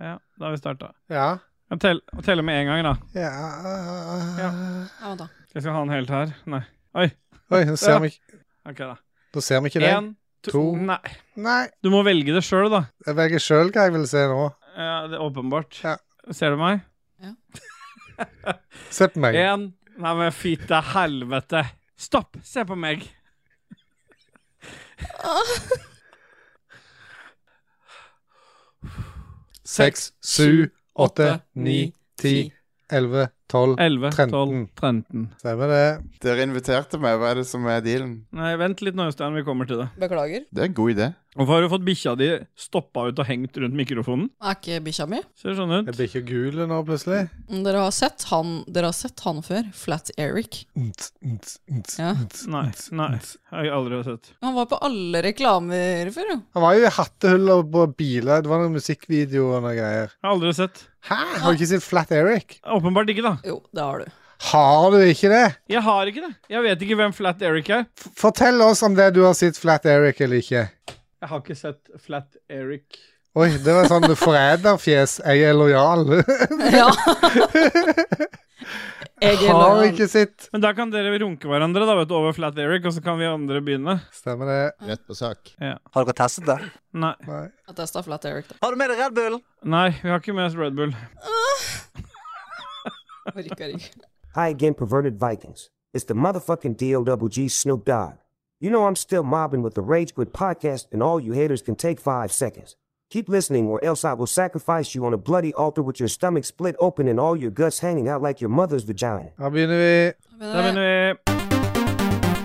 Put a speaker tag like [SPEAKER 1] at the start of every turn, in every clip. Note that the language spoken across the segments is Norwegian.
[SPEAKER 1] Ja, da har vi starta.
[SPEAKER 2] Ja.
[SPEAKER 1] Jeg tel- jeg teller med en gang, da.
[SPEAKER 2] ja.
[SPEAKER 3] Ja, vent da.
[SPEAKER 1] Jeg skal ha den helt her. Nei.
[SPEAKER 2] Oi, nå ser,
[SPEAKER 1] Ja.
[SPEAKER 2] vi, ikke-
[SPEAKER 1] Ok, da.
[SPEAKER 2] nå ser vi ikke det.
[SPEAKER 1] Én, to,
[SPEAKER 2] to.
[SPEAKER 1] Nei.
[SPEAKER 2] Nei.
[SPEAKER 1] Du må velge det sjøl, da.
[SPEAKER 2] Jeg velger sjøl hva jeg vil se nå.
[SPEAKER 1] Ja, det er åpenbart.
[SPEAKER 2] Ja.
[SPEAKER 1] Ser du meg?
[SPEAKER 2] Se på meg.
[SPEAKER 1] Én Nei, men fitte helvete. Stopp! Se på meg.
[SPEAKER 2] Seks, sju, åtte, ni, ti, elleve, tolv.
[SPEAKER 1] 11,
[SPEAKER 2] 13.
[SPEAKER 1] 12, 13.
[SPEAKER 2] Stemmer det.
[SPEAKER 4] Dere inviterte meg, hva er det som er dealen?
[SPEAKER 1] Nei, vent litt nå, Øystein. Vi kommer til det.
[SPEAKER 3] Beklager.
[SPEAKER 4] Det er en god idé.
[SPEAKER 1] Hvorfor har du fått bikkja di stoppa ut og hengt rundt mikrofonen?
[SPEAKER 3] Er ikke bikkja mi?
[SPEAKER 1] Ser sånn ut.
[SPEAKER 2] Jeg blir ikke gul nå, plutselig.
[SPEAKER 3] Mm, Dere har sett han, dere har sett han før. Flat Eric. Ja.
[SPEAKER 1] Nei. nei, har jeg aldri sett.
[SPEAKER 3] Han var på alle reklamer før, jo.
[SPEAKER 2] Han var jo i hattehull og på biler. Det var noen musikkvideoer og noen greier.
[SPEAKER 1] Jeg har aldri sett.
[SPEAKER 2] Hæ? Har du ikke sett Flat Eric?
[SPEAKER 1] Åpenbart ikke, da.
[SPEAKER 3] Jo, det har du.
[SPEAKER 2] Har du ikke det?
[SPEAKER 1] Jeg har ikke det. Jeg vet ikke hvem Flat Eric er.
[SPEAKER 2] F fortell oss om det du har sett Flat Eric eller ikke.
[SPEAKER 1] Jeg har ikke sett Flat Eric.
[SPEAKER 2] Oi, det var sånn forræderfjes. Jeg er lojal.
[SPEAKER 3] Ja. Jeg er
[SPEAKER 2] Har
[SPEAKER 3] lojal.
[SPEAKER 2] ikke sett.
[SPEAKER 1] Men da kan dere runke hverandre da, vet du, over Flat Eric, og så kan vi andre begynne.
[SPEAKER 2] Stemmer det.
[SPEAKER 5] Rett på sak.
[SPEAKER 1] Ja.
[SPEAKER 6] Har dere testet det?
[SPEAKER 1] Nei.
[SPEAKER 2] Nei.
[SPEAKER 3] Jeg testa Flat Eric, da.
[SPEAKER 6] Har du med deg Red Bull?
[SPEAKER 1] Nei, vi har ikke med oss Red Bull.
[SPEAKER 3] Orker ikke.
[SPEAKER 7] Hi again, perverted Vikings. It's the motherfucking DOWG Snoop Dogg. You know I'm still mobbing with the Rage Quit podcast, and all you haters can take five seconds. Keep listening, or else I will sacrifice you on a bloody altar with your stomach split open and all your guts hanging out like your mother's vagina.
[SPEAKER 2] Da begynner vi.
[SPEAKER 3] eh,
[SPEAKER 1] Da begynner vi.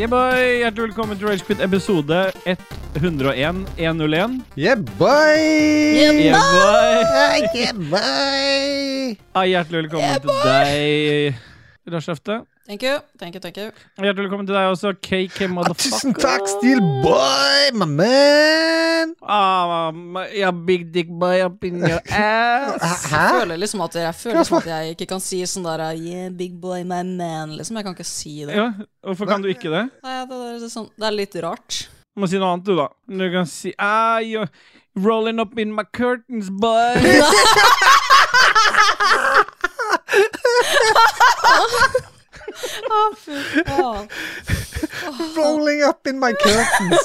[SPEAKER 1] Yeah, boy! Hjertelig velkommen til Ragequit episode 101 101.
[SPEAKER 2] Yeah, boy!
[SPEAKER 1] Yeah, boy!
[SPEAKER 2] Hey, yeah, boy!
[SPEAKER 1] Ja, hjertelig velkommen til deg, Rashefte.
[SPEAKER 3] Thank you, thank you, thank you.
[SPEAKER 1] Hjertelig velkommen til deg også, KK
[SPEAKER 2] Ah,
[SPEAKER 1] Motherfucker.
[SPEAKER 2] tusen takk, Steel Boy, my man!
[SPEAKER 1] Ah, my- yeah, big dick boy up in your ass.
[SPEAKER 3] Jeg
[SPEAKER 2] Hæ?
[SPEAKER 3] føler liksom at jeg, jeg føler liksom at jeg ikke kan si sånn der Yeah, big boy, my man, liksom. Jeg kan ikke si det.
[SPEAKER 1] Ja, hvorfor kan du ikke det?
[SPEAKER 3] Nei, det, er sånn, det er litt rart.
[SPEAKER 1] Du må si noe annet, du, da. Du kan si ah, you're Rolling up in my curtains, boy.
[SPEAKER 3] Å, fy faen.
[SPEAKER 2] Rolling up in my curtains.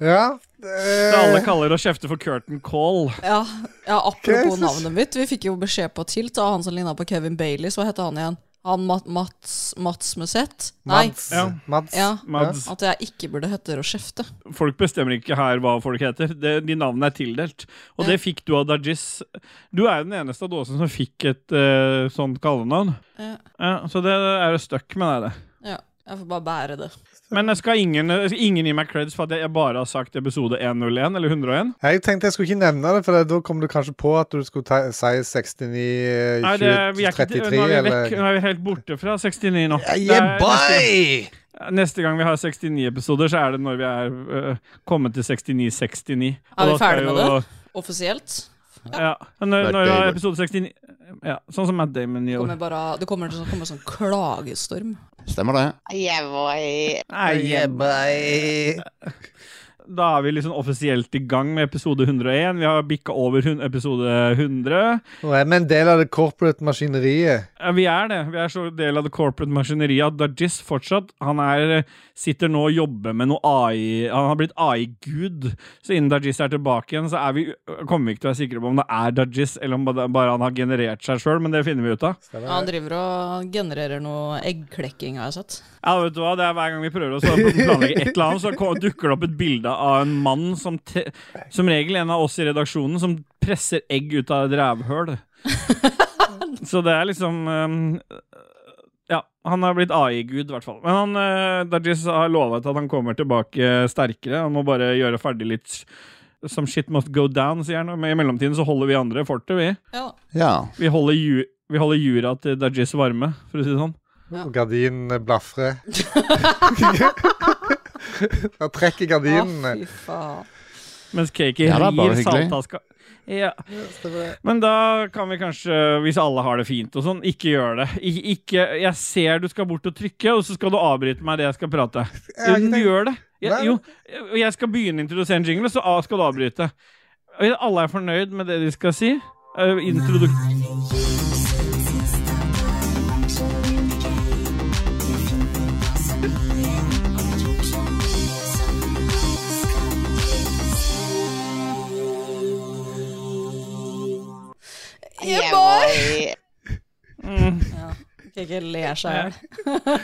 [SPEAKER 2] Ja. eh,
[SPEAKER 1] Det alle
[SPEAKER 2] Det,
[SPEAKER 1] kaller å kjefte for curtain call.
[SPEAKER 3] Ja, ja apropos
[SPEAKER 2] Jesus.
[SPEAKER 3] navnet mitt. Vi fikk jo beskjed på tilt av han som ligna på Kevin Baileys. Hva heter han igjen? Han Mat Mats, Mats Museth? Nei.
[SPEAKER 2] Mads.
[SPEAKER 1] Ja.
[SPEAKER 2] Mads.
[SPEAKER 3] Ja.
[SPEAKER 1] Mads,
[SPEAKER 3] At jeg ikke burde hete Rochefte.
[SPEAKER 1] folk bestemmer ikke her hva folk heter. Det, de navnene er tildelt. Og det fikk du av Dajis. Du er jo den eneste av dåsen som fikk et eh, sånt kallenavn.
[SPEAKER 3] Ja.
[SPEAKER 1] Ja, så det er det stuck med deg, det.
[SPEAKER 3] Ja, jeg får bare bære det.
[SPEAKER 1] Men jeg skal ingen, jeg skal ingen gi meg creds for at jeg bare har sagt episode 101 eller 101?
[SPEAKER 2] Jeg tenkte jeg skulle ikke nevne det, for da kom du kanskje på at du skulle ta, si 69
[SPEAKER 1] Nei, det, vi er ikke, nå
[SPEAKER 2] 2033,
[SPEAKER 1] er vi vekk,
[SPEAKER 2] eller
[SPEAKER 1] nå er vi helt borte fra 69 nå. Det
[SPEAKER 2] Yeah,
[SPEAKER 1] er neste,
[SPEAKER 2] boy!
[SPEAKER 1] neste gang vi har 69 episoder, så er det når vi er øh, kommet til 69-69.
[SPEAKER 3] Er vi ferdig med Offisielt.
[SPEAKER 1] Ja, når,
[SPEAKER 4] Matt
[SPEAKER 1] når vi har
[SPEAKER 4] Damon.
[SPEAKER 1] episode 69 Ja, sånn som Matt Damon
[SPEAKER 3] Det
[SPEAKER 1] gjorde.
[SPEAKER 3] kommer, bare, det kommer til å komme en sånn klagestorm.
[SPEAKER 4] Stemmer det?
[SPEAKER 1] Nei, Da er vi liksom offisielt i gang med episode 101. Vi har bikka over hun, episode 100.
[SPEAKER 2] Nå er vi en del av det corporate maskineriet.
[SPEAKER 1] Ja, Vi er det. Vi er så del av det corporate maskineriet at Dajis fortsatt Han er, sitter nå og jobber med noe AI Han har blitt AI-gud. Så innen Dajis er tilbake igjen, så er vi, kommer vi ikke til å være sikre på om det er Dajis, eller om bare bare han har generert seg sjøl, men det finner vi ut av.
[SPEAKER 3] Ja, han driver og genererer noe eggklekking, har jeg sett.
[SPEAKER 1] Ja, vet du hva, det er Hver gang vi prøver å så planlegge et eller annet, så ko- dukker det opp et bilde av en mann, som, te, som regel en av oss i redaksjonen, som presser egg ut av et rævhøl. Så det er liksom ehm, Ja, han har blitt AI-gud, i hvert fall. Men han, eh, Dajis har lovet at han kommer tilbake sterkere. Han må bare gjøre ferdig litt Some shit must go down, sier han. Men i mellomtiden så holder vi andre fortet, vi.
[SPEAKER 3] Ja,
[SPEAKER 4] Ja.
[SPEAKER 1] Vi holder, ju, vi holder jura til Dajis varme, for å si det sånn.
[SPEAKER 3] Ja.
[SPEAKER 2] Og gardinene blafrer. Da trekker gardinene.
[SPEAKER 3] fy faen.
[SPEAKER 1] Mens Cakey
[SPEAKER 4] Ja, det er bare
[SPEAKER 1] rir
[SPEAKER 4] hyggelig.
[SPEAKER 1] saltaska. Ja. Men da kan vi kanskje, hvis alle har det fint og sånn, ikke gjøre det. Ik ikke, jeg ser du skal bort og trykke, og så skal du avbryte meg det jeg skal prate.
[SPEAKER 2] har ikke tenkt-
[SPEAKER 1] Gjør det. Jeg,
[SPEAKER 2] Nei.
[SPEAKER 1] jo, og jeg skal begynne å introdusere en jingle, så ah, skal du avbryte. Og Alle er fornøyd med det de skal si. Eh, introdu
[SPEAKER 3] Yeah, boy!
[SPEAKER 1] mm,
[SPEAKER 3] Ikke, ikke ler seg i hjel.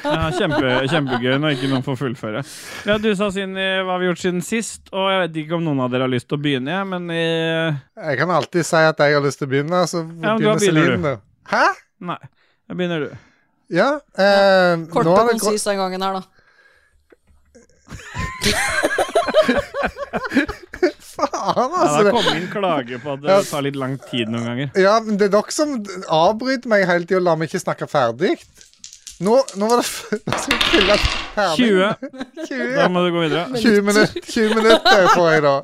[SPEAKER 1] ja, kjempe, kjempegøy når ikke noen får fullføre. Ja, du sa Sinni hva har vi gjort siden sist, og jeg vet ikke om noen av dere har lyst til å begynne, jeg, men eh,
[SPEAKER 2] Jeg kan alltid si at jeg har lyst til å begynne, så
[SPEAKER 1] men da
[SPEAKER 2] begynner
[SPEAKER 1] begynner
[SPEAKER 2] Celine.
[SPEAKER 1] du.
[SPEAKER 2] da. Hæ?
[SPEAKER 1] Nei. Da begynner du.
[SPEAKER 2] Ja. Eh,
[SPEAKER 3] Kort
[SPEAKER 2] nå
[SPEAKER 3] og
[SPEAKER 2] har det gått
[SPEAKER 3] konsist den gangen her, da.
[SPEAKER 2] Faen,
[SPEAKER 1] Ja, det
[SPEAKER 2] altså.
[SPEAKER 1] har kommet inn klage på at det tar litt lang tid noen ganger.
[SPEAKER 2] Ja, men det er dere som avbryter meg hele tida og lar meg ikke snakke ferdig. Nå, nå var det f Nå skal jeg fylle ferdig.
[SPEAKER 1] 20.
[SPEAKER 2] 20.
[SPEAKER 1] Da må du gå videre.
[SPEAKER 2] 20 minutter, 20 minutter får jeg da.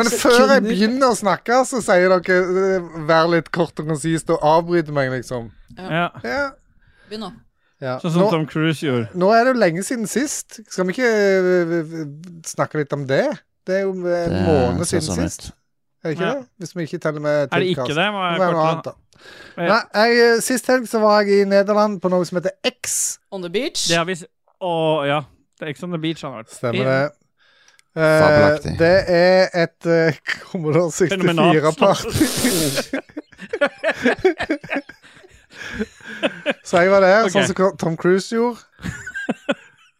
[SPEAKER 2] Men før jeg begynner å snakke, så sier dere eh, 'vær litt kort og konsist' og avbryter meg, liksom.
[SPEAKER 1] Ja.
[SPEAKER 2] Ja.
[SPEAKER 3] Begynn nå.
[SPEAKER 2] ja.
[SPEAKER 1] Sånn som
[SPEAKER 2] Nå,
[SPEAKER 1] Tom Cruise gjorde.
[SPEAKER 2] nå er det jo lenge siden sist. Skal vi ikke eh, eh, snakke litt om det? Det er jo eh, en måned
[SPEAKER 4] ser sånn
[SPEAKER 2] siden
[SPEAKER 4] ut.
[SPEAKER 2] sist. Er det ikke
[SPEAKER 1] Ja.
[SPEAKER 2] det? Hvis vi ikke teller med
[SPEAKER 1] Er det ikke
[SPEAKER 2] tilkast.
[SPEAKER 1] det? Må
[SPEAKER 2] Det
[SPEAKER 1] jeg
[SPEAKER 2] var noe
[SPEAKER 1] korte
[SPEAKER 2] annet, da.
[SPEAKER 1] Ja.
[SPEAKER 2] Nei, jeg, eh, sist helg så var jeg i Nederland på noe som heter X.
[SPEAKER 3] On the beach.
[SPEAKER 1] Det har vi s- Å ja. Det er Ex on the Beach han har vært.
[SPEAKER 2] Stemmer det. Eh,
[SPEAKER 4] Fabelaktig.
[SPEAKER 2] det er et eh, Commodore
[SPEAKER 1] Fenomenalt.
[SPEAKER 2] 64-party. så jeg var der,
[SPEAKER 1] Ok.
[SPEAKER 2] sånn som Tom Cruise gjorde.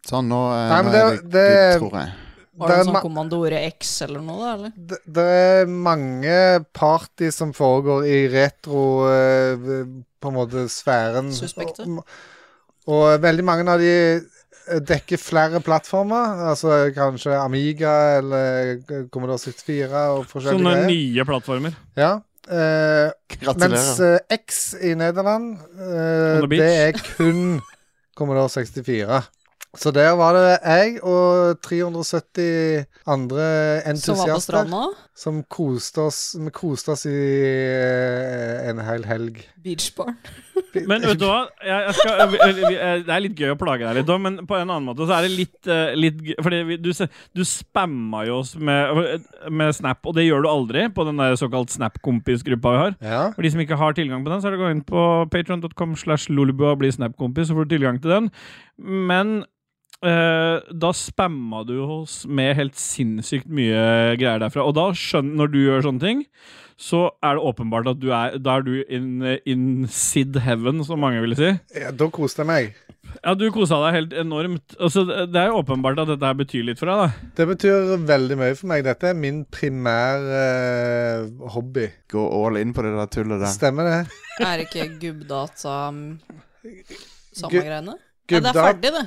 [SPEAKER 4] Sånn, nå eh,
[SPEAKER 2] Nei, men
[SPEAKER 4] nå
[SPEAKER 2] det-
[SPEAKER 4] er det,
[SPEAKER 2] det-
[SPEAKER 4] good, tror jeg.
[SPEAKER 3] Var
[SPEAKER 2] det
[SPEAKER 3] det
[SPEAKER 2] er
[SPEAKER 3] en sånn
[SPEAKER 2] ma-
[SPEAKER 3] Kommandore X eller noe, da? eller?
[SPEAKER 2] Det, det er mange party som foregår i retro eh, På en måte sfæren.
[SPEAKER 3] Suspekte.
[SPEAKER 2] Og, og veldig mange av de eh, dekker flere plattformer. Altså kanskje Amiga eller Commodore 64 og forskjellige
[SPEAKER 1] Sånne
[SPEAKER 2] greier.
[SPEAKER 1] nye plattformer.
[SPEAKER 2] Ja. eh, Mens
[SPEAKER 4] Gratulerer.
[SPEAKER 2] eh, X i Nederland, eh,
[SPEAKER 1] On the beach.
[SPEAKER 2] det er kun Commodore 64. Så der var det jeg og 370 andre
[SPEAKER 3] Som var på
[SPEAKER 2] entusiaster
[SPEAKER 3] stranda?
[SPEAKER 2] som koste oss, vi koste oss i eh, en hel helg.
[SPEAKER 3] Beachbarn.
[SPEAKER 1] Men vet du hva? Jeg, jeg skal, jeg, jeg, det er litt gøy å plage deg litt, da, men på en annen måte så er det litt, eh, litt gøy. Fordi vi, du, se- du spamma jo oss med, med Snap, og det gjør du aldri på den der såkalt Snap-kompisgruppa vi har.
[SPEAKER 2] Ja.
[SPEAKER 1] For de som ikke har tilgang på den, så er det å gå inn på patreon.com slash lolebua og bli snapkompis, så får du tilgang til den. Men eh, da spamma du oss med helt sinnssykt mye greier derfra. Og da skjønner når du gjør sånne ting, så er det åpenbart at du er Da er du in, in sid heaven, som mange ville si.
[SPEAKER 2] ja, da koste jeg meg.
[SPEAKER 1] Ja, du kosa deg helt enormt. Altså, det er jo åpenbart at dette her betyr litt for deg, da.
[SPEAKER 2] Det betyr veldig mye for meg. Dette er min primære eh, hobby.
[SPEAKER 4] Gå all in på det der tullet der.
[SPEAKER 2] Stemmer det?
[SPEAKER 3] Er ikke gubbdata um, samme
[SPEAKER 2] Gu-
[SPEAKER 3] greiene? Nei, det er
[SPEAKER 2] Gubbdata
[SPEAKER 3] ferdig, det.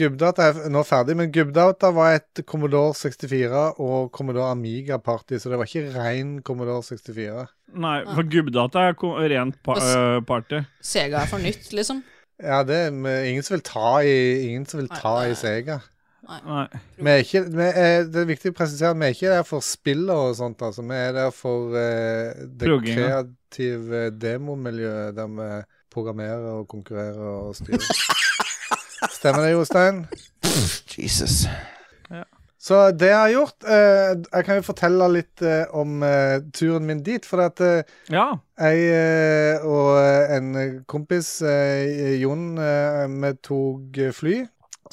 [SPEAKER 2] Gubdata er nå ferdig, men Gubdata var et Commodore 64 og Commodore Amiga-party, så det var ikke ren Commodore 64.
[SPEAKER 1] Nei, for gubbdata er ko- rent pa øh, party.
[SPEAKER 3] Sega er for nytt, liksom.
[SPEAKER 2] Ja, det er men ingen som vil ta i Ingen som vil ta i Sega.
[SPEAKER 1] Nei.
[SPEAKER 2] Vi er ikke, vi er, det er viktig å presisere at vi er ikke der for spillet og sånt, altså. Vi er der for eh, det
[SPEAKER 1] Plugginga.
[SPEAKER 2] kreative demomiljøet der vi programmerer og konkurrerer og styrer. Stemmer det, Jostein?
[SPEAKER 5] eh,
[SPEAKER 4] Jesus.
[SPEAKER 2] Så det jeg har gjort eh, Jeg kan jo fortelle litt eh, om eh, turen min dit. For at eh,
[SPEAKER 1] Ja.
[SPEAKER 2] jeg eh, og en kompis, eh, Jon, eh, vi tok fly.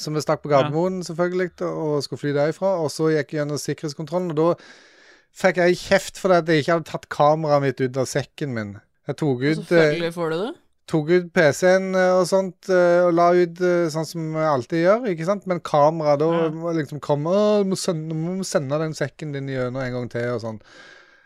[SPEAKER 2] Så vi stakk på Gardermoen selvfølgelig og skulle fly derifra. Og så gikk jeg gjennom sikkerhetskontrollen, og da fikk jeg kjeft for at jeg ikke hadde tatt kameraet mitt ut av sekken min. Jeg tok ut eh,
[SPEAKER 3] Selvfølgelig får du det.
[SPEAKER 2] tok ut PC-en og sånt, eh, og la ut eh, sånn som vi alltid gjør, ikke sant? Men kamera, da
[SPEAKER 1] Ja.
[SPEAKER 2] må liksom komme «Å, du må sende, du må sende den sekken din gjennom en gang til, og sånn.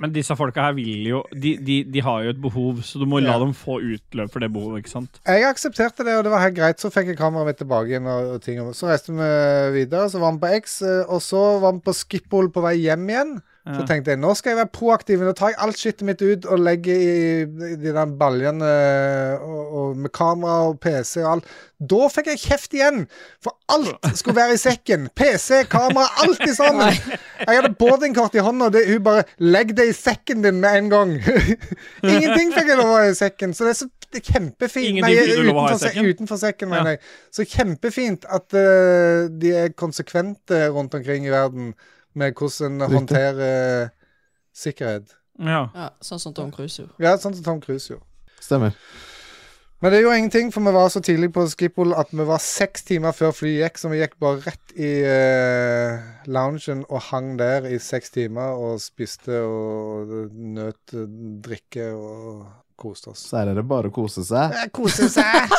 [SPEAKER 1] Men disse folka her vil jo de, de, de har jo et behov, så du må la
[SPEAKER 2] Ja.
[SPEAKER 1] dem få utløp for det behovet, ikke sant?
[SPEAKER 2] Jeg aksepterte det, og det var helt greit. Så fikk jeg kameraet mitt tilbake igjen, og, og ting. og Så reiste vi videre, så var vi på X, eh, og så var vi på Skiphol på vei hjem igjen. Så tenkte jeg nå skal jeg være proaktiv. Nå tar jeg alt skittet mitt ut og legger i, i de der baljene eh, og, og med kamera og PC og alt. Da fikk jeg kjeft igjen, for alt skulle være i sekken. PC, kamera, alt i sammen. Jeg hadde boardingkort i hånda, og det, hun bare 'Legg det i sekken din med en gang'. Ingenting fikk jeg lov å ha i sekken, så det er så det er kjempefint.
[SPEAKER 1] Ingenting
[SPEAKER 2] Nei,
[SPEAKER 1] fikk du lov å ha i
[SPEAKER 2] utenfor, se-
[SPEAKER 1] sekken?
[SPEAKER 2] utenfor sekken, mener jeg. Så kjempefint at eh, de er konsekvente rundt omkring i verden med hvordan en håndterer eh, sikkerhet.
[SPEAKER 1] Ja.
[SPEAKER 3] Ja, sånn som Tom Cruise gjorde.
[SPEAKER 2] Ja, sånn som Tom Cruise gjorde.
[SPEAKER 4] Stemmer.
[SPEAKER 2] Men det er jo ingenting, for vi var så tidlig på Schiphol at vi var seks timer før flyet gikk, så vi gikk bare rett i eh, loungen og hang der i seks timer og spiste og nøt eh, drikke og koste oss.
[SPEAKER 4] Så her er det bare å kose seg.
[SPEAKER 2] Eh, Kose seg!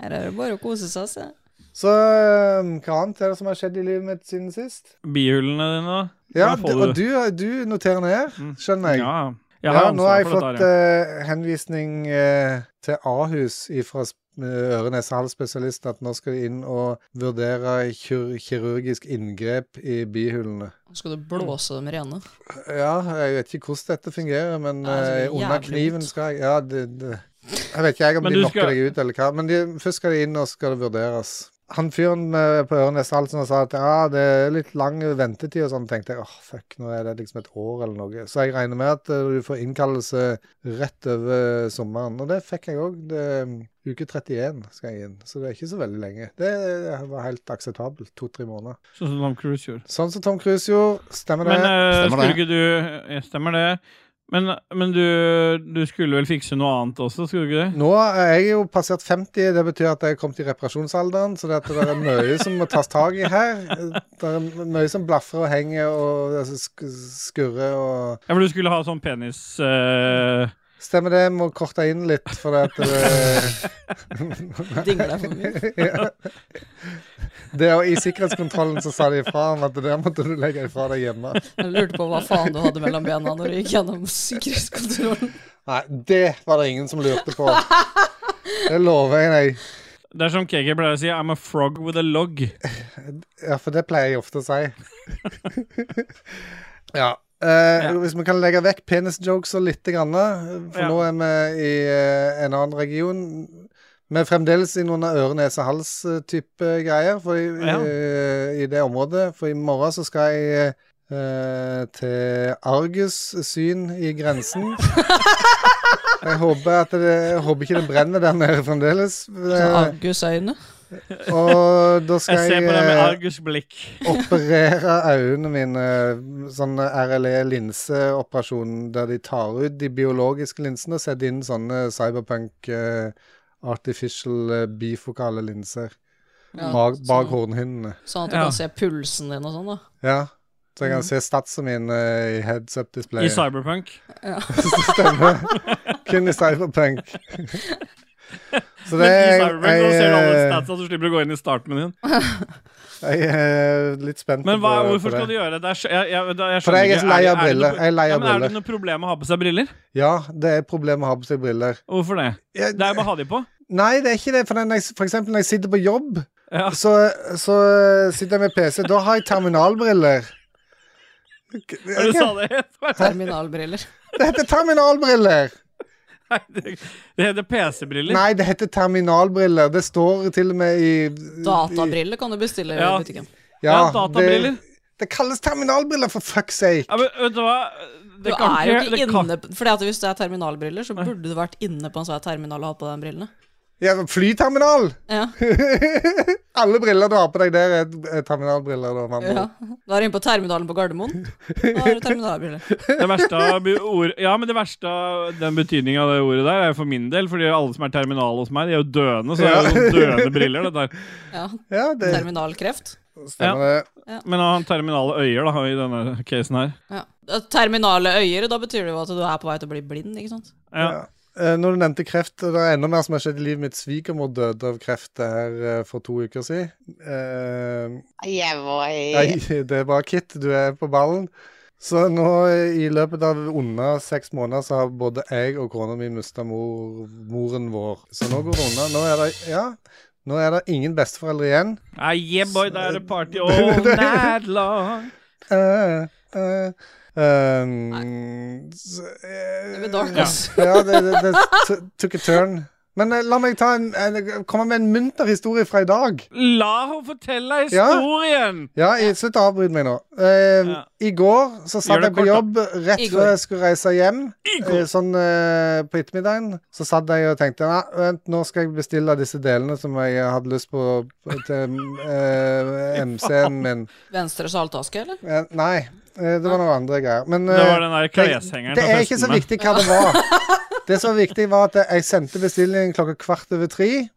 [SPEAKER 3] Her er det bare å kose seg, se.
[SPEAKER 2] så eh, hva annet er det som har skjedd i livet mitt siden sist?
[SPEAKER 1] Bihullene dine, da?
[SPEAKER 2] Ja,
[SPEAKER 1] Hva
[SPEAKER 2] d-
[SPEAKER 1] får
[SPEAKER 2] og du, du noterer ned, skjønner jeg.
[SPEAKER 1] Ja. Jeg har
[SPEAKER 2] Ja, nå
[SPEAKER 1] ansvar
[SPEAKER 2] har jeg
[SPEAKER 1] for
[SPEAKER 2] fått
[SPEAKER 1] dette her,
[SPEAKER 2] eh, henvisning eh, til Ahus fra øre-nese-hals-spesialisten at nå skal de inn og vurdere kir kirurgisk inngrep i bihulene.
[SPEAKER 3] Nå skal du blåse dem rene.
[SPEAKER 2] Ja, jeg vet ikke hvordan dette fungerer, men
[SPEAKER 3] Ja, det
[SPEAKER 2] eh,
[SPEAKER 3] gjør
[SPEAKER 2] under
[SPEAKER 3] jævlig
[SPEAKER 2] kniven
[SPEAKER 3] vondt.
[SPEAKER 2] skal jeg Ja, det, det. Jeg vet ikke jeg om
[SPEAKER 1] Men
[SPEAKER 2] de
[SPEAKER 1] du
[SPEAKER 2] lokker
[SPEAKER 1] skal-
[SPEAKER 2] deg ut eller hva, men de, først skal de inn og skal det vurderes. Han fyren eh, på Ørenes-Halsen sa at ja, det er litt lang ventetid og sånn, tenkte jeg åh, fuck, nå er det liksom et år eller noe. Så jeg regner med at eh, du får innkallelse rett over sommeren. Og det fikk jeg òg. Uke 31 skal jeg inn, så det er ikke så veldig lenge. Det eh, var helt akseptabelt. To-tre måneder.
[SPEAKER 1] ja. Sånn som Tom Cruise gjorde.
[SPEAKER 2] Sånn som Tom Cruise gjorde, stemmer det?
[SPEAKER 1] Men eh,
[SPEAKER 4] Stemmer det.
[SPEAKER 1] skulle ikke du ja, Stemmer det. Men, men du, du skulle vel fikse noe annet også, skulle du ikke det?
[SPEAKER 2] Nå er jeg jo passert 50, det betyr at jeg er kommet i reparasjonsalderen, så det, at det er mye som må tas tak i her. Det er mye som blafrer og henger og altså, sk- skurrer og
[SPEAKER 1] Ja, for du skulle ha sånn penis eh,
[SPEAKER 2] Stemmer det, må korte inn litt, for det at det,
[SPEAKER 3] Dingler for mye.
[SPEAKER 2] ja. det og I sikkerhetskontrollen så sa de ifra om at det der måtte du legge ifra deg hjemme.
[SPEAKER 3] Jeg lurte på hva faen du hadde mellom bena når du gikk gjennom sikkerhetskontrollen.
[SPEAKER 2] Nei, det var det ingen som lurte på. Det lover jeg deg.
[SPEAKER 1] Det er som KK pleier å si, 'I'm a frog with a log'.
[SPEAKER 2] Ja, for det pleier jeg ofte å si. ja. eh,
[SPEAKER 1] Ja.
[SPEAKER 2] Hvis vi kan legge vekk penisjokes og lite grann, eh, for
[SPEAKER 1] Ja.
[SPEAKER 2] nå er vi i eh, en annen region. Vi er fremdeles i noen øre-nese-hals-type eh, greier for i,
[SPEAKER 1] Ja.
[SPEAKER 2] eh, i det området. For i morgen så skal jeg eh, til Argus syn i grensen. Jeg håper, at det, jeg håper ikke det brenner der nede fremdeles. Eh,
[SPEAKER 3] Argusøyne.
[SPEAKER 2] og da skal
[SPEAKER 1] Jeg ser på deg med
[SPEAKER 2] eh,
[SPEAKER 1] argusblikk.
[SPEAKER 2] operere øynene mine sånn RLE-linseoperasjon der de tar ut de biologiske linsene og setter inn sånne cyberpunk eh, artificial eh, bifokale linser
[SPEAKER 3] Ja,
[SPEAKER 2] bak, bak
[SPEAKER 3] sånn,
[SPEAKER 2] hornhinnene.
[SPEAKER 3] sånn at du
[SPEAKER 1] Ja.
[SPEAKER 3] kan se pulsen din og sånn, da.
[SPEAKER 2] Ja. Så jeg kan se statsa mine i
[SPEAKER 1] I
[SPEAKER 2] heads-up-displayet.
[SPEAKER 1] Cyberpunk.
[SPEAKER 2] Stemmer. Kun i cyberpunk. Så
[SPEAKER 1] Men
[SPEAKER 2] det
[SPEAKER 1] i
[SPEAKER 2] er eh,
[SPEAKER 1] Cyberpunk så ser du alle
[SPEAKER 2] jeg,
[SPEAKER 1] statsa, så slipper du å gå inn i startmenyen.
[SPEAKER 2] jeg, jeg er litt spent
[SPEAKER 1] Men hva,
[SPEAKER 2] på, på
[SPEAKER 1] hvorfor skal du
[SPEAKER 2] det.
[SPEAKER 1] gjøre det? Det er så- Jeg, jeg, jeg, jeg
[SPEAKER 2] For jeg er
[SPEAKER 1] skjønner
[SPEAKER 2] så lei
[SPEAKER 1] ikke. det
[SPEAKER 2] av
[SPEAKER 1] noe-
[SPEAKER 2] briller. Jeg er lei
[SPEAKER 1] Ja,
[SPEAKER 2] av
[SPEAKER 1] men er det
[SPEAKER 2] briller.
[SPEAKER 1] noe problem med å ha på seg briller?
[SPEAKER 2] Ja, det er et problem å ha på seg briller.
[SPEAKER 1] Hvorfor det?
[SPEAKER 2] Jeg-
[SPEAKER 1] Det er bare å ha de på.
[SPEAKER 2] Nei, det er ikke det. For, når jeg, for eksempel når jeg sitter på jobb,
[SPEAKER 1] Ja.
[SPEAKER 2] så, så sitter jeg med PC. Da har jeg terminalbriller.
[SPEAKER 1] Når du sånn- sa det
[SPEAKER 3] Terminalbriller.
[SPEAKER 2] Det heter terminalbriller!
[SPEAKER 1] Nei, det- Det heter PC-briller.
[SPEAKER 2] Nei, det heter terminalbriller. Det står til og med i
[SPEAKER 3] Databriller kan du bestille i
[SPEAKER 1] Ja.
[SPEAKER 3] butikken.
[SPEAKER 1] Ja, databriller.
[SPEAKER 2] Det, det kalles terminalbriller, for fuck's sake!
[SPEAKER 1] Ja, men vet du hva?
[SPEAKER 3] Du
[SPEAKER 1] Det kan
[SPEAKER 3] er jo
[SPEAKER 1] det
[SPEAKER 3] ikke
[SPEAKER 1] kan-
[SPEAKER 3] inne Fordi at hvis det er terminalbriller, så burde du vært inne på en svær terminal og ha på deg de brillene.
[SPEAKER 2] Ja, flyterminal!
[SPEAKER 3] Ja,
[SPEAKER 2] Alle briller du har på deg der, er er terminalbriller. Da, mamma.
[SPEAKER 3] ja. Da er du inne på terminalen på Gardermoen. Da har du terminalbriller.
[SPEAKER 1] Det verste av bu- ord, ja, men det verste av den betydningen av det ordet der, er for min del, fordi alle som er terminale hos meg, de er jo døende, så det er jo sånn døende briller, dette her.
[SPEAKER 3] Ja,
[SPEAKER 2] Ja, det
[SPEAKER 3] terminalkreft.
[SPEAKER 2] stemmer, det.
[SPEAKER 1] Men å ha terminale øyer, da, i denne casen her.
[SPEAKER 3] Ja. Terminale øyer, da betyr det jo at du er på vei til å bli blind, ikke sant?
[SPEAKER 1] Ja.
[SPEAKER 2] Eh, Når du nevnte kreft, det er enda mer som har skjedd i livet mitt. Svigermor døde av kreft det her eh, for to uker siden. Eh,
[SPEAKER 5] Yeah, boy.
[SPEAKER 2] nei, det er bra, Kit. Du er på ballen. Så nå eh, i løpet av under seks måneder så har både jeg og kona mi mista mor, moren vår. Så nå går det unna. Nå er det, ja, nå er det ingen besteforeldre igjen.
[SPEAKER 1] Ah, yeah, boy, da er det party all night long.
[SPEAKER 2] eh, eh. Um, så, eh,
[SPEAKER 3] Det blir dark,
[SPEAKER 1] Ja.
[SPEAKER 3] ass.
[SPEAKER 2] Ja, det, det, det t- took a turn. Men eh, la meg ta en, en, komme med en munter historie fra i dag.
[SPEAKER 1] La henne fortelle
[SPEAKER 2] Ja.
[SPEAKER 1] historien!
[SPEAKER 2] Ja, i- slutt å avbryte meg nå. Eh,
[SPEAKER 1] Ja.
[SPEAKER 2] I går så
[SPEAKER 1] Gjør
[SPEAKER 2] satt
[SPEAKER 1] det
[SPEAKER 2] jeg på
[SPEAKER 1] kort, da.
[SPEAKER 2] jobb rett
[SPEAKER 3] I går.
[SPEAKER 2] før jeg skulle reise hjem.
[SPEAKER 1] I går.
[SPEAKER 2] Eh, sånn eh, på ettermiddagen. Så satt jeg og tenkte Nei, vent, nå skal jeg bestille disse delene som jeg hadde lyst på på- til eh, MC-en min.
[SPEAKER 3] Venstre saltaske, eller?
[SPEAKER 2] Eh, nei, eh, det var noen andre greier. Men
[SPEAKER 1] Det
[SPEAKER 2] eh,
[SPEAKER 1] var den der
[SPEAKER 2] det,
[SPEAKER 1] kleshengeren
[SPEAKER 2] det
[SPEAKER 1] fra
[SPEAKER 2] er ikke så
[SPEAKER 1] festene.
[SPEAKER 2] viktig hva det var. Det som var viktig, var at jeg sendte bestillingen klokka kvart over tre.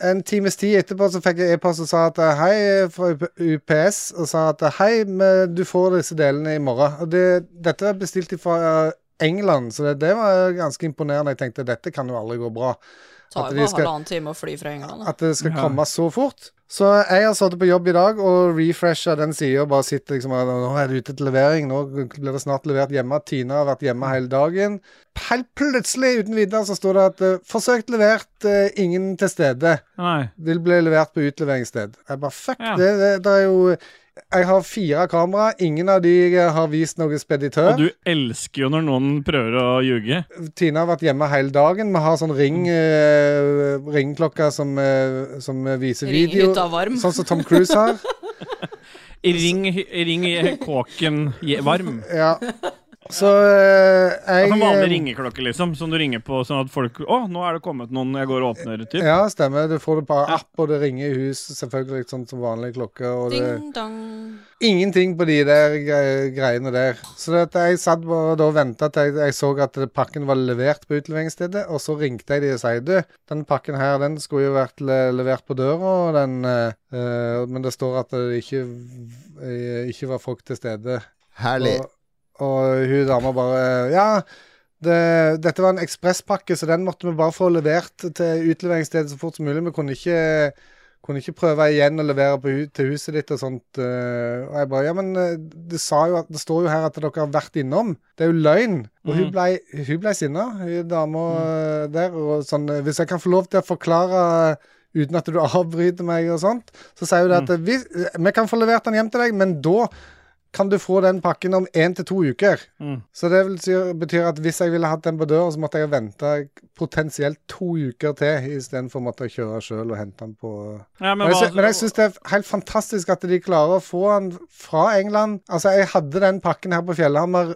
[SPEAKER 2] En times tid etterpå så fikk jeg e-post og sa at eh, hei fra UP UPS, og sa at eh, hei, men du får disse delene i morgen. Og det, dette var bestilt fra England, så det, det var ganske imponerende. Jeg tenkte dette kan jo aldri gå bra.
[SPEAKER 3] Tar
[SPEAKER 2] At
[SPEAKER 3] jo
[SPEAKER 2] de
[SPEAKER 3] bare
[SPEAKER 2] skal-
[SPEAKER 3] halvannen time å fly fra England. da.
[SPEAKER 2] At det skal komme så fort. Så jeg har sittet på jobb i dag og refresha den sida og bare sitter liksom og Nå er det ute til levering, nå blir det snart levert hjemme. Tina har vært hjemme hele dagen. Helt plutselig, uten videre, så står det at eh, 'forsøkt levert, eh, ingen til stede'.
[SPEAKER 1] Nei.
[SPEAKER 2] Vil bli levert på utleveringssted. Jeg bare fuck,
[SPEAKER 1] Ja.
[SPEAKER 2] det, det, det er jo Jeg har fire kamera, ingen av de eh, har vist noen speditør.
[SPEAKER 1] Og du elsker jo når noen prøver å ljuge.
[SPEAKER 2] Tina har vært hjemme hele dagen. Vi har sånn
[SPEAKER 1] Mm.
[SPEAKER 2] ring, eh, ringklokke som, eh, som viser
[SPEAKER 3] Ring
[SPEAKER 2] video.
[SPEAKER 3] hytta varm.
[SPEAKER 2] Sånn som Tom Cruise har.
[SPEAKER 1] Ring, ring kåken je- varm.
[SPEAKER 2] Ja. Så eh, jeg
[SPEAKER 1] Som vanlig
[SPEAKER 2] eh,
[SPEAKER 1] ringeklokke, liksom. Som du ringer på sånn at folk Å, nå er det kommet noen, jeg går og åpner, typ.
[SPEAKER 2] Ja, stemmer. Du får det på app, og det ringer i hus, selvfølgelig, sånn som vanlig klokke. Og det,
[SPEAKER 3] Ding dong.
[SPEAKER 2] ingenting på de der gre- greiene der. Så det at jeg satt bare da og venta til jeg, jeg så at det- pakken var levert på utleveringsstedet, og så ringte jeg de og sa du, den pakken her, den skulle jo vært le levert på døra, og den eh, eh, Men det står at det ikke, eh, ikke var folk til stede.
[SPEAKER 4] Herlig.
[SPEAKER 2] Og, og hun dama bare Ja, det, dette var en ekspresspakke, så den måtte vi bare få levert til utleveringsstedet så fort som mulig. Vi kunne ikke, kunne ikke prøve igjen å levere på, hu- til huset ditt og sånt. eh, Og jeg bare Ja, men eh, det, sa jo at, det står jo her at dere har vært innom. Det er jo løgn. Og hun
[SPEAKER 1] Mhm.
[SPEAKER 2] blei hun ble sinna, hun dama eh, der. Og sånn eh, Hvis jeg kan få lov til å forklare eh, uten at du avbryter meg og sånt, så sier hun det at eh, vi, vi kan få levert den hjem til deg, men da kan du få den pakken om én til to uker.
[SPEAKER 1] Mm.
[SPEAKER 2] Så det vil si, betyr at hvis jeg ville hatt den på døra, så måtte jeg vente potensielt to uker til, istedenfor å måtte kjøre sjøl og hente den på
[SPEAKER 1] Ja, altså,
[SPEAKER 2] Men, jeg, sy- men jeg syns det er helt fantastisk at de klarer å få den fra England. Altså, jeg hadde den pakken her på eh, Fjellhammer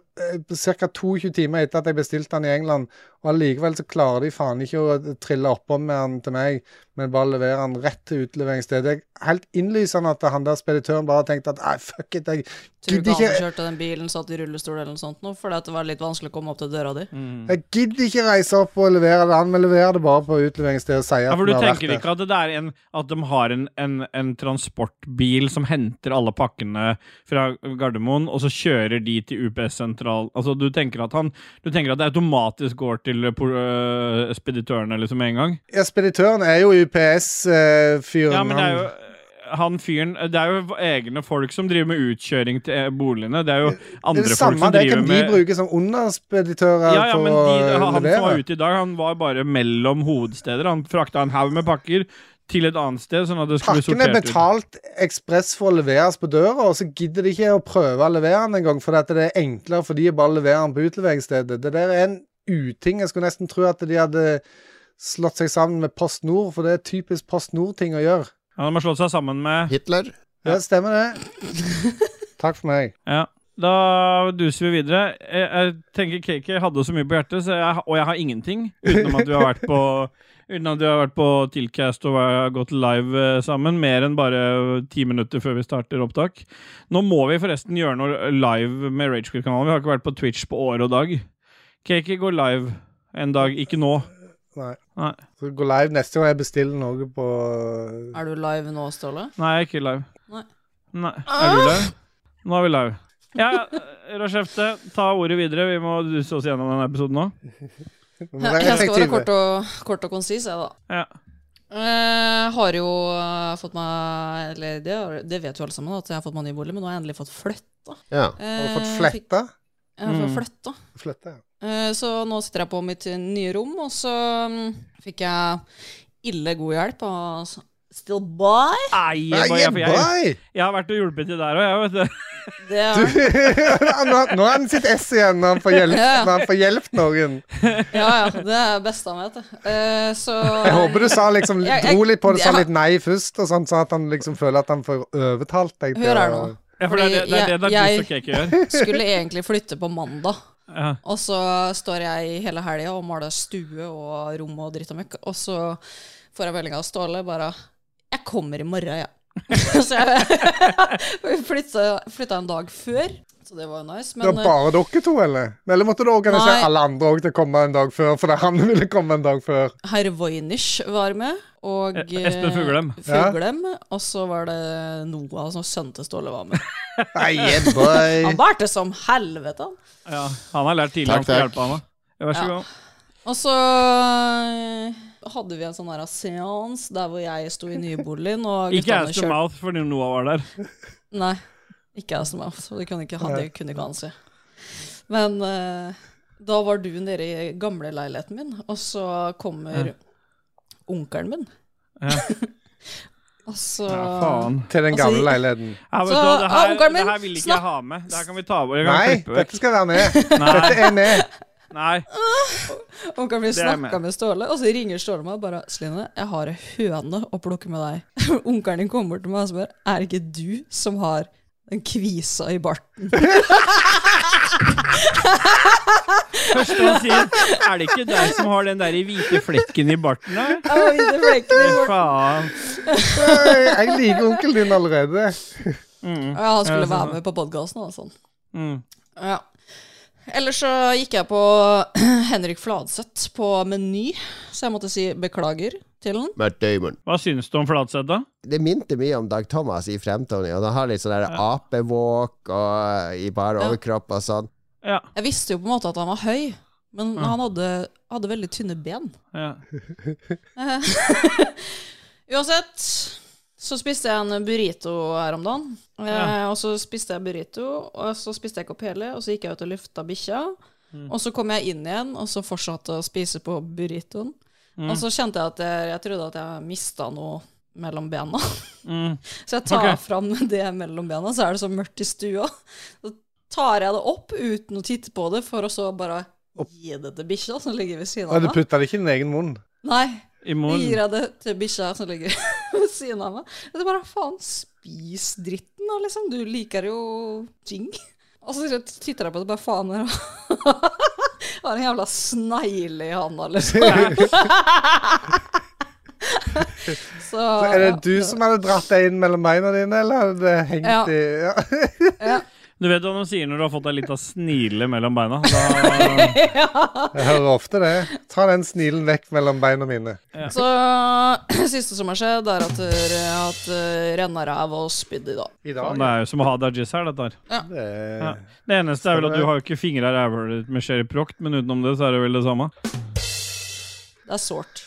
[SPEAKER 2] ca. 22 timer etter at jeg bestilte den i England, og allikevel så klarer de faen ikke å trille oppom med den til meg, men bare leverer den rett til utleveringsstedet. Jeg er Helt innlysende at han der speditøren bare har tenkt at nei, fuck it, jeg
[SPEAKER 3] Tror du
[SPEAKER 2] gidder
[SPEAKER 3] ikke
[SPEAKER 2] ikke
[SPEAKER 3] han kjørte den bilen, satt i rullestol eller noe sånt nå, fordi at det var litt vanskelig å komme opp til døra di?
[SPEAKER 2] Jeg gidder ikke reise opp og levere det. Han vil levere det bare på utleveringsstedet og si
[SPEAKER 1] Ja,
[SPEAKER 2] at
[SPEAKER 1] for du
[SPEAKER 2] vi har vært
[SPEAKER 1] tenker
[SPEAKER 2] der.
[SPEAKER 1] ikke at det er en At de har en, en, en transportbil som henter alle pakkene fra Gardermoen, og så kjører de til UPS-sentral Altså, du tenker at han Du tenker at det automatisk går til uh, speditørene liksom med en gang?
[SPEAKER 2] Ja, speditøren er jo UPS-fyren.
[SPEAKER 1] Ja, men det er jo han fyren Det er jo egne folk som driver med utkjøring til eh, boligene. Det er jo andre
[SPEAKER 2] det
[SPEAKER 1] folk
[SPEAKER 2] samme,
[SPEAKER 1] som
[SPEAKER 2] det
[SPEAKER 1] driver
[SPEAKER 2] kan de
[SPEAKER 1] med
[SPEAKER 2] bruke som underspeditører
[SPEAKER 1] ja, ja,
[SPEAKER 2] for
[SPEAKER 1] men
[SPEAKER 2] å
[SPEAKER 1] de, han som var
[SPEAKER 2] levere.
[SPEAKER 1] ute i dag, han var bare mellom hovedsteder. Han frakta en haug med pakker til et annet sted, sånn at det skulle bli
[SPEAKER 2] Pakken er
[SPEAKER 1] sortert ut.
[SPEAKER 2] betalt ekspress for å leveres på døra, og så gidder de ikke å prøve å levere den engang, fordi at det er enklere for de å bare levere den på utleveringsstedet. Det der er en uting. Jeg skulle nesten tro at de hadde slått seg sammen med Post Nord, for det er typisk Post Nord-ting å gjøre.
[SPEAKER 1] Han har slått seg sammen med
[SPEAKER 4] Hitler?
[SPEAKER 2] Ja, stemmer det. Takk for meg.
[SPEAKER 1] Ja. Da duser vi videre. Jeg, jeg tenker KK hadde så mye på hjertet, så jeg, og jeg har ingenting. Utenom at vi har vært på Uten at vi har vært på Tilcast og vært- gått live eh, sammen. Mer enn bare ti minutter før vi starter opptak. Nå må vi forresten gjøre noe live med Ragequit-kanalen. Vi har ikke vært på Twitch på år og dag. KK går live en dag. Ikke nå.
[SPEAKER 2] Nei.
[SPEAKER 1] Nei.
[SPEAKER 2] Så gå live neste gang jeg bestiller noe på
[SPEAKER 3] Er du live nå, Ståle?
[SPEAKER 1] Nei, jeg er ikke live.
[SPEAKER 3] Nei.
[SPEAKER 1] Nei. Er du live? Nå er vi live. Ja, Rashefte, ta ordet videre. Vi må duse oss gjennom denne episoden nå.
[SPEAKER 3] Jeg skal være kort og, kort og konsis, jeg, da.
[SPEAKER 1] Ja.
[SPEAKER 3] Eh, har jo eh, fått meg Eller det, har- det vet jo alle sammen, at jeg har fått meg ny bolig, men nå har jeg endelig fått flytta.
[SPEAKER 4] Ja.
[SPEAKER 2] Har du fått
[SPEAKER 3] Eh, fikk-
[SPEAKER 2] fletta?
[SPEAKER 3] Jeg har fått
[SPEAKER 1] Mm.
[SPEAKER 3] flytta.
[SPEAKER 2] Fletta, ja.
[SPEAKER 3] Eh, Så nå sitter jeg på mitt eh, nye rom, og så mm, fikk jeg ille god hjelp av s- Still Boy.
[SPEAKER 1] Nei, jeg, bare, jeg, jeg, jeg har vært og hjulpet til der òg, jeg, vet du.
[SPEAKER 3] Det
[SPEAKER 2] Du,
[SPEAKER 3] er,
[SPEAKER 2] nå, nå er han sitt S igjen, når han får hjelp,
[SPEAKER 3] Ja.
[SPEAKER 2] når han får hjelp noen.
[SPEAKER 3] ja, ja, det er beste han vet. det. Eh, så
[SPEAKER 2] Jeg håper du sa liksom,
[SPEAKER 3] Jeg- jeg-
[SPEAKER 2] dro litt på det, sa
[SPEAKER 3] jeg-
[SPEAKER 2] litt nei først, og sånn, så at han liksom føler at han får overtalt deg. til
[SPEAKER 3] Hør her
[SPEAKER 2] å-
[SPEAKER 3] nå.
[SPEAKER 1] Ja, for det er det, det, er det
[SPEAKER 3] Fordi jeg-
[SPEAKER 1] Darkus og Cake gjør.
[SPEAKER 3] Skulle egentlig flytte på mandag.
[SPEAKER 1] Ja.
[SPEAKER 3] Og så står jeg hele helga og maler stue og rom og dritt og møkk. Og så får jeg melding av Ståle bare 'Jeg kommer i morgen, ja'. så jeg flytta, flytta en dag før, så det var jo nice.
[SPEAKER 2] Det var
[SPEAKER 3] Men eh,
[SPEAKER 2] bare dere to, eller? Eller måtte du organisere
[SPEAKER 3] Nei.
[SPEAKER 2] alle andre òg til å komme en dag før? Fordi han ville komme en dag før.
[SPEAKER 3] eh, herr Voynich var med, og
[SPEAKER 1] E- Espen Fuglem.
[SPEAKER 3] eh, Fuglem. Og så var det Noah, som sønnen til Ståle, var med.
[SPEAKER 2] Nei, yeah, boy.
[SPEAKER 3] Han bærte som helvete, han.
[SPEAKER 1] Ja, han har lært tidlig
[SPEAKER 4] Takk,
[SPEAKER 1] han skal
[SPEAKER 4] takk.
[SPEAKER 1] hjelpe han da. Ja, Vær så
[SPEAKER 3] Ja.
[SPEAKER 1] god.
[SPEAKER 3] Og så eh, hadde vi en sånn her seans der hvor jeg sto i nyboligen og
[SPEAKER 1] Ikke
[SPEAKER 3] guttene
[SPEAKER 1] ass to
[SPEAKER 3] kjørte-
[SPEAKER 1] mouth fordi Noah var der.
[SPEAKER 3] Nei. Ikke jeg som off, så det kunne ikke han, det kunne ikke han si. Men eh, da var du nede i gamle leiligheten min, og så kommer onkelen min.
[SPEAKER 1] Ja.
[SPEAKER 3] og så
[SPEAKER 1] Ja, faen.
[SPEAKER 2] Til den gamle
[SPEAKER 3] Altså,
[SPEAKER 2] leiligheten.
[SPEAKER 1] Ja, vet
[SPEAKER 3] Så,
[SPEAKER 1] du hva, det,
[SPEAKER 3] ah,
[SPEAKER 1] her,
[SPEAKER 3] onkelen min,
[SPEAKER 1] det her vil ikke jeg
[SPEAKER 3] snakk-
[SPEAKER 1] ha med. Det her kan vi ta bort. Jeg kan
[SPEAKER 2] Nei,
[SPEAKER 1] klippe vekk.
[SPEAKER 2] dette skal være med.
[SPEAKER 1] Nei,
[SPEAKER 2] Dette er med.
[SPEAKER 1] nei.
[SPEAKER 3] Onkelen min
[SPEAKER 1] Det er med.
[SPEAKER 3] snakka med Ståle, og så ringer Ståle meg og bare 'Sline, jeg har ei høne å plukke med deg'. onkelen din kommer bort til meg og spør 'Er det ikke du som har den kvisa i barten?'
[SPEAKER 1] Første han sier, er det ikke deg som har den der i hvite flekken i barten der?
[SPEAKER 3] Oi, det ble ikke det.
[SPEAKER 1] Faen.
[SPEAKER 2] Øy, Jeg liker onkelen din allerede.
[SPEAKER 3] Ja, han
[SPEAKER 1] Ja,
[SPEAKER 3] skulle
[SPEAKER 1] sånn,
[SPEAKER 3] være
[SPEAKER 1] ja.
[SPEAKER 3] med på podkasten og sånn.
[SPEAKER 1] Mm.
[SPEAKER 3] Ja. Ellers så gikk jeg på Henrik Fladseth på Meny, så jeg måtte si beklager til han.
[SPEAKER 5] Matt Damon.
[SPEAKER 1] Hva syns du om Fladseth, da?
[SPEAKER 5] Det minte mye om Dag Thomas i Fremtoning. og Han har litt sånn der apevåk og i bare
[SPEAKER 3] Ja.
[SPEAKER 5] overkropp og sånn.
[SPEAKER 1] Ja.
[SPEAKER 3] Jeg visste jo på en måte at han var høy, men han hadde, hadde veldig tynne ben.
[SPEAKER 1] ja.
[SPEAKER 3] Eh, Uansett, så spiste jeg en burrito her om dagen. Eh,
[SPEAKER 1] Ja.
[SPEAKER 3] Og så spiste jeg burrito, og så spiste jeg ikke opp hele, og så gikk jeg ut og lufta bikkja.
[SPEAKER 1] Mm.
[SPEAKER 3] Og så kom jeg inn igjen, og så fortsatte å spise på burritoen.
[SPEAKER 1] Mm.
[SPEAKER 3] Og så kjente jeg at jeg, jeg trodde at jeg mista noe mellom bena.
[SPEAKER 1] Mm.
[SPEAKER 3] Så jeg tar
[SPEAKER 1] Ok.
[SPEAKER 3] fram det mellom bena, så er det så mørkt i stua. Så tar jeg det opp uten å titte på det, for å så bare gi det til bikkja som ligger ved siden
[SPEAKER 2] Og
[SPEAKER 3] av
[SPEAKER 2] du
[SPEAKER 3] meg.
[SPEAKER 2] putta det ikke i din egen munn.
[SPEAKER 3] Nei,
[SPEAKER 1] I
[SPEAKER 3] så gir
[SPEAKER 1] morgen.
[SPEAKER 3] jeg det til bikkja som ligger ved siden av meg. Og så bare faen, spis dritten da, liksom. Du liker jo ting. Og så titter jeg på det, bare faen. her Har en jævla snegle i handa, liksom. så,
[SPEAKER 2] Så er det du som hadde dratt deg inn mellom beina dine, eller hadde det hengt
[SPEAKER 3] Ja.
[SPEAKER 2] i ja.
[SPEAKER 3] ja.
[SPEAKER 1] Du vet hva de sier når du har fått deg litt av snile mellom beina? Da,
[SPEAKER 2] Jeg hører ofte det. Ta den snilen vekk mellom beina mine.
[SPEAKER 3] Så siste som har skjedd, er at jeg har hatt eh, renna ræv og spydd i dag.
[SPEAKER 2] I
[SPEAKER 1] Faen,
[SPEAKER 2] dag.
[SPEAKER 1] det er jo som å ha Dajis her, dette her.
[SPEAKER 2] Det er-
[SPEAKER 1] Sånn, Ja. Det eneste er vel at du har jo ikke fingre i rævhølet ditt med Sherry Proct, men utenom det så er det vel det samme.
[SPEAKER 3] Det er sårt.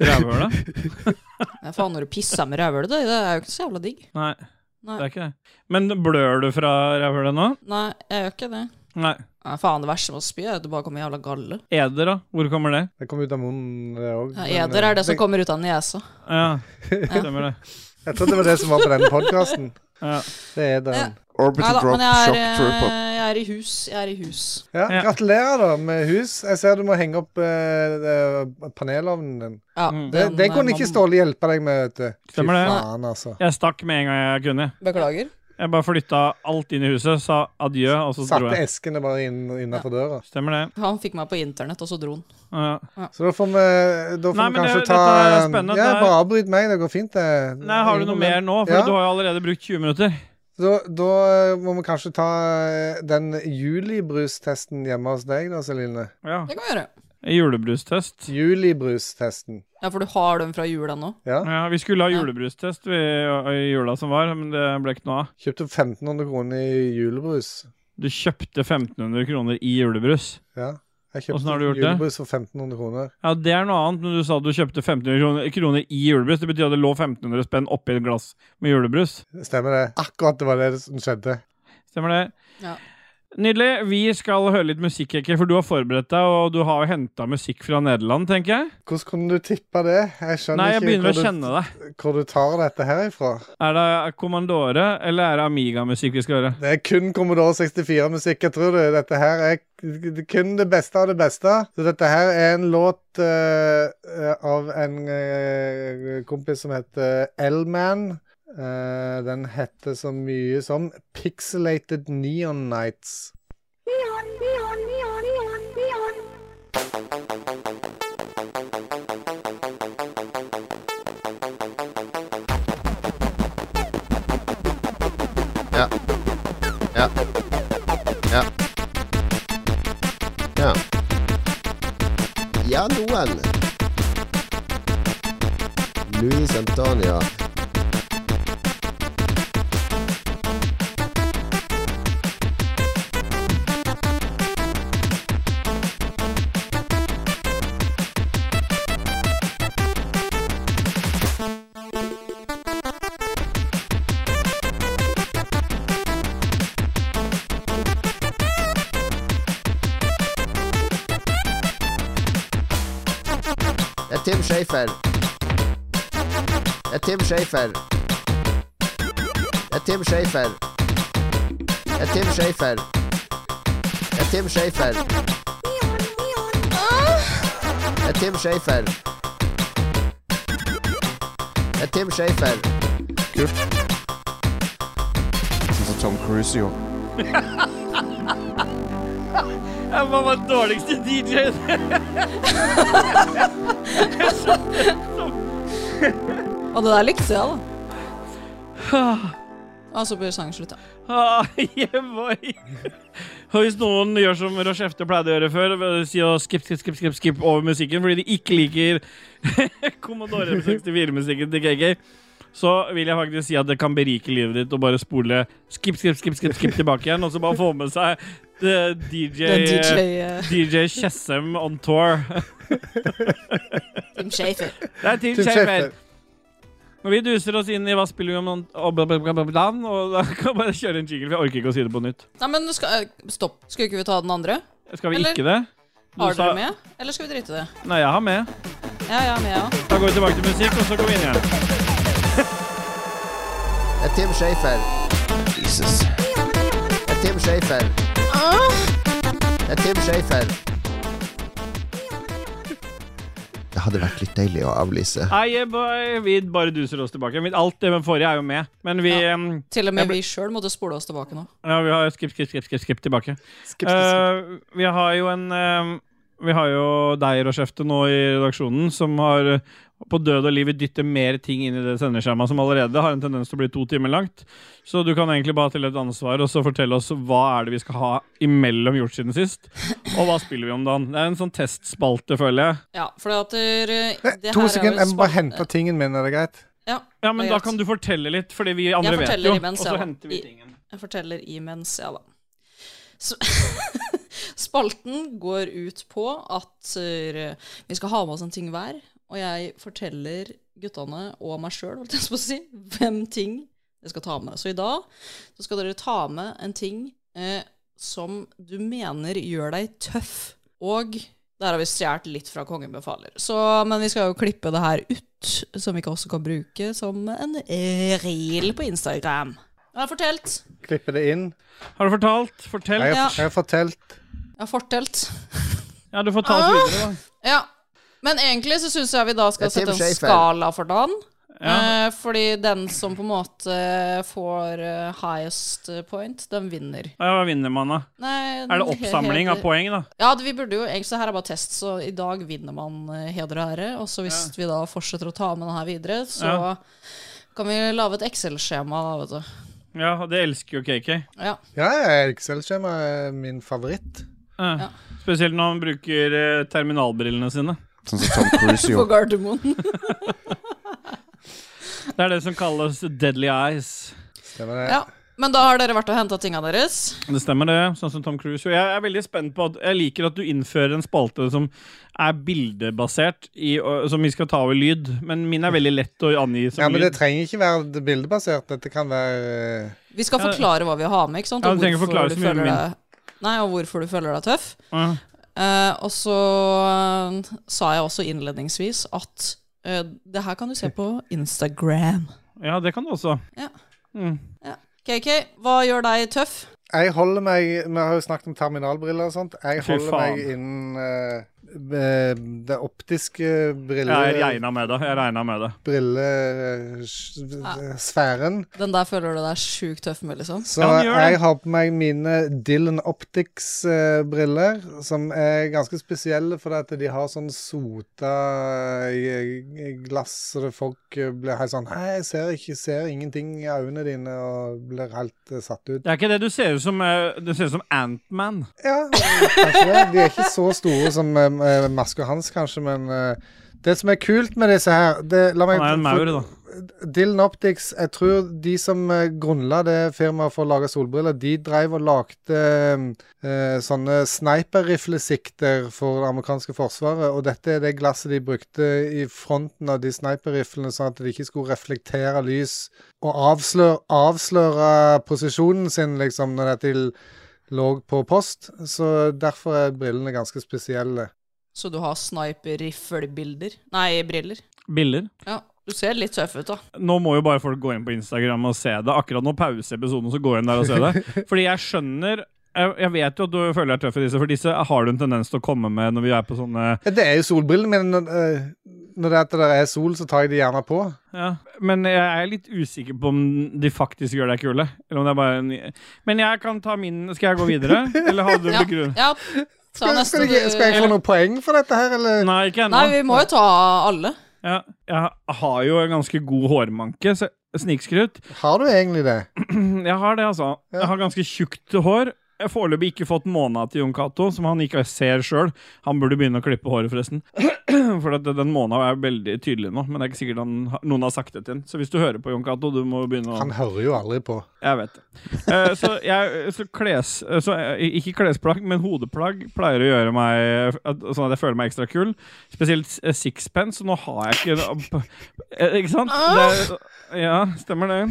[SPEAKER 1] Rævhølet?
[SPEAKER 3] Men Faen, når du pisser med rævhølet, det det er jo ikke så jævla digg.
[SPEAKER 1] Nei,
[SPEAKER 3] Nei,
[SPEAKER 1] det er ikke det. Men blør du fra rævhølet nå?
[SPEAKER 3] Nei jeg gjør ikke det.
[SPEAKER 1] Nei.
[SPEAKER 3] Nei, faen, det verste med å spy er at det bare kommer jævla galle.
[SPEAKER 1] Eder, da? Hvor kommer det?
[SPEAKER 2] Det kom ut av munnen, eh, det òg.
[SPEAKER 3] Ja, eder er det som kommer ut av nesa.
[SPEAKER 1] Ja, stemmer det.
[SPEAKER 2] Jeg trodde det var det som var på denne podkasten.
[SPEAKER 1] Ja.
[SPEAKER 2] Det er den.
[SPEAKER 3] Ja. Nei
[SPEAKER 4] Orbital
[SPEAKER 3] da,
[SPEAKER 4] drop,
[SPEAKER 3] men jeg
[SPEAKER 4] shock
[SPEAKER 3] er,
[SPEAKER 4] trooper.
[SPEAKER 3] eh, jeg er i hus. Jeg er i hus.
[SPEAKER 2] Ja,
[SPEAKER 1] Ja.
[SPEAKER 2] Gratulerer da med hus. Jeg ser du må henge opp eh, eh, panelovnen din.
[SPEAKER 3] Ja,
[SPEAKER 2] Mm. Det,
[SPEAKER 3] den,
[SPEAKER 2] det
[SPEAKER 3] eh,
[SPEAKER 2] kunne ikke
[SPEAKER 3] man-
[SPEAKER 2] Ståle hjelpe deg med, vet du. Fy
[SPEAKER 1] Stemmer det.
[SPEAKER 2] faen, altså.
[SPEAKER 1] Jeg stakk med en gang jeg kunne.
[SPEAKER 3] Beklager.
[SPEAKER 1] Jeg bare flytta alt inn i huset, sa adjø, og så dro
[SPEAKER 2] Satte
[SPEAKER 1] jeg.
[SPEAKER 2] eskene bare inn, innafor døra.
[SPEAKER 1] Stemmer det.
[SPEAKER 3] Han fikk meg på internett, og så dro han.
[SPEAKER 1] Ja.
[SPEAKER 2] Så da får vi, da får
[SPEAKER 1] Nei,
[SPEAKER 2] vi
[SPEAKER 1] men
[SPEAKER 2] kanskje
[SPEAKER 1] det-
[SPEAKER 2] ta
[SPEAKER 1] dette er
[SPEAKER 2] en-
[SPEAKER 1] spennende.
[SPEAKER 2] Ja,
[SPEAKER 1] Det er-
[SPEAKER 2] bare avbryt meg. Det går fint, det.
[SPEAKER 1] Nei, har du noe mer nå? For
[SPEAKER 2] Ja.
[SPEAKER 1] du har jo allerede brukt 20 minutter.
[SPEAKER 2] Da, da eh, må vi kanskje ta eh, den julibrustesten hjemme hos deg, da, Celine.
[SPEAKER 1] Ja.
[SPEAKER 3] Det kan vi gjøre.
[SPEAKER 1] Julebrustest.
[SPEAKER 2] Julibrustesten.
[SPEAKER 3] Ja, for du har den fra jula nå?
[SPEAKER 2] Ja.
[SPEAKER 1] Ja, vi skulle ha julebrustest vi, i jula som var, men det ble ikke noe av.
[SPEAKER 2] Kjøpte 1500 kroner i julebrus.
[SPEAKER 1] Du kjøpte 1500 kroner i julebrus.
[SPEAKER 2] Ja. Jeg
[SPEAKER 1] Åssen har
[SPEAKER 2] kjøpte
[SPEAKER 1] du gjort det?
[SPEAKER 2] julebrus for 1500 kroner.
[SPEAKER 1] Ja, Det er noe annet, men du sa du kjøpte 1500 kroner, kroner i julebrus. Det betyr at det lå 1500 spenn oppi et glass med julebrus.
[SPEAKER 2] Stemmer det. Akkurat det var det som skjedde.
[SPEAKER 1] Stemmer det?
[SPEAKER 3] Ja.
[SPEAKER 1] Nydelig. Vi skal høre litt musikk, Eke, for du har forberedt deg, og du har jo henta musikk fra Nederland, tenker jeg.
[SPEAKER 2] Hvordan kunne du tippe det? Jeg skjønner
[SPEAKER 1] Nei, jeg
[SPEAKER 2] ikke
[SPEAKER 1] begynner å
[SPEAKER 2] hvor du,
[SPEAKER 1] kjenne det.
[SPEAKER 2] hvor du tar dette her ifra.
[SPEAKER 1] Er det Commandore, eller er det Amiga-musikk vi skal høre?
[SPEAKER 2] Det er kun Commodore 64-musikk, jeg tror du. Dette her er k- kun det beste av det beste. Så dette her er en låt eh, eh, av en eh, kompis som heter L-Man. Eh, den heter så mye som Pixelated Neon Nights.
[SPEAKER 5] Ja. Ja. Ja. Ja. Ja, noen. Luis Antonia. Det er Tim Schafer. Det er Tim Schafer. Det er Tim Schafer. Det er Tim Schafer. Det er Tim Schafer. Det er Tim Schafer. Det er Tim Schafer.
[SPEAKER 4] Sånn som Tom Cruise gjorde.
[SPEAKER 1] Jeg var bare dårligste DJ-en.
[SPEAKER 3] Og det der likte jeg, da. Og så blir sangen slutt, ja.
[SPEAKER 1] Ah, yeah, boy. Og Hvis noen gjør som Roche Efte pleide å gjøre før, ved å si å skip, skip, skip, skip, skip over musikken fordi de ikke liker Commodore 64-musikken til KK, så vil jeg faktisk si at det kan berike livet ditt å bare spole skip, skip, skip, skip, skip tilbake igjen, og så bare få med seg eh,
[SPEAKER 3] Den
[SPEAKER 1] DJ
[SPEAKER 3] DJ eh,
[SPEAKER 1] DJ Tjessem on tour.
[SPEAKER 3] Tim Shafer.
[SPEAKER 1] Det er Tim
[SPEAKER 2] Tim
[SPEAKER 1] Schafer.
[SPEAKER 2] Schafer.
[SPEAKER 1] Og vi duser oss inn i hva spiller vi om og bla, bla, bla, bla, bla, og da kan jeg bare kjøre en jingle, for jeg orker ikke å si det på nytt.
[SPEAKER 3] Nei, men skal, eh, stopp. Skal ikke vi ta den andre?
[SPEAKER 1] Skal vi
[SPEAKER 3] Eller-
[SPEAKER 1] ikke det?
[SPEAKER 3] Har
[SPEAKER 1] sa-
[SPEAKER 3] dere med? Eller skal vi drite i det?
[SPEAKER 1] Nei, jeg har med.
[SPEAKER 3] Ja, jeg er med, jeg òg.
[SPEAKER 1] Da går vi tilbake til musikk, og så går vi inn igjen.
[SPEAKER 5] Det er Tim Schafer.
[SPEAKER 4] Jesus.
[SPEAKER 5] Det er Tim Schafer. Det er Tim Schafer. Det hadde vært litt deilig å avlyse.
[SPEAKER 1] Hei, boy. Vi bare duser oss tilbake. Men Alt det med forrige er jo med, men vi
[SPEAKER 3] Ja.
[SPEAKER 1] em,
[SPEAKER 3] Til og med vi sjøl måtte spole oss tilbake nå.
[SPEAKER 1] Ja, vi har skip, skip, skip, skip, skip tilbake.
[SPEAKER 2] Skip, skip, skip.
[SPEAKER 1] Eh, vi har jo en em, Vi har jo deg, Rochefte, nå i redaksjonen, som har eh, på død og liv dytter mer ting inn i det sendeskjemaet som allerede har en tendens til å bli to timer langt. Så du kan egentlig bare ha til et ansvar og så fortelle oss hva er det vi skal ha imellom gjort siden sist, og hva spiller vi om dagen. Det er en sånn testspalte, føler jeg.
[SPEAKER 3] Ja, for det at eh,
[SPEAKER 2] Nei,
[SPEAKER 3] det
[SPEAKER 2] to
[SPEAKER 3] her er jo
[SPEAKER 2] sekunder, jeg må bare
[SPEAKER 3] spal-
[SPEAKER 2] hente tingen min, er det greit?
[SPEAKER 3] Ja,
[SPEAKER 1] Ja, men
[SPEAKER 3] det
[SPEAKER 1] da
[SPEAKER 3] er greit.
[SPEAKER 1] kan du fortelle litt, fordi vi andre vet
[SPEAKER 3] forteller
[SPEAKER 1] jo.
[SPEAKER 3] imens,
[SPEAKER 1] og så
[SPEAKER 3] ja.
[SPEAKER 1] henter vi
[SPEAKER 3] I-
[SPEAKER 1] tingen.
[SPEAKER 3] Jeg forteller imens, ja da. Så Spalten går ut på at eh, vi skal ha med oss en ting hver, og jeg forteller guttene og meg sjøl, holdt jeg på å si, hvem ting jeg skal ta med. Så i dag så skal dere ta med en ting eh, som du mener gjør deg tøff, og der har vi stjålet litt fra Kongen befaler. Så, men vi skal jo klippe det her ut, som vi ikke også kan bruke som en eh, reel på Instagram. Jeg har fortelt.
[SPEAKER 2] Klippe det inn.
[SPEAKER 1] Har du fortalt? Fortell.
[SPEAKER 2] Jeg
[SPEAKER 1] Ja,
[SPEAKER 2] har,
[SPEAKER 3] Ja.
[SPEAKER 2] jeg har fortalt
[SPEAKER 3] Jeg har fortelt.
[SPEAKER 1] du får
[SPEAKER 3] Ah!
[SPEAKER 1] ta oss videre, da.
[SPEAKER 3] Ja. Men egentlig så syns jeg vi da skal
[SPEAKER 5] Det er Tim
[SPEAKER 3] sette en
[SPEAKER 5] Schafer.
[SPEAKER 3] skala for dagen.
[SPEAKER 1] Ja.
[SPEAKER 3] Eh, fordi den som på en måte får eh, highest point, den vinner.
[SPEAKER 1] Ja, Hva vinner man, da?
[SPEAKER 3] Nei,
[SPEAKER 1] Er det oppsamling av poeng, da?
[SPEAKER 3] Ja, det- vi burde jo egentlig, så her er bare test, så i dag vinner man eh, heder og ære. Og så hvis vi da fortsetter å ta med den her videre, så
[SPEAKER 1] Ja.
[SPEAKER 3] kan vi lage et Excel-skjema, da, vet du.
[SPEAKER 1] Ja, og det elsker jo KK.
[SPEAKER 3] Ja.
[SPEAKER 2] Ja, ja, Excel-skjema er min favoritt.
[SPEAKER 1] Ja. Spesielt når han bruker eh, terminalbrillene sine.
[SPEAKER 4] Sånn som Tom Cruise
[SPEAKER 3] På
[SPEAKER 4] gjorde.
[SPEAKER 3] Gardermoen.
[SPEAKER 1] Det er det som kalles deadly eyes.
[SPEAKER 2] Stemmer det?
[SPEAKER 3] ja. Men da har dere vært og henta tinga deres.
[SPEAKER 1] Det stemmer, det. Sånn som Tom Cruise. Og jeg er veldig spent på at Jeg liker at du innfører en spalte som er bildebasert, i, og, som vi skal ta over lyd. Men min er veldig lett å angi som
[SPEAKER 2] Ja, men det
[SPEAKER 1] lyd.
[SPEAKER 2] trenger ikke være det bildebasert. Dette kan være eh,
[SPEAKER 3] Vi skal
[SPEAKER 1] Ja.
[SPEAKER 3] forklare hva vi har med, ikke sant?
[SPEAKER 1] Ja, du
[SPEAKER 3] og
[SPEAKER 1] trenger
[SPEAKER 3] hvorfor
[SPEAKER 1] forklare
[SPEAKER 3] du
[SPEAKER 1] så mye om
[SPEAKER 3] føler deg- nei, og hvorfor du føler deg tøff.
[SPEAKER 1] Ja.
[SPEAKER 3] Eh, og så eh, sa jeg også innledningsvis at eh, det her kan du se på Instagram.
[SPEAKER 1] ja, det kan du også.
[SPEAKER 3] Ja.
[SPEAKER 1] Mm.
[SPEAKER 3] KK, hva gjør deg tøff?
[SPEAKER 2] Jeg holder meg Vi har jo snakket om terminalbriller og sånt. Jeg
[SPEAKER 1] Fy
[SPEAKER 2] holder
[SPEAKER 1] faen.
[SPEAKER 2] meg innen eh, eh, det optiske
[SPEAKER 1] Jeg
[SPEAKER 2] brille...
[SPEAKER 1] regna med det. Jeg regnet med det.
[SPEAKER 2] brillesfæren.
[SPEAKER 3] Den der føler du deg sjukt tøff med, liksom.
[SPEAKER 2] Så
[SPEAKER 1] Ja, han gjør det.
[SPEAKER 2] jeg har på meg mine Dylan Optics-briller, som er ganske spesielle fordi at de har sånn sota eh, glass, så det folk eh, blir helt sånn Hei, jeg ser ikke, ser ingenting i øynene dine, og blir helt eh, satt ut.
[SPEAKER 1] Det er ikke det du ser ut som. eh, Du ser ut som Antman.
[SPEAKER 2] Ja, kanskje det. De er ikke så store som eh, maska hans, kanskje, men eh, det som er kult med disse her det, la meg,
[SPEAKER 1] Han er en maur, da.
[SPEAKER 2] Dylan Optics, jeg tror de som eh, grunnla det firmaet for å lage solbriller, de drev og lagde eh, sånne sniperriflesikter for det amerikanske forsvaret, og dette er det glasset de brukte i fronten av de sniperriflene, sånn at de ikke skulle reflektere lys og avsløre, avsløre posisjonen sin, liksom, når dette lå på post. Så derfor er brillene ganske spesielle.
[SPEAKER 3] Så du har sniper-riflebilder? Nei, briller.
[SPEAKER 1] Biller.
[SPEAKER 3] Ja, du ser litt tøff ut, da.
[SPEAKER 1] Nå må jo bare folk gå inn på Instagram og se det. Akkurat nå pauser episoden, så gå inn der og se det. Fordi jeg skjønner jeg jeg vet jo at du føler deg tøff i disse, for disse har du en tendens til å komme med når vi er på sånne
[SPEAKER 2] Det er jo solbrillene mine. når- eh, Når det er, at det er sol, så tar jeg de gjerne på.
[SPEAKER 1] Ja, men jeg er litt usikker på om de faktisk gjør deg kule. Eller om det er bare en... Men jeg kan ta min Skal jeg gå videre? Eller hadde du en
[SPEAKER 3] Ja,
[SPEAKER 1] begrunn...
[SPEAKER 3] ja. Ta
[SPEAKER 2] Skal,
[SPEAKER 3] neste
[SPEAKER 2] skal, jeg, skal jeg få noen poeng for dette her, eller?
[SPEAKER 1] Nei, ikke
[SPEAKER 3] Nei,
[SPEAKER 1] ennå.
[SPEAKER 3] vi må jo ta alle.
[SPEAKER 1] Ja, jeg har jo en ganske god hårmanke. så- Snikskryt.
[SPEAKER 2] Har du egentlig det?
[SPEAKER 1] Jeg har det, altså. Jeg har ganske tjukt hår. Jeg har foreløpig ikke fått måna til Jon Cato, som han ikke ser sjøl. Han burde begynne å klippe håret, forresten. For at den måna er veldig tydelig nå, men det er ikke sikkert han, noen har sagt det til ham. Så hvis du hører på Jon Cato, du må begynne å
[SPEAKER 2] Han hører jo aldri på.
[SPEAKER 1] Jeg vet det. Eh, så jeg, så kles, eh, så jeg, ikke klesplagg, men hodeplagg pleier å gjøre meg at, sånn at jeg føler meg ekstra kul. Spesielt s- eh, sixpence, og nå har jeg ikke eh, Ikke sant? Det, er- ja, stemmer det.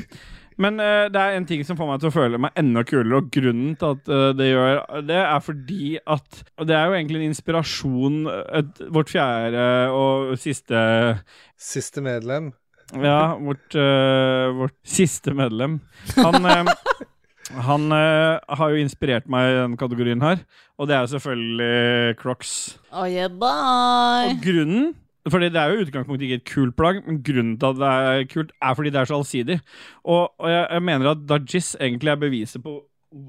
[SPEAKER 1] Men eh, det er en ting som får meg til å føle meg enda kulere, og grunnen til at eh, det gjør det, er fordi at og Det er jo egentlig en inspirasjon eh, et, Vårt fjerde og siste
[SPEAKER 2] Siste medlem.
[SPEAKER 1] ja, vårt, eh, vårt siste medlem. Han, eh, han eh, har jo inspirert meg i denne kategorien her, og det er jo selvfølgelig Crocs.
[SPEAKER 3] Oh, yeah, bye.
[SPEAKER 1] Og grunnen fordi det er jo i utgangspunktet ikke et kult plagg, men grunnen til at det er kult, er fordi det er så allsidig. Og, og jeg, jeg mener at Dajis egentlig er beviset på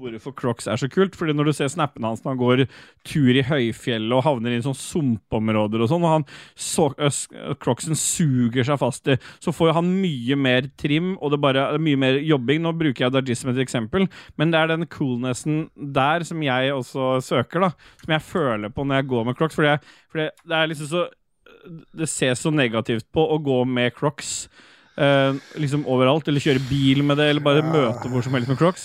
[SPEAKER 1] hvorfor Crocs er så kult. Fordi når du ser snappene hans når han går tur i høyfjellet og havner i sånne sumpområder og sånn, og han så, ø, s- Crocsen suger seg fast i, så får jo han mye mer trim, og det bare er mye mer jobbing. Nå bruker jeg Dajis som et eksempel, men det er den coolnessen der som jeg også søker, da. Som jeg føler på når jeg går med Crocs, fordi, jeg, fordi det er liksom så det ses så negativt på å gå med crocs eh, liksom overalt, eller kjøre bil med det, eller bare møte hvor som helst med crocs.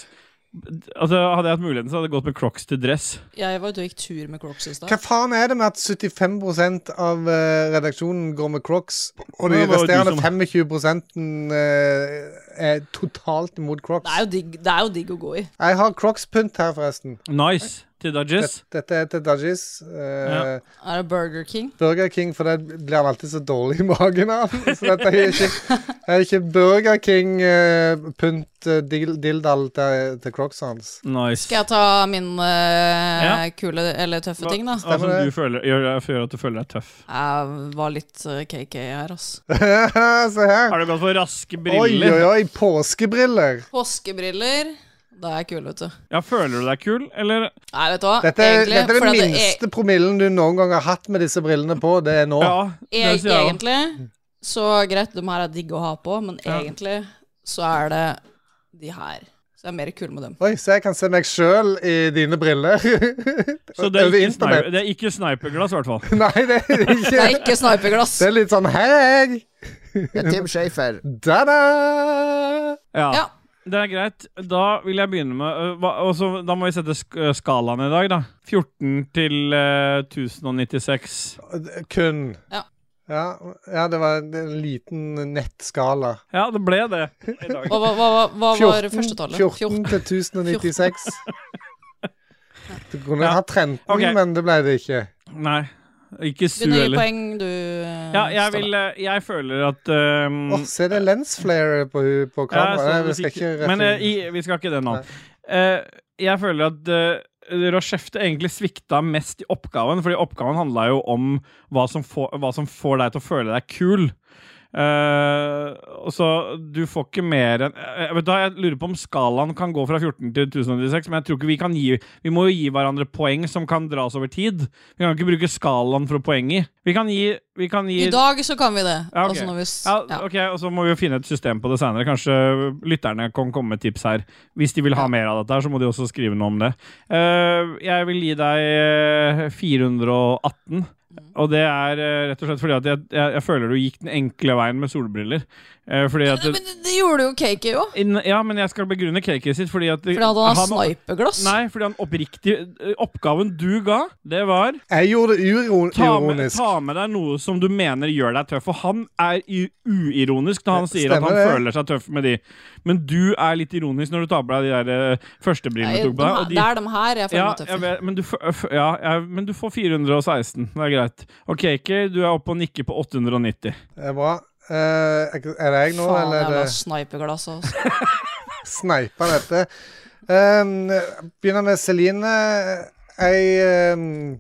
[SPEAKER 1] Altså, hadde jeg hatt muligheten, så hadde jeg gått med crocs til dress.
[SPEAKER 3] Jeg var ute og gikk tur med Crocs i
[SPEAKER 2] Hva
[SPEAKER 3] stad.
[SPEAKER 2] faen er det med at 75 av eh, redaksjonen går med crocs, og
[SPEAKER 1] Det var
[SPEAKER 2] de
[SPEAKER 1] jo du
[SPEAKER 2] resterende
[SPEAKER 1] som-
[SPEAKER 2] 25 eh, er totalt imot
[SPEAKER 3] Det er
[SPEAKER 2] crocs?
[SPEAKER 3] jo digg, det er jo digg å gå i.
[SPEAKER 2] Jeg har crocs-pynt her, forresten.
[SPEAKER 1] Nice til Dudges.
[SPEAKER 2] Dette, dette er til Dajis. Eh,
[SPEAKER 1] Ja.
[SPEAKER 3] Er det Burger King?
[SPEAKER 2] Burger King, for det blir han alltid så dårlig i magen av. Så dette er ikke, er ikke Burger eh, King-pynt dildal til, til crocs hans.
[SPEAKER 1] Nice.
[SPEAKER 3] Skal jeg ta min eh, kule eller tøffe ting, da?
[SPEAKER 1] Hva- altså,
[SPEAKER 2] Stemmer
[SPEAKER 1] du føler, gjør, gjør at du føler deg tøff.
[SPEAKER 3] Jeg var litt eh, KK her, altså.
[SPEAKER 2] Se her.
[SPEAKER 1] Har du gått for raske
[SPEAKER 2] Oi,
[SPEAKER 1] briller?
[SPEAKER 2] oi, oi. Påskebriller.
[SPEAKER 3] Påskebriller. Da er jeg kul, vet du.
[SPEAKER 1] Ja, Føler du deg kul, eller?
[SPEAKER 3] Nei, vet du hva.
[SPEAKER 2] Dette er,
[SPEAKER 3] egentlig,
[SPEAKER 2] dette er
[SPEAKER 3] fordi
[SPEAKER 2] den
[SPEAKER 3] at det
[SPEAKER 2] minste promillen du noen gang har hatt med disse brillene på. Det er nå.
[SPEAKER 1] Ja,
[SPEAKER 3] E
[SPEAKER 1] det sier jeg òg.
[SPEAKER 3] egentlig så greit, de her er digge å ha på, men egentlig så er det de her. Så jeg er mer kul med dem.
[SPEAKER 2] Oi, så jeg kan se meg sjøl i dine briller.
[SPEAKER 1] Så det er,
[SPEAKER 2] Over
[SPEAKER 1] ikke
[SPEAKER 2] internett.
[SPEAKER 1] sniper, det er ikke sniperglass, i hvert fall.
[SPEAKER 2] Nei, det er det
[SPEAKER 3] Det
[SPEAKER 2] ikke.
[SPEAKER 3] er ikke sniperglass.
[SPEAKER 2] Det er litt sånn hei,
[SPEAKER 5] Ja, Tim Schafer.
[SPEAKER 2] da-da.
[SPEAKER 1] Ja.
[SPEAKER 3] Ja.
[SPEAKER 1] Det er greit. Da vil jeg begynne med øh, hva, og så- Da må vi sette sk øh, skalaen i dag, da. 14 til øh, 1096.
[SPEAKER 2] Kun.
[SPEAKER 3] Ja.
[SPEAKER 2] Ja, ja, det var en liten nettskala.
[SPEAKER 1] Ja, det ble det i dag.
[SPEAKER 3] Hva, hva, hva, hva var første tallet?
[SPEAKER 2] 14 til 1096. Det kunne
[SPEAKER 1] Ja.
[SPEAKER 2] hatt 13,
[SPEAKER 1] Ok.
[SPEAKER 2] men det ble det ikke.
[SPEAKER 1] Nei. Ikke su
[SPEAKER 3] Begynner å gi
[SPEAKER 1] heller.
[SPEAKER 3] poeng, du. eh,
[SPEAKER 1] Ja, jeg
[SPEAKER 3] Ståle.
[SPEAKER 1] vil eh, Jeg føler at ehm,
[SPEAKER 2] Åh, se det lensflaret på, hu- på
[SPEAKER 1] Ja,
[SPEAKER 2] kameraet.
[SPEAKER 1] sånn
[SPEAKER 2] Nei, vi skal ikke
[SPEAKER 1] musikk-
[SPEAKER 2] rette
[SPEAKER 1] Men eh, i, vi skal ikke det nå.
[SPEAKER 2] Nei.
[SPEAKER 1] Eh, jeg føler at uh, Rochefte egentlig svikta mest i oppgaven, fordi oppgaven handla jo om hva som, får, hva som får deg til å føle deg kul. Eh, og så du får ikke mer enn eh, Vet du hva, Jeg lurer på om skalaen kan gå fra 14 til 1096, men jeg tror ikke vi kan gi Vi må jo gi hverandre poeng som kan dras over tid. Vi kan ikke bruke skalaen for poeng i. Vi kan gi, vi kan gi
[SPEAKER 3] I dag så kan vi det.
[SPEAKER 1] Ja, ok.
[SPEAKER 3] Altså når vi s-
[SPEAKER 1] ja,
[SPEAKER 3] ja.
[SPEAKER 1] ok, og Så må vi jo finne et system på det senere. Kanskje lytterne kan komme med tips her. Hvis de vil ha mer av dette, her, så må de også skrive noe om det. Eh, jeg vil gi deg eh, 418. Og det er eh, rett og slett fordi at jeg, jeg, jeg føler du gikk den enkle veien med solbriller. Eh, fordi at
[SPEAKER 3] Men det, det gjorde jo Kake jo.
[SPEAKER 1] Inn- Ja, men jeg skal begrunne caket sitt fordi at
[SPEAKER 3] For da hadde han sniperglass.
[SPEAKER 1] Nei, fordi han oppriktig eh, Oppgaven du ga, det var
[SPEAKER 2] Jeg gjorde det uiro-
[SPEAKER 1] ta med,
[SPEAKER 2] ironisk.
[SPEAKER 1] ta med deg noe som du mener gjør deg tøff. Og han er i- uironisk når han sier at
[SPEAKER 2] Stemmer
[SPEAKER 1] han
[SPEAKER 2] det.
[SPEAKER 1] føler seg tøff med de. Men du er litt ironisk når du tar på deg de der eh, første brillene
[SPEAKER 3] Nei,
[SPEAKER 1] du tok på deg.
[SPEAKER 3] de her,
[SPEAKER 1] og de-
[SPEAKER 3] det er de her jeg føler
[SPEAKER 1] ja,
[SPEAKER 3] meg tøff
[SPEAKER 1] jeg
[SPEAKER 3] i.
[SPEAKER 1] vet, men, du, f- f- ja, jeg, men du får 416. Det er greit. Og Kaker, du er oppe og nikker på 890.
[SPEAKER 2] Det er bra. Eh, er det jeg nå,
[SPEAKER 3] Faen,
[SPEAKER 2] eller
[SPEAKER 1] eh,
[SPEAKER 3] jævla
[SPEAKER 2] er det
[SPEAKER 3] sniperglass. Altså.
[SPEAKER 2] sneipa dette? Eh, begynner med Celine. Jeg eh,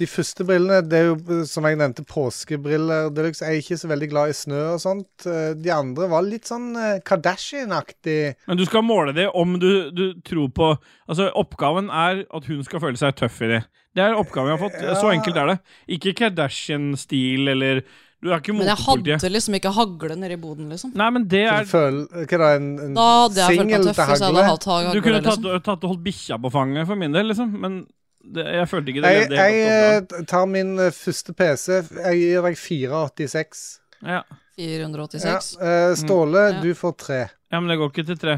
[SPEAKER 2] De første brillene, det er jo som jeg nevnte, påskebriller deluxe. Jeg er ikke så veldig glad i snø og sånt. Eh, De andre var litt sånn eh, Kardashian-aktig.
[SPEAKER 1] Men du skal måle det om du, du tror på Altså, oppgaven er at hun skal føle seg tøff i det. Det er oppgaven jeg har fått. Så
[SPEAKER 2] Ja.
[SPEAKER 1] enkelt er det. Ikke Kardashian-stil eller Du er ikke
[SPEAKER 3] Men jeg
[SPEAKER 1] motepolitiet.
[SPEAKER 3] hadde liksom ikke hagle nedi boden, liksom.
[SPEAKER 1] Nei, men det
[SPEAKER 2] Så
[SPEAKER 1] er
[SPEAKER 2] du føler Hva da, en, en
[SPEAKER 3] Da hadde jeg følt meg
[SPEAKER 2] singel
[SPEAKER 3] tøff
[SPEAKER 2] til
[SPEAKER 3] hvis jeg
[SPEAKER 2] hagle?
[SPEAKER 3] hadde hatt hagle.
[SPEAKER 1] Du kunne tatt,
[SPEAKER 3] liksom.
[SPEAKER 1] tatt og holdt bikkja på fanget for min del, liksom. Men det, jeg følte ikke det.
[SPEAKER 2] Jeg,
[SPEAKER 1] levde helt
[SPEAKER 2] jeg
[SPEAKER 1] opp
[SPEAKER 2] eh, tar min eh, første PC. Jeg gir deg 486.
[SPEAKER 1] til den. ja.
[SPEAKER 3] 486.
[SPEAKER 2] Ja. eh, Ståle,
[SPEAKER 3] Ja.
[SPEAKER 2] du får tre.
[SPEAKER 1] ja, men det går ikke til tre.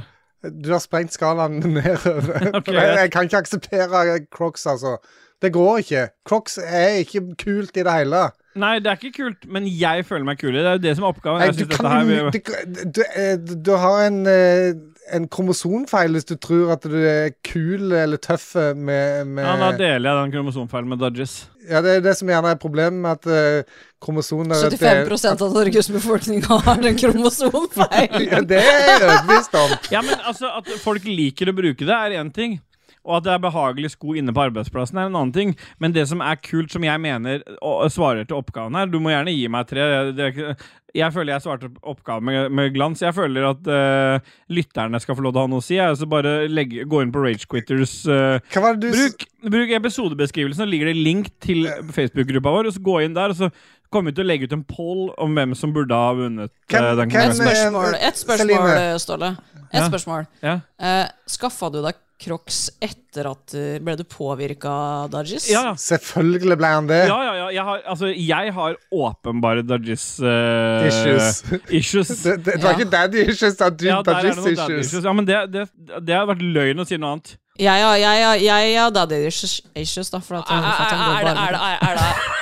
[SPEAKER 2] Du har sprengt skalaen nedover.
[SPEAKER 1] Ok,
[SPEAKER 2] For jeg,
[SPEAKER 1] greit.
[SPEAKER 2] jeg kan ikke akseptere Crocs, altså. Det går ikke. Crocs er ikke kult i det hele.
[SPEAKER 1] Nei, det er ikke kult, men jeg føler meg kul i det. Det er jo det som er oppgaven.
[SPEAKER 2] Nei,
[SPEAKER 1] jeg
[SPEAKER 2] du,
[SPEAKER 1] synes
[SPEAKER 2] kan,
[SPEAKER 1] dette her vil-
[SPEAKER 2] du, du, eh, du har en, eh, en kromosonfeil hvis du tror at du er kul eller tøff med, med
[SPEAKER 1] Ja, Da deler jeg den kromosomfeilen med Dodges.
[SPEAKER 2] Ja, det er det som gjerne er problemet med at eh, kromosoner
[SPEAKER 3] 75 av Norges befolkning har en kromosomfeil.
[SPEAKER 2] Ja, det er jeg overbevist om.
[SPEAKER 1] Ja, men altså, At folk liker å bruke det, er én ting. Og at det er behagelige sko inne på arbeidsplassen, er en annen ting. Men det som er kult, som jeg mener og, og svarer til oppgaven her Du må gjerne gi meg tre. Det er ikke, jeg føler jeg svarte på oppgaven med, med glans. Jeg føler at eh, lytterne skal få lov til å ha noe å si. Jeg, så bare legge, gå inn på Ragequitters uh,
[SPEAKER 2] Hva var det du s-
[SPEAKER 1] Bruk, bruk episodebeskrivelsen, så ligger det link til Facebook-gruppa vår. Og så Gå inn der, og så kommer vi til å legge ut en poll om hvem som burde ha vunnet.
[SPEAKER 2] Hvem- eh,
[SPEAKER 1] eh, den
[SPEAKER 2] hvem-
[SPEAKER 1] konkurransen.
[SPEAKER 3] Spørsmål. Ett spørsmål,
[SPEAKER 2] Celine.
[SPEAKER 3] Ståle. Ett
[SPEAKER 1] Ja.
[SPEAKER 3] spørsmål.
[SPEAKER 1] Ja.
[SPEAKER 3] Eh, Skaffa du deg Crocs etter at eh, Ble du påvirka av Dodges?
[SPEAKER 1] Ja, ja.
[SPEAKER 2] Selvfølgelig ble han det.
[SPEAKER 1] Ja, ja, ja. Jeg har, altså, jeg har åpenbare Dodges eh,
[SPEAKER 2] Issues.
[SPEAKER 1] issues.
[SPEAKER 2] Det, det, det var
[SPEAKER 3] Ja.
[SPEAKER 2] ikke daddy issues, det var dude
[SPEAKER 1] Ja, der er det
[SPEAKER 2] daddy
[SPEAKER 1] noen daddy
[SPEAKER 2] issues.
[SPEAKER 1] issues. Ja, men det, det, det har vært løgn å si noe annet.
[SPEAKER 3] Jeg har jeg, jeg, jeg, har daddy issues, issues, da, for at jeg har fått en blå barn.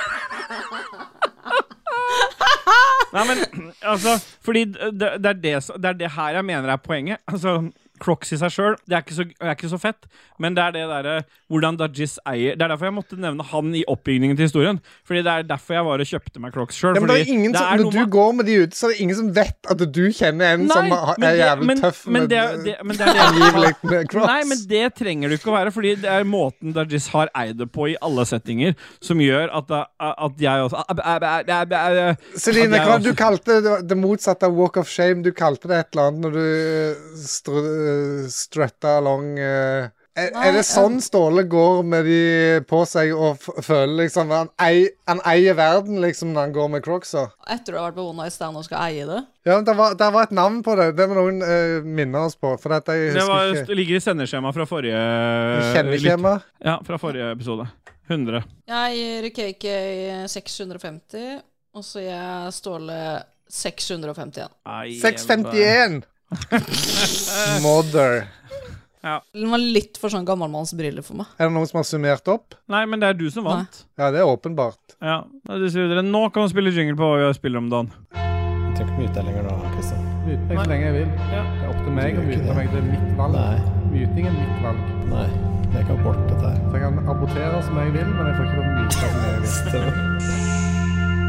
[SPEAKER 1] Nei, men altså Fordi det, det, er det, som- det er det her jeg mener er poenget. Altså Crocs i seg sjøl er, ikke så- det er ikke så fett, men det er det derre hvordan Dajis eier Det er derfor jeg måtte nevne han i oppbygningen til historien. Fordi det er derfor jeg var og kjøpte meg Crocs sjøl.
[SPEAKER 2] Ja, men det er ingen som, når du går med de ute, så er det ingen som vet at du kjenner en som har- er jævlig
[SPEAKER 1] men,
[SPEAKER 2] tøff
[SPEAKER 1] men
[SPEAKER 2] med
[SPEAKER 1] det, er- det, men det er det
[SPEAKER 2] angivelig med crocs.
[SPEAKER 1] Nei, men det trenger du ikke å være, Fordi det er måten Dajis har eid det på i alle settinger, som gjør at, da- at jeg også
[SPEAKER 2] Celine,
[SPEAKER 1] at jeg
[SPEAKER 2] hva
[SPEAKER 1] også-
[SPEAKER 2] du kalte det, det motsatte av walk of shame? Du kalte det et eller annet når du eh, str eh, strutta along eh. er, er det
[SPEAKER 1] um
[SPEAKER 2] sånn Ståle går med de på seg og f føler liksom han, ei, han eier verden liksom når han går med crocsa?
[SPEAKER 3] Etter du har vært på One Night Stand og skal eie det.
[SPEAKER 2] Ja, men det var, det var et navn på det. Det må noen eh, minne oss på. For dette jeg
[SPEAKER 1] Det var,
[SPEAKER 2] husker ikke. Eh,
[SPEAKER 1] ligger i sendeskjemaet fra forrige lytt-
[SPEAKER 2] Kjenneskjema.
[SPEAKER 1] Ja, fra forrige episode. 100.
[SPEAKER 3] Jeg gir KK 650, og så gir jeg Ståle 651.
[SPEAKER 1] Nei,
[SPEAKER 2] 651! Mother.
[SPEAKER 3] Den var litt for sånn gammelmannsbriller for meg.
[SPEAKER 2] Er det noen som har summert opp?
[SPEAKER 1] Nei, men det er du som vant.
[SPEAKER 2] Ja, det er åpenbart.
[SPEAKER 1] Ja, da er det så videre. Nå kan du spille jingle på hva vi spiller om dagen.
[SPEAKER 6] Jeg trenger ikke mute deg lenger nå, Kristian.
[SPEAKER 2] Mute meg så lenge jeg vil.
[SPEAKER 1] Ja.
[SPEAKER 2] Det er opp til
[SPEAKER 6] meg å mute meg.
[SPEAKER 2] Det er mitt
[SPEAKER 6] Nei.
[SPEAKER 2] Muting er mitt valg.
[SPEAKER 6] Nei. Jeg kan borte dette her.
[SPEAKER 2] Så jeg kan abortere som jeg vil, men jeg får ikke lov til å myte som jeg vil.
[SPEAKER 6] Stemmer.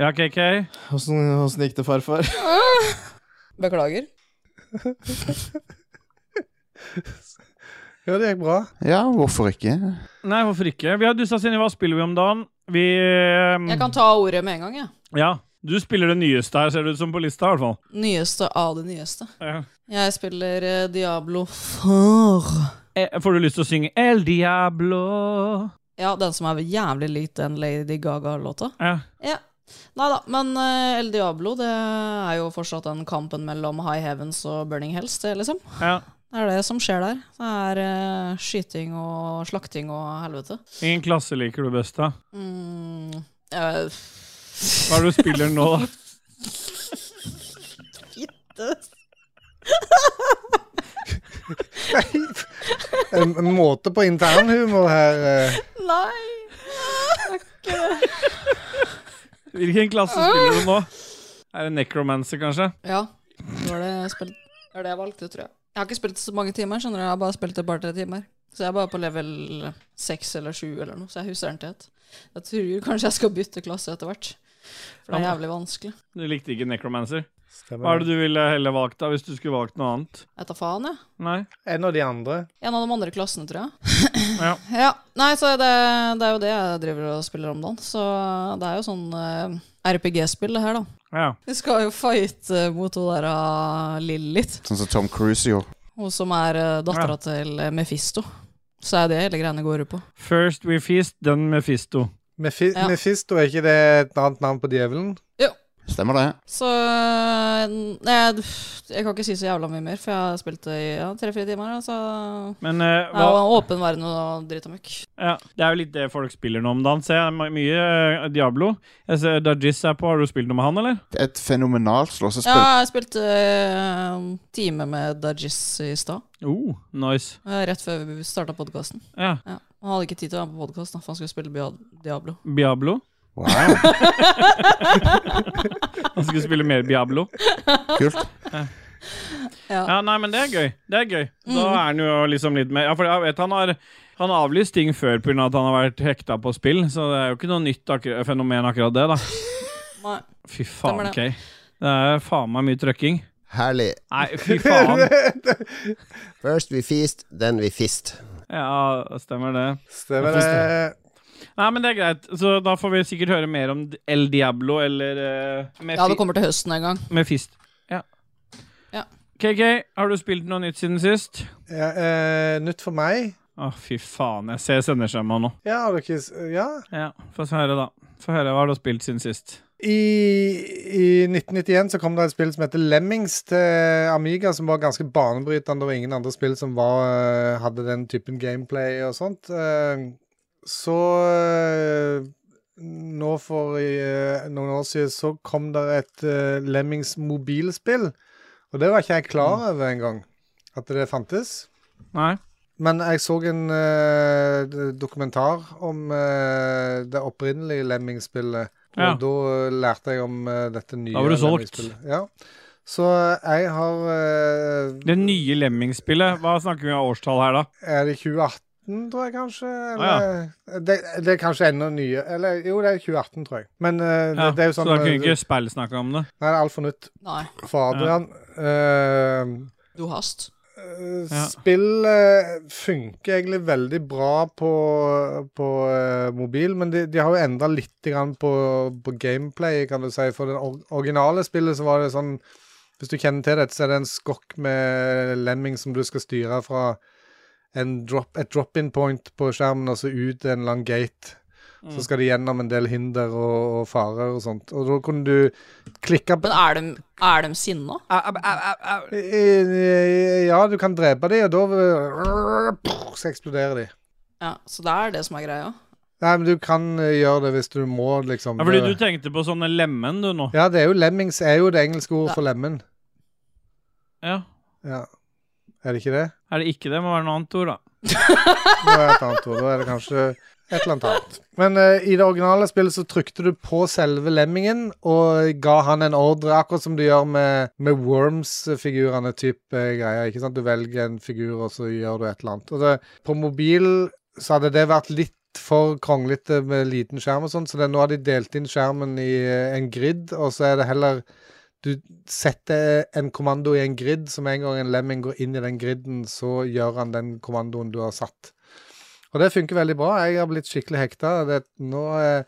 [SPEAKER 1] Ja, KK?
[SPEAKER 8] Åssen åssen gikk det, farfar?
[SPEAKER 3] Beklager.
[SPEAKER 2] Ja, det gikk bra.
[SPEAKER 8] Ja, hvorfor ikke?
[SPEAKER 1] Nei, hvorfor ikke? Vi har dussa oss inn i Hva spiller vi om dagen? Vi ehm,
[SPEAKER 3] Jeg kan ta ordet med en gang, jeg.
[SPEAKER 1] Ja. Du spiller det nyeste her, ser det ut som, på lista, i hvert fall.
[SPEAKER 3] Nyeste av det nyeste.
[SPEAKER 1] Ja.
[SPEAKER 3] Jeg spiller eh, Diablo 4.
[SPEAKER 1] Eh, Får du lyst til å synge El Diablo?
[SPEAKER 3] Ja, den som er jævlig lik den Lady Gaga-låta.
[SPEAKER 1] Ja.
[SPEAKER 3] Ja. Nei da, men eh, El Diablo det er jo fortsatt den kampen mellom High Heavens og Burning Hells, det, liksom.
[SPEAKER 1] ja.
[SPEAKER 3] Det er det som skjer der. Det er eh, skyting og slakting og helvete.
[SPEAKER 1] Ingen klasse liker du best, da?
[SPEAKER 3] Mm, eh,
[SPEAKER 1] Hva er det du spiller nå, da?
[SPEAKER 2] En, en måte på internhumor her. eh.
[SPEAKER 3] Nei! Det er ikke det.
[SPEAKER 1] Hvilken klasse spiller du nå? Er det Necromancer, kanskje?
[SPEAKER 3] Ja, det var det jeg spilte. Det var det jeg valgte, tror jeg. Jeg har ikke spilt så mange timer, skjønner du. Jeg har bare spilt et par-tre timer. Så jeg er bare på level seks eller sju eller noe, så jeg husker den til et. Jeg tror kanskje jeg skal bytte klasse etter hvert. For det er jævlig vanskelig.
[SPEAKER 1] Du likte ikke Necromancer.
[SPEAKER 2] Stemmer.
[SPEAKER 1] Hva er det du ville heller valgt, da, hvis du skulle valgt noe annet?
[SPEAKER 3] Jeg tar faen, jeg.
[SPEAKER 1] Nei?
[SPEAKER 2] En av de andre.
[SPEAKER 3] En av de andre klassene, tror jeg.
[SPEAKER 1] Ja.
[SPEAKER 3] Ja, Nei, så det, det er jo det jeg driver og spiller om dagen. Så det er jo sånn eh, RPG-spill, det her, da.
[SPEAKER 1] ja.
[SPEAKER 3] Vi skal jo fighte mot hun der uh, Lillit,
[SPEAKER 4] Sånn som Tom Cruise gjorde.
[SPEAKER 3] hun som er uh, dattera til eh, Mephisto. Så er det hele greiene går ut på.
[SPEAKER 1] First we feast, then Mephisto.
[SPEAKER 2] Mefi
[SPEAKER 3] Ja.
[SPEAKER 2] Mefisto, er ikke det et annet navn på djevelen?
[SPEAKER 8] Stemmer det?
[SPEAKER 3] Så eh, jeg, jeg kan ikke si så jævla mye mer, for jeg har spilt det i ja, tre-fire timer. Så
[SPEAKER 1] Men eh,
[SPEAKER 3] det
[SPEAKER 1] hva
[SPEAKER 3] er jo en åpen verden og dritt og møkk.
[SPEAKER 1] ja, Det er jo litt det folk spiller nå om dagen. Ser jeg my- mye eh, Diablo. Jeg ser Dajis er på. Har du spilt noe med han, eller?
[SPEAKER 8] Et fenomenalt slåssespill.
[SPEAKER 3] Ja, jeg spilte eh, en time med Dajis i stad,
[SPEAKER 1] Oh, nice.
[SPEAKER 3] eh, rett før vi starta podkasten.
[SPEAKER 1] Ja.
[SPEAKER 3] Ja. Han hadde ikke tid til å være med på podkast, for han skulle spille Bia- Diablo.
[SPEAKER 1] Diablo.
[SPEAKER 8] Wow,
[SPEAKER 1] Han skulle spille mer Diablo.
[SPEAKER 8] kult.
[SPEAKER 1] Ja, nei, men det er gøy. Det er gøy. Da
[SPEAKER 3] Mm.
[SPEAKER 1] er han jo liksom litt mer Ja, for jeg vet han har han har avlyst ting før pga. at han har vært hekta på spill, så det er jo ikke noe nytt akkur fenomen akkurat det, da.
[SPEAKER 3] Nei.
[SPEAKER 1] Fy faen,
[SPEAKER 3] Stemmer
[SPEAKER 1] OK. Det er faen meg mye trøkking.
[SPEAKER 5] Herlig.
[SPEAKER 1] Nei, fy faen.
[SPEAKER 5] First we feast, then we fist.
[SPEAKER 1] Ja, stemmer det.
[SPEAKER 2] Stemmer det.
[SPEAKER 1] Nei, men det er greit. Så da får vi sikkert høre mer om El Diablo eller uh, Mefi
[SPEAKER 3] Ja, det kommer til høsten en gang.
[SPEAKER 1] Mefist. Ja.
[SPEAKER 3] Ja.
[SPEAKER 1] KK, har du spilt noe nytt siden sist?
[SPEAKER 2] Ja, eh, nytt for meg?
[SPEAKER 1] Å, fy faen. Jeg ser sendeskjemaet nå.
[SPEAKER 2] Ja, har du ikke s- Ja.
[SPEAKER 1] Ja, Få høre, da. Få høre, Hva har du spilt siden sist?
[SPEAKER 2] I, I 1991 så kom det et spill som heter Lemmings til Amiga, som var ganske banebrytende. Det var ingen andre spill som var, eh, hadde den typen gameplay og sånt. Eh, Så eh, nå for eh, noen år siden så kom det et eh, Lemmings mobilspill. Og det var ikke jeg klar over engang, at det fantes.
[SPEAKER 1] Nei?
[SPEAKER 2] Men jeg så en eh, d- dokumentar om eh, det opprinnelige Lemming-spillet. Og
[SPEAKER 1] Ja.
[SPEAKER 2] da eh, lærte jeg om eh, dette nye
[SPEAKER 1] Da var du solgt.
[SPEAKER 2] Lemming-spillet. Ja. Så jeg har eh,
[SPEAKER 1] Det nye Lemming-spillet. Hva snakker vi om årstall her, da?
[SPEAKER 2] Er det 2018, tror jeg kanskje? Eller, eh,
[SPEAKER 1] Ah,
[SPEAKER 2] det, det er kanskje enda nye Eller jo, det er 2018, tror jeg. Men eh, det,
[SPEAKER 1] Ja,
[SPEAKER 2] det er jo
[SPEAKER 1] så
[SPEAKER 2] sånn
[SPEAKER 1] da kunne
[SPEAKER 2] eh,
[SPEAKER 1] ikke Spell snakke om det.
[SPEAKER 2] Nei, det er altfor nytt
[SPEAKER 3] Nei,
[SPEAKER 2] for Adrian. Eh,
[SPEAKER 3] du hast.
[SPEAKER 2] Eh,
[SPEAKER 1] Ja.
[SPEAKER 2] Spill eh, funker egentlig veldig bra på, på eh, mobil, men de, de har jo endra litt grann på, på gameplay, kan du si. For det or originale spillet så var det sånn Hvis du kjenner til dette, så er det en skokk med lemming som du skal styre fra en drop, et drop-in point på skjermen og så ut en lang gate. Så skal de gjennom en del hinder og, og farer og sånt. Og da kunne du klikke på
[SPEAKER 3] Men er de, er de sinna?
[SPEAKER 2] i- i- i- Eh, Ja, du kan drepe de, og da vil- så eksploderer de.
[SPEAKER 3] Ja, så det er det som er greia.
[SPEAKER 2] Nei, men du kan eh, gjøre det hvis du må, liksom.
[SPEAKER 1] Ja, fordi du tenkte på sånne lemen, du, nå.
[SPEAKER 2] Ja, det er jo lemmings er jo det engelske ordet for lemen.
[SPEAKER 1] Ja.
[SPEAKER 2] Ja. Er det ikke det?
[SPEAKER 1] Er det ikke det? Må være noe annet ord, da.
[SPEAKER 2] Nå er det et annet ord. Da er det kanskje Et eller annet annet. Men eh, i det originale spillet så trykte du på selve lemmingen og ga han en ordre, akkurat som du gjør med, med Worms-figurene type greier. ikke sant? Du velger en figur, og så gjør du et eller annet. Og det, på mobil så hadde det vært litt for kronglete med liten skjerm og sånn, så det, nå har de delt inn skjermen i eh, en grid, og så er det heller du setter eh, en kommando i en grid, så med en gang en lemming går inn i den griden, så gjør han den kommandoen du har satt. Og det funker veldig bra. Jeg har blitt skikkelig hekta. Det- Nå er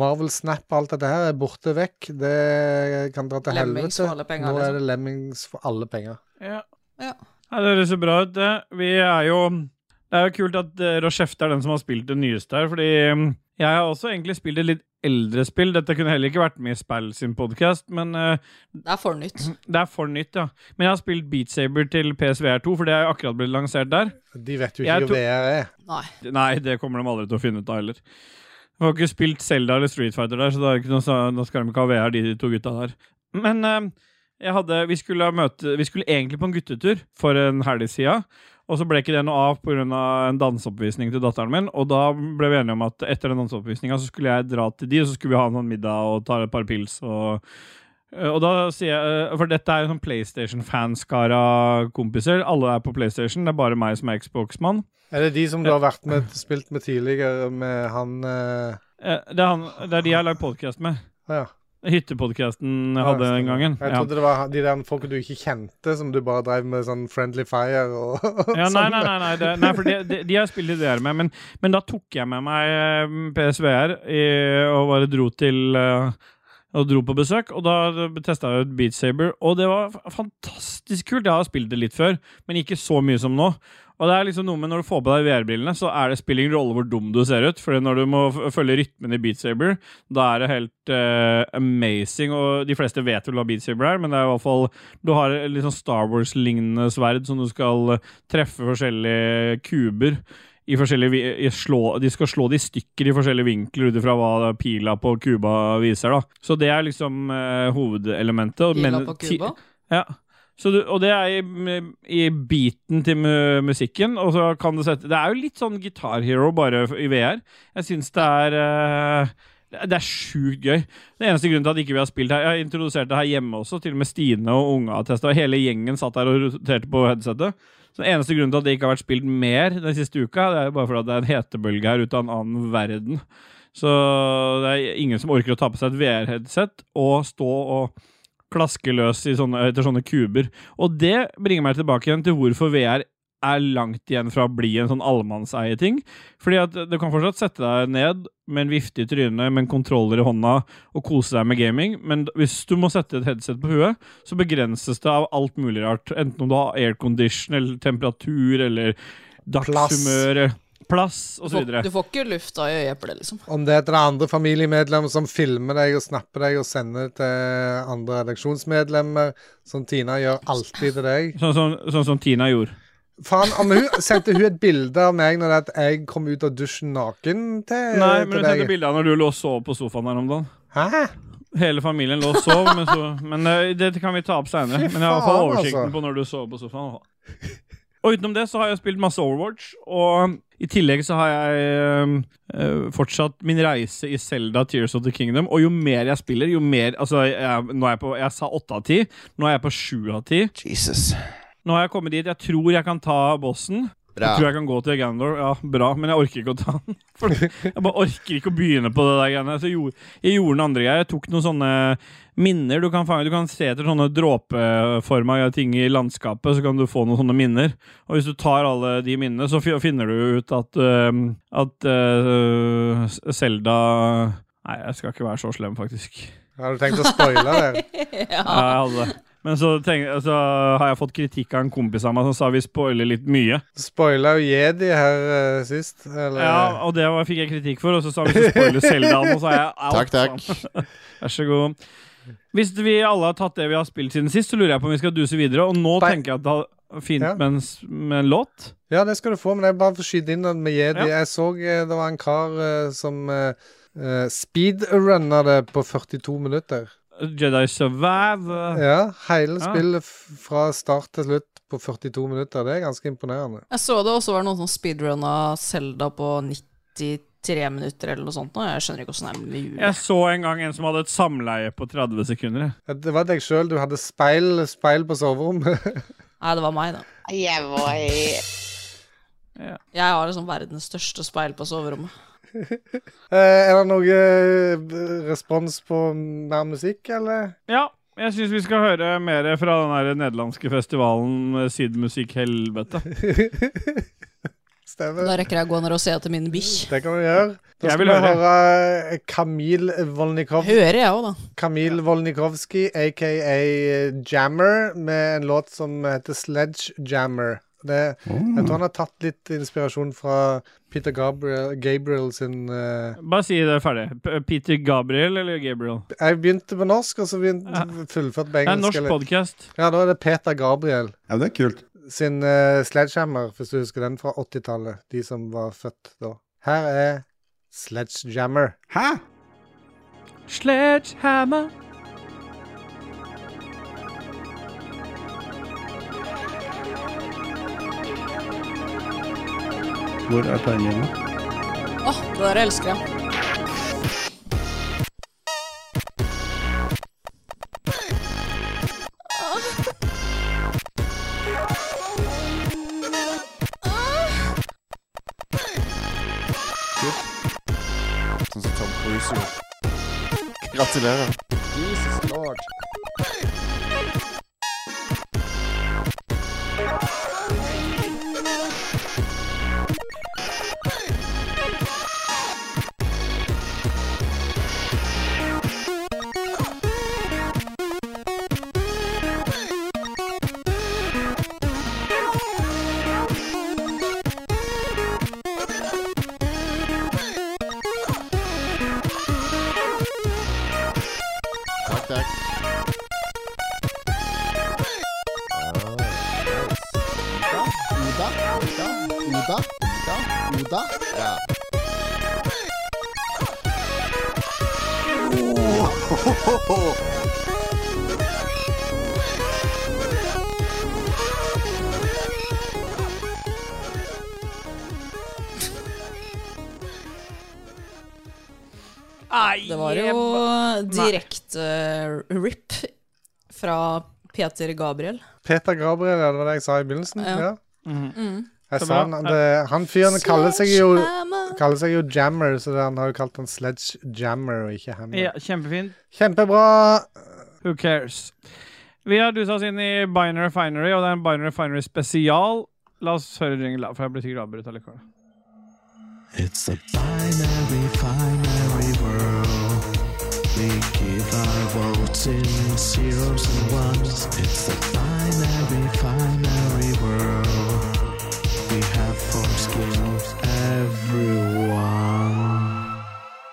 [SPEAKER 2] Marvel Snap og alt dette her er borte vekk. Det kan dra til
[SPEAKER 3] Lemmings for alle
[SPEAKER 2] helvete.
[SPEAKER 3] penger,
[SPEAKER 2] Nå er
[SPEAKER 3] liksom.
[SPEAKER 2] det lemmings for alle penger.
[SPEAKER 1] Ja.
[SPEAKER 3] Ja.
[SPEAKER 1] Nei, det høres jo bra ut, det. Vi er jo Det er jo kult at eh, Rochefte er den som har spilt det nyeste her, fordi mm, jeg har også egentlig spilt et litt eldre spill. Dette kunne heller ikke vært med i Spell sin podkast, men eh,
[SPEAKER 3] Det er for nytt.
[SPEAKER 1] det er for nytt, ja. Men jeg har spilt Beat Saber til PSVR2, for det er jo akkurat blitt lansert der.
[SPEAKER 2] De vet jo
[SPEAKER 1] Jeg
[SPEAKER 2] ikke hva
[SPEAKER 1] tror-
[SPEAKER 2] VR er.
[SPEAKER 3] Nei.
[SPEAKER 1] Nei, det kommer de aldri til å finne ut av heller. Jeg har ikke spilt Zelda eller Street Fighter der, så da, er det ikke noe, sa- da skal de ikke ha VR, de to gutta der. Men eh, jeg hadde, vi, skulle ha møte, vi skulle egentlig på en guttetur for en helg siden, og så ble ikke det noe av pga. en danseoppvisning til datteren min. Og da ble vi enige om at etter den danseoppvisninga så skulle jeg dra til de, og så skulle vi ha noen middag og ta et par pils. og... Eh, Og da sier jeg, eh, for dette er jo sånn PlayStation-fanskara kompiser. Alle er på PlayStation, det er bare meg som er Xbox-mann.
[SPEAKER 2] Er det de som du har vært med, spilt med tidligere, med han eh,
[SPEAKER 1] Eh, Det er, han, det er de jeg har lagd podkast med.
[SPEAKER 2] Å ja.
[SPEAKER 1] Hyttepodkasten jeg hadde den gangen.
[SPEAKER 2] Jeg
[SPEAKER 1] Ja.
[SPEAKER 2] trodde det var han- de der folka du ikke kjente, som du bare drev med sånn Friendly Fire og
[SPEAKER 1] Ja, nei,
[SPEAKER 2] sånn.
[SPEAKER 1] nei, nei, nei, det, nei for de, de, de har jeg spilt ideer med, men, men da tok jeg med meg eh, PSVR i, og bare dro til eh, og dro på besøk, og da testa jeg ut Beat Saber, og det var f- fantastisk kult. Jeg har spilt det litt før, men ikke så mye som nå. Og det er liksom noe med Når du får på deg VR-brillene, så er det spiller ingen rolle hvor dum du ser ut. For når du må f- følge rytmen i Beat Saber, da er det helt eh, amazing. Og de fleste vet vel hva Beat Saber er, men det er i hvert fall Du har et litt sånn Star Wars-lignende sverd som du skal eh, treffe forskjellige kuber i forskjellige vi- i slå, De skal slå de i stykker i forskjellige vinkler ut ifra hva pila på Cuba viser. da Så det er liksom eh, hovedelementet. og
[SPEAKER 3] Gila
[SPEAKER 1] men-
[SPEAKER 3] på
[SPEAKER 1] ti-
[SPEAKER 3] Cuba.
[SPEAKER 1] ja. Så du, og det er i, m- i beaten til mu- musikken, og så kan du sette Det er jo litt sånn Guitar Hero, bare f- i VR. Jeg syns det er eh, det det er sjukt gøy. Det eneste grunnen til at ikke vi har spilt her Jeg introduserte det her hjemme også, til og med Stine og unga har testa. Hele gjengen satt der og roterte på headsetet. Så Den eneste grunnen til at det ikke har vært spilt mer den siste uka, det er jo bare fordi at det er en hetebølge her ute av en annen verden. Så det er ingen som orker å ta på seg et VR-headset og stå og klaske løs i sånne, etter sånne kuber. Og det bringer meg tilbake igjen til hvorfor VR er langt igjen fra å bli en sånn allmannseie-ting. Fordi at du kan fortsatt sette deg ned med en vifte i trynet, med en kontroller i hånda og kose deg med gaming, men hvis du må sette et headset på huet, så begrenses det av alt mulig rart. Enten om du har aircondition eller temperatur eller dagshumør, plass
[SPEAKER 3] Du
[SPEAKER 1] osv.
[SPEAKER 3] får, du får ikke lufta i øyeeplet, liksom.
[SPEAKER 2] Om det er til det andre familiemedlemmer som filmer deg og snapper deg og sender til andre redaksjonsmedlemmer, som Tina gjør alltid til deg.
[SPEAKER 1] Sånn, som- sånn som Tina gjorde.
[SPEAKER 2] Faen, om hun sendte hun et bilde av meg når det at jeg kom ut av dusjen naken til,
[SPEAKER 1] Nei, men
[SPEAKER 2] Eh,
[SPEAKER 1] hun
[SPEAKER 2] til
[SPEAKER 1] sendte
[SPEAKER 2] deg?
[SPEAKER 1] bilde av når du lå og sov på sofaen her om dagen.
[SPEAKER 2] Hæ?
[SPEAKER 1] Hele familien lå og sov, men, så, men eh, det kan vi ta opp seinere.
[SPEAKER 2] Fy
[SPEAKER 1] Men jeg har i hvert fall
[SPEAKER 2] faen,
[SPEAKER 1] oversikten
[SPEAKER 2] altså.
[SPEAKER 1] på når du sover på sofaen. i hvert fall. Og utenom det så har jeg spilt masse Overwatch, og um, i tillegg så har jeg eh, eh, fortsatt min reise i Zelda Tears of the Kingdom. Og jo mer jeg spiller, jo mer Altså, jeg, nå er jeg på Jeg sa åtte av ti. Nå er jeg på sju av ti.
[SPEAKER 4] Jesus.
[SPEAKER 1] Nå har jeg kommet dit jeg tror jeg kan ta bossen.
[SPEAKER 5] Bra.
[SPEAKER 1] Jeg tror jeg kan gå til Gandor. Ja, bra, men jeg orker ikke å ta den. For jeg bare orker ikke å begynne på det der greiene. Så jeg gjorde, jeg gjorde noen andre greier. Jeg tok noen sånne minner. Du kan, fange, du kan se etter sånne dråpeforma ting i landskapet, så kan du få noen sånne minner. Og hvis du tar alle de minnene, så fi- finner du ut at, øhm, at øh, Zelda Nei, jeg skal ikke være så slem, faktisk.
[SPEAKER 2] Har du tenkt å spoile der?
[SPEAKER 1] Ja, jeg hadde det. Men så, tenk, så har jeg fått kritikk av en kompis av meg som sa vi spoiler litt mye.
[SPEAKER 2] Spoila jo Jedi her eh, sist, eller?
[SPEAKER 1] Ja, og det var, fikk jeg kritikk for, og så sa vi så spoiler Seldan, og så er jeg out.
[SPEAKER 8] Takk, takk.
[SPEAKER 1] Vær så god. Hvis vi alle har tatt det vi har spilt siden sist, så lurer jeg på om vi skal duse videre. Og nå
[SPEAKER 2] Nei.
[SPEAKER 1] tenker jeg at det er fint
[SPEAKER 2] Ja.
[SPEAKER 1] med, en, s- med en låt.
[SPEAKER 2] Ja, det skal du få, men jeg bare får skyte inn den med Jedi.
[SPEAKER 1] Ja.
[SPEAKER 2] Jeg så eh, det var en kar eh, som eh, eh, speedrunna det på 42 minutter.
[SPEAKER 1] Jedi Survive.
[SPEAKER 2] Ja, hele
[SPEAKER 1] Ja.
[SPEAKER 2] spillet f- fra start til slutt på 42 minutter. Det er ganske imponerende.
[SPEAKER 3] Jeg så det også var noen som speedrunna Selda på 93 tre minutter eller noe sånt. nå. Jeg skjønner ikke åssen det er mulig.
[SPEAKER 1] Jeg så en gang en som hadde et samleie på 30 sekunder. jeg.
[SPEAKER 2] Det var deg sjøl. Du hadde speil, speil på soverommet.
[SPEAKER 3] Nei, det var meg, da.
[SPEAKER 9] Jeg var i
[SPEAKER 3] Jeg har liksom verdens største speil på soverommet.
[SPEAKER 2] Eh, er det noe eh, respons på mer musikk, eller?
[SPEAKER 1] Ja, jeg syns vi skal høre mer fra den her nederlandske festivalen eh, Sydmusikk Helvete.
[SPEAKER 2] Stemmer.
[SPEAKER 3] Da rekker jeg å gå ned og se etter min bikkj.
[SPEAKER 2] Det kan vi gjøre. Da
[SPEAKER 1] Jeg
[SPEAKER 2] skal
[SPEAKER 1] vil
[SPEAKER 2] vi
[SPEAKER 1] høre.
[SPEAKER 2] høre eh, Kamil Volnikov,
[SPEAKER 3] Hører jeg òg, da.
[SPEAKER 2] Kamil Volnikovski, aka eh, Jammer, med en låt som heter Sledge Jammer. Det, jeg
[SPEAKER 1] Mm.
[SPEAKER 2] tror han har tatt litt inspirasjon fra Peter Gabriel, Gabriel sin eh,
[SPEAKER 1] Bare si det ferdig. P- Peter Gabriel eller Gabriel?
[SPEAKER 2] Jeg begynte på norsk, og så begynte fullført på
[SPEAKER 1] Det er en
[SPEAKER 2] engelsk.
[SPEAKER 1] norsk
[SPEAKER 2] eller-
[SPEAKER 1] podkast.
[SPEAKER 2] ja, da er det Peter Gabriel
[SPEAKER 10] Ja, det er kult.
[SPEAKER 2] sin eh, Sledgehammer, hvis du husker den fra 80-tallet. De som var født da. Her er Sledgehammer.
[SPEAKER 10] Hæ?
[SPEAKER 1] Sledgehammer.
[SPEAKER 10] Hvor er timingen?
[SPEAKER 3] Åh, det der elsker jeg.
[SPEAKER 8] Sånn som Tom Cruise gjorde. Gratulerer.
[SPEAKER 5] Jesus lord.
[SPEAKER 8] Takk, takk.
[SPEAKER 10] Oda, Oda, Oda, Oda, Oda. Ja.
[SPEAKER 3] Det var jo direkte eh, rip fra Peter Gabriel.
[SPEAKER 2] Peter Gabriel, ja, det var det jeg sa i begynnelsen? Ja.
[SPEAKER 3] Ja.
[SPEAKER 2] Jeg
[SPEAKER 1] Mm. Så
[SPEAKER 2] sa
[SPEAKER 1] bra.
[SPEAKER 2] han, det, han fyren kaller seg jo
[SPEAKER 3] Sledgehammer.
[SPEAKER 2] Kaller seg jo Jammer, så han har jo kalt han Sledge Jammer og ikke Hammer.
[SPEAKER 1] Ja, kjempefint.
[SPEAKER 2] Kjempebra!
[SPEAKER 1] Who cares? Vi har dusa oss inn i Binary Refinery, og det er en Binary Refinery spesial. La oss høre jingle, da, for jeg blir sikkert avbrutt allikevel.
[SPEAKER 11] It's a binary, binary world. We give our votes in zeros and ones. It's a binary, binary world. We have foreskin everyone.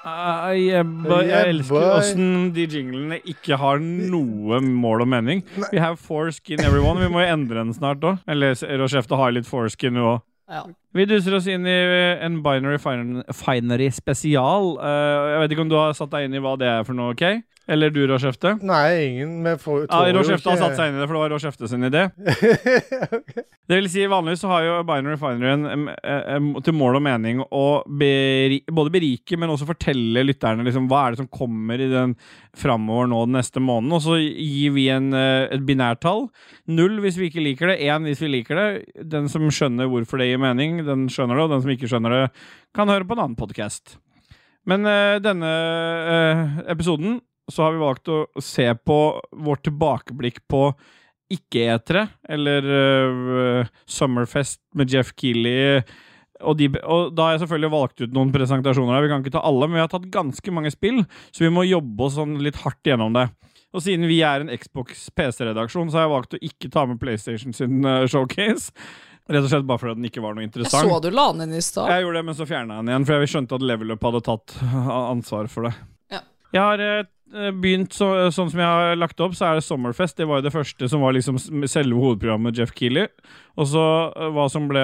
[SPEAKER 1] Ah, yeah, boy.
[SPEAKER 2] Yeah,
[SPEAKER 1] jeg elsker
[SPEAKER 2] boy.
[SPEAKER 1] åssen de jinglene ikke har noe mål og mening. We have foreskin everyone. Vi må jo endre den snart òg. Eller s- Rochefte har litt foreskin nå òg.
[SPEAKER 3] Ja.
[SPEAKER 1] Vi duser oss inn i eh, en Binary Fin- Finery spesial. Eh, jeg vet ikke om du har satt deg inn i hva det er for noe, OK? Eller du, Rochefte?
[SPEAKER 2] Nei, ingen vi får
[SPEAKER 1] Ja, Rochefte har satt seg inn i det, for det var Rochefte sin idé. Det vil si, vanligvis så har jo Binary Refinery en, em, eh, em, til mål og mening å beri, både berike, men også fortelle lytterne liksom, hva er det som kommer i den framover nå den neste måneden. Og så gir vi en, eh, et binærtall. Null hvis vi ikke liker det, én hvis vi liker det. Den som skjønner hvorfor det gir mening, den skjønner det, og den som ikke skjønner det, kan høre på en annen podkast. Men eh, denne eh, episoden så har vi valgt å se på vårt tilbakeblikk på ikke-etere, eller eh, Summerfest med Jeff Keeley. Og, de, og da har jeg selvfølgelig valgt ut noen presentasjoner. her. Vi kan ikke ta alle, men vi har tatt ganske mange spill, så vi må jobbe oss sånn litt hardt gjennom det. Og siden vi er en Xbox PC-redaksjon, så har jeg valgt å ikke ta med PlayStation sin eh, showcase. Rett og slett bare fordi den ikke var noe
[SPEAKER 3] Jeg
[SPEAKER 1] interessant.
[SPEAKER 3] så du la den inn i stad.
[SPEAKER 1] Jeg gjorde det, men så fjerna jeg den igjen, for jeg skjønte at Level Up hadde tatt ansvar for det.
[SPEAKER 3] Ja.
[SPEAKER 1] Jeg har eh, begynt så, sånn som jeg har lagt opp, så er det Summerfest. Det var jo det første som var liksom s- selve hovedprogrammet Jeff Keeley. Og så eh, hva som ble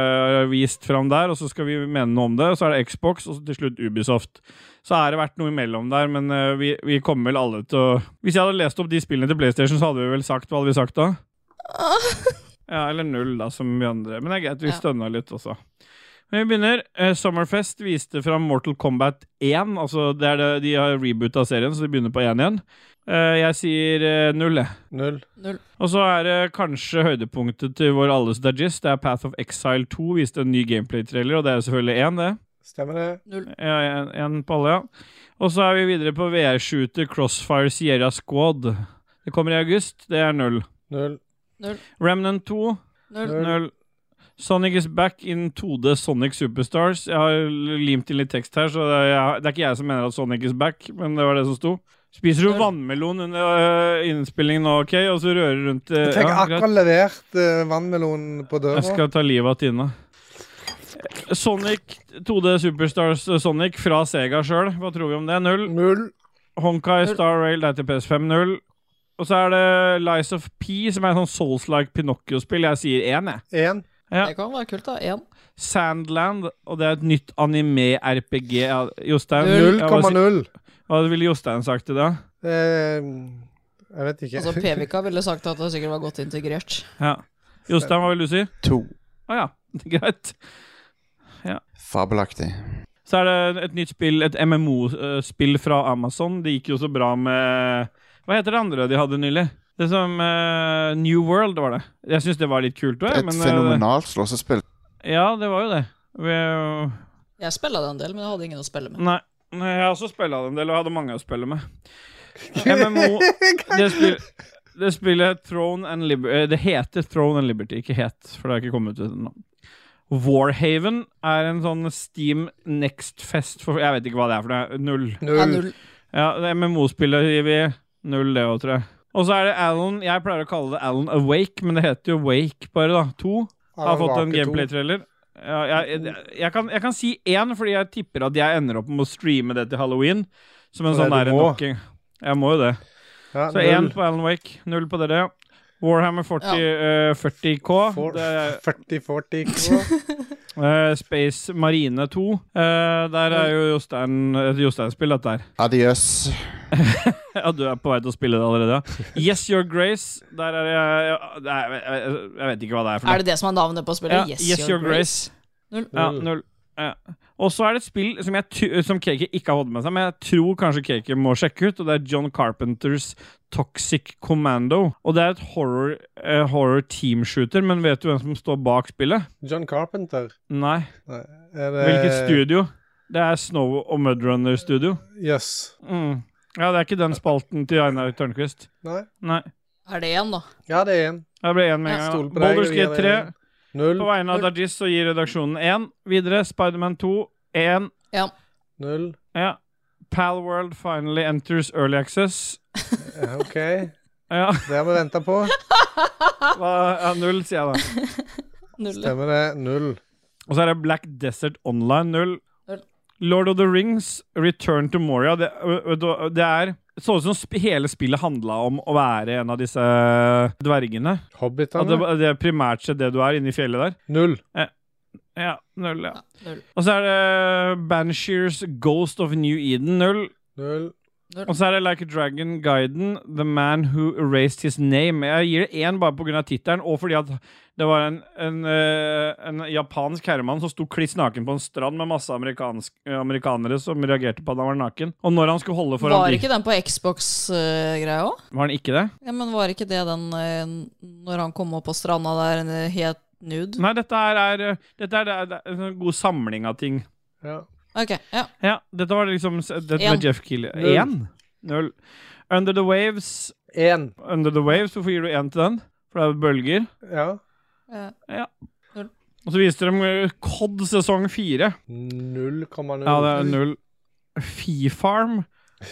[SPEAKER 1] vist fram der, og så skal vi mene noe om det. Og så er det Xbox, og så til slutt Ubisoft. Så har det vært noe imellom der, men eh, vi, vi kommer vel alle til å Hvis jeg hadde lest opp de spillene til PlayStation, så hadde vi vel sagt hva hadde vi sagt da? Ja, eller null, da, som vi andre. Men det er greit, vi
[SPEAKER 3] Ja.
[SPEAKER 1] stønna litt også. Men Vi begynner. Eh, Summerfest viste fram Mortal Kombat 1. Altså, det er det, de har reboota serien, så de begynner på 1 igjen. Eh, jeg sier eh, null, jeg.
[SPEAKER 2] Null.
[SPEAKER 3] Null.
[SPEAKER 1] Og så er det kanskje høydepunktet til vår alles dajis. Det er Path of Exile 2. Viste en ny gameplay-trailer, og det er jo selvfølgelig én, det.
[SPEAKER 2] Stemmer det?
[SPEAKER 1] Ja, en, en på alle, ja. Og så er vi videre på VR-shooter Crossfire Sierra Squad. Det kommer i august. Det er null.
[SPEAKER 2] Null.
[SPEAKER 1] Remnant 2.
[SPEAKER 3] Null.
[SPEAKER 1] Null. Sonic is back in 2D Sonic Superstars. Jeg har limt inn litt tekst her, så det er, jeg, det er ikke jeg som mener at Sonic is back, men det var det som sto. Spiser du vannmelon under øh, innspillingen nå, OK? Og så rører rundt øh,
[SPEAKER 2] Jeg fikk
[SPEAKER 1] ja, greit.
[SPEAKER 2] akkurat levert uh, vannmelonen på døra.
[SPEAKER 1] Jeg skal ta livet av Tina. Sonic 2D Superstars eh, Sonic fra Sega sjøl. Hva tror vi om det? Null.
[SPEAKER 2] Null.
[SPEAKER 1] Honkai
[SPEAKER 3] Null.
[SPEAKER 1] Star Rail det er til PS5 null. Og så er det Lies of P, som er en sånn Souls-like Pinocchio-spill. Jeg sier én, jeg.
[SPEAKER 2] Én.
[SPEAKER 1] Ja.
[SPEAKER 3] Det kan være kult, da. Én.
[SPEAKER 1] Sandland, og det er et nytt anime-RPG. Ja, Jostein? ja, hva si-
[SPEAKER 2] 0,0.
[SPEAKER 1] Hva ville Jostein sagt til det?
[SPEAKER 2] Eh, jeg vet ikke.
[SPEAKER 3] Altså, Pevika ville sagt at det sikkert var godt integrert.
[SPEAKER 1] Ja. Jostein, hva vil du si?
[SPEAKER 4] To.
[SPEAKER 1] Å ja, greit.
[SPEAKER 4] Fabelaktig.
[SPEAKER 1] Så er det et nytt spill, et MMO-spill fra Amazon. Det gikk jo så bra med Hva heter det andre de hadde nylig? Det som eh, New World, var det. Jeg syns det var litt kult òg,
[SPEAKER 4] Et
[SPEAKER 1] men eh,
[SPEAKER 4] fenomenalt slåssespill.
[SPEAKER 1] Ja, det var jo det. Vi-
[SPEAKER 3] Jeg spilla det en del, men jeg hadde ingen å spille med.
[SPEAKER 1] Nei. Nei, Jeg har også spilla en del, og hadde mange å spille med. MMO Det, spill, det spillet Throne and Liber eh, Det heter Throne and Liberty, ikke het, for det har ikke kommet ut ennå. Warhaven er en sånn Steam Next Fest for Jeg vet ikke hva det er for noe. Null.
[SPEAKER 3] Ja,
[SPEAKER 2] Null.
[SPEAKER 3] null.
[SPEAKER 1] Ja, det MMO-spillet gir vi null, det òg, tror jeg. Og så er det Alan Jeg pleier å kalle det Alan Awake, men det heter jo Wake bare, da. To. Har fått en gameplay-trailer. Ja, jeg, jeg, jeg, kan, jeg kan si én, fordi jeg tipper at jeg ender opp med å streame det til halloween. Som en
[SPEAKER 2] For det
[SPEAKER 1] sånn
[SPEAKER 2] du
[SPEAKER 1] der
[SPEAKER 2] må.
[SPEAKER 1] knocking. Jeg må jo det.
[SPEAKER 2] Ja,
[SPEAKER 1] Så én
[SPEAKER 2] null.
[SPEAKER 1] på Alan Wake, null på dere. Warhammer 40, eh, 40K.
[SPEAKER 2] For-
[SPEAKER 1] Det er,
[SPEAKER 2] 40, 40 kroner.
[SPEAKER 1] eh, Space Marine 2. Eh, der er jo Jostein et Jostein-spill, dette her.
[SPEAKER 4] Adios.
[SPEAKER 1] Ja, du er på vei til å spille det allerede, ja. Yes Your Grace. Der er jeg jeg- jeg- Jeg jeg vet ikke hva det er for noe.
[SPEAKER 3] Er det det som er navnet på
[SPEAKER 1] Ja,
[SPEAKER 3] spillet?
[SPEAKER 1] Yes, Your Grace. Ja, null. Ja. Og så er det et spill som, jeg ty- som Kake ikke har fått med seg, men jeg tror kanskje Kake må sjekke ut, og det er John Carpenters Toxic Commando. Og det er et horror, eh, horror teamshooter, men vet du hvem som står bak spillet?
[SPEAKER 2] John Carpenter.
[SPEAKER 1] Nei.
[SPEAKER 2] Er det
[SPEAKER 1] Hvilket studio? Det er Snow og Mudrunner Studio.
[SPEAKER 2] Jøss.
[SPEAKER 1] Mm. Ja, det er ikke den spalten til Einar Tørnquist.
[SPEAKER 2] Nei.
[SPEAKER 1] Nei.
[SPEAKER 3] Er det én, da?
[SPEAKER 2] Ja, det er én.
[SPEAKER 1] Det ble én med
[SPEAKER 3] Jeg
[SPEAKER 1] en gang.
[SPEAKER 2] stoler på
[SPEAKER 1] da.
[SPEAKER 2] deg,
[SPEAKER 1] Baldur's
[SPEAKER 2] vi
[SPEAKER 1] Gate 3.
[SPEAKER 2] gir deg Null.
[SPEAKER 1] På vegne av Dajis så gir redaksjonen én. Videre Spiderman 2. Én.
[SPEAKER 2] Null.
[SPEAKER 1] Ja. Palworld finally enters early access.
[SPEAKER 2] Ja, OK.
[SPEAKER 1] Ja,
[SPEAKER 2] Det har vi venta på.
[SPEAKER 1] hva, ja null, sier jeg da.
[SPEAKER 3] Null. ja.
[SPEAKER 2] Stemmer det. Null.
[SPEAKER 1] Og så er det Black Desert Online, null.
[SPEAKER 3] Null.
[SPEAKER 1] Lord of the Rings, Return to Moria. Det, ø- ø- da- det er så ut som sp hele spillet handla om å være en av disse dvergene. At det,
[SPEAKER 2] Hobbitene.
[SPEAKER 1] det er primært sett det du er, inni fjellet der.
[SPEAKER 2] Null.
[SPEAKER 1] Ja, null, ja.
[SPEAKER 3] Ja, null.
[SPEAKER 1] Og så er det Bansheers Ghost of New Eden, null.
[SPEAKER 2] Null.
[SPEAKER 1] Og så er det Like a Dragon Guiden, The Man Who Erased His Name. Jeg gir det én bare pga. tittelen, og fordi at det var en, en, eh, en japansk herremann som sto kliss naken på en strand med masse amerikansk, eh, amerikanere som reagerte på at han var naken. Og når han skulle holde foran
[SPEAKER 3] Var
[SPEAKER 1] de-
[SPEAKER 3] ikke den på Xbox-greia òg?
[SPEAKER 1] Var han ikke det?
[SPEAKER 3] Ja, men var ikke det den eh, når han kom opp på stranda der eh, helt nude?
[SPEAKER 1] Nei, dette her er, eh, dette er, det er, det er en sånn god samling av ting.
[SPEAKER 2] Ja.
[SPEAKER 3] Ok, ja.
[SPEAKER 1] Ja, dette var liksom s- Dette
[SPEAKER 3] En.
[SPEAKER 1] med Jeff Kille.
[SPEAKER 2] Null.
[SPEAKER 1] Én? Null. Under the Waves.
[SPEAKER 2] Én.
[SPEAKER 1] Under the Waves, hvorfor gir du én til den? For det er bølger.
[SPEAKER 2] Ja.
[SPEAKER 3] ja.
[SPEAKER 1] Og så viste de eh, COD sesong fire.
[SPEAKER 2] 0,0.
[SPEAKER 1] Ja, det er null. Fifarm.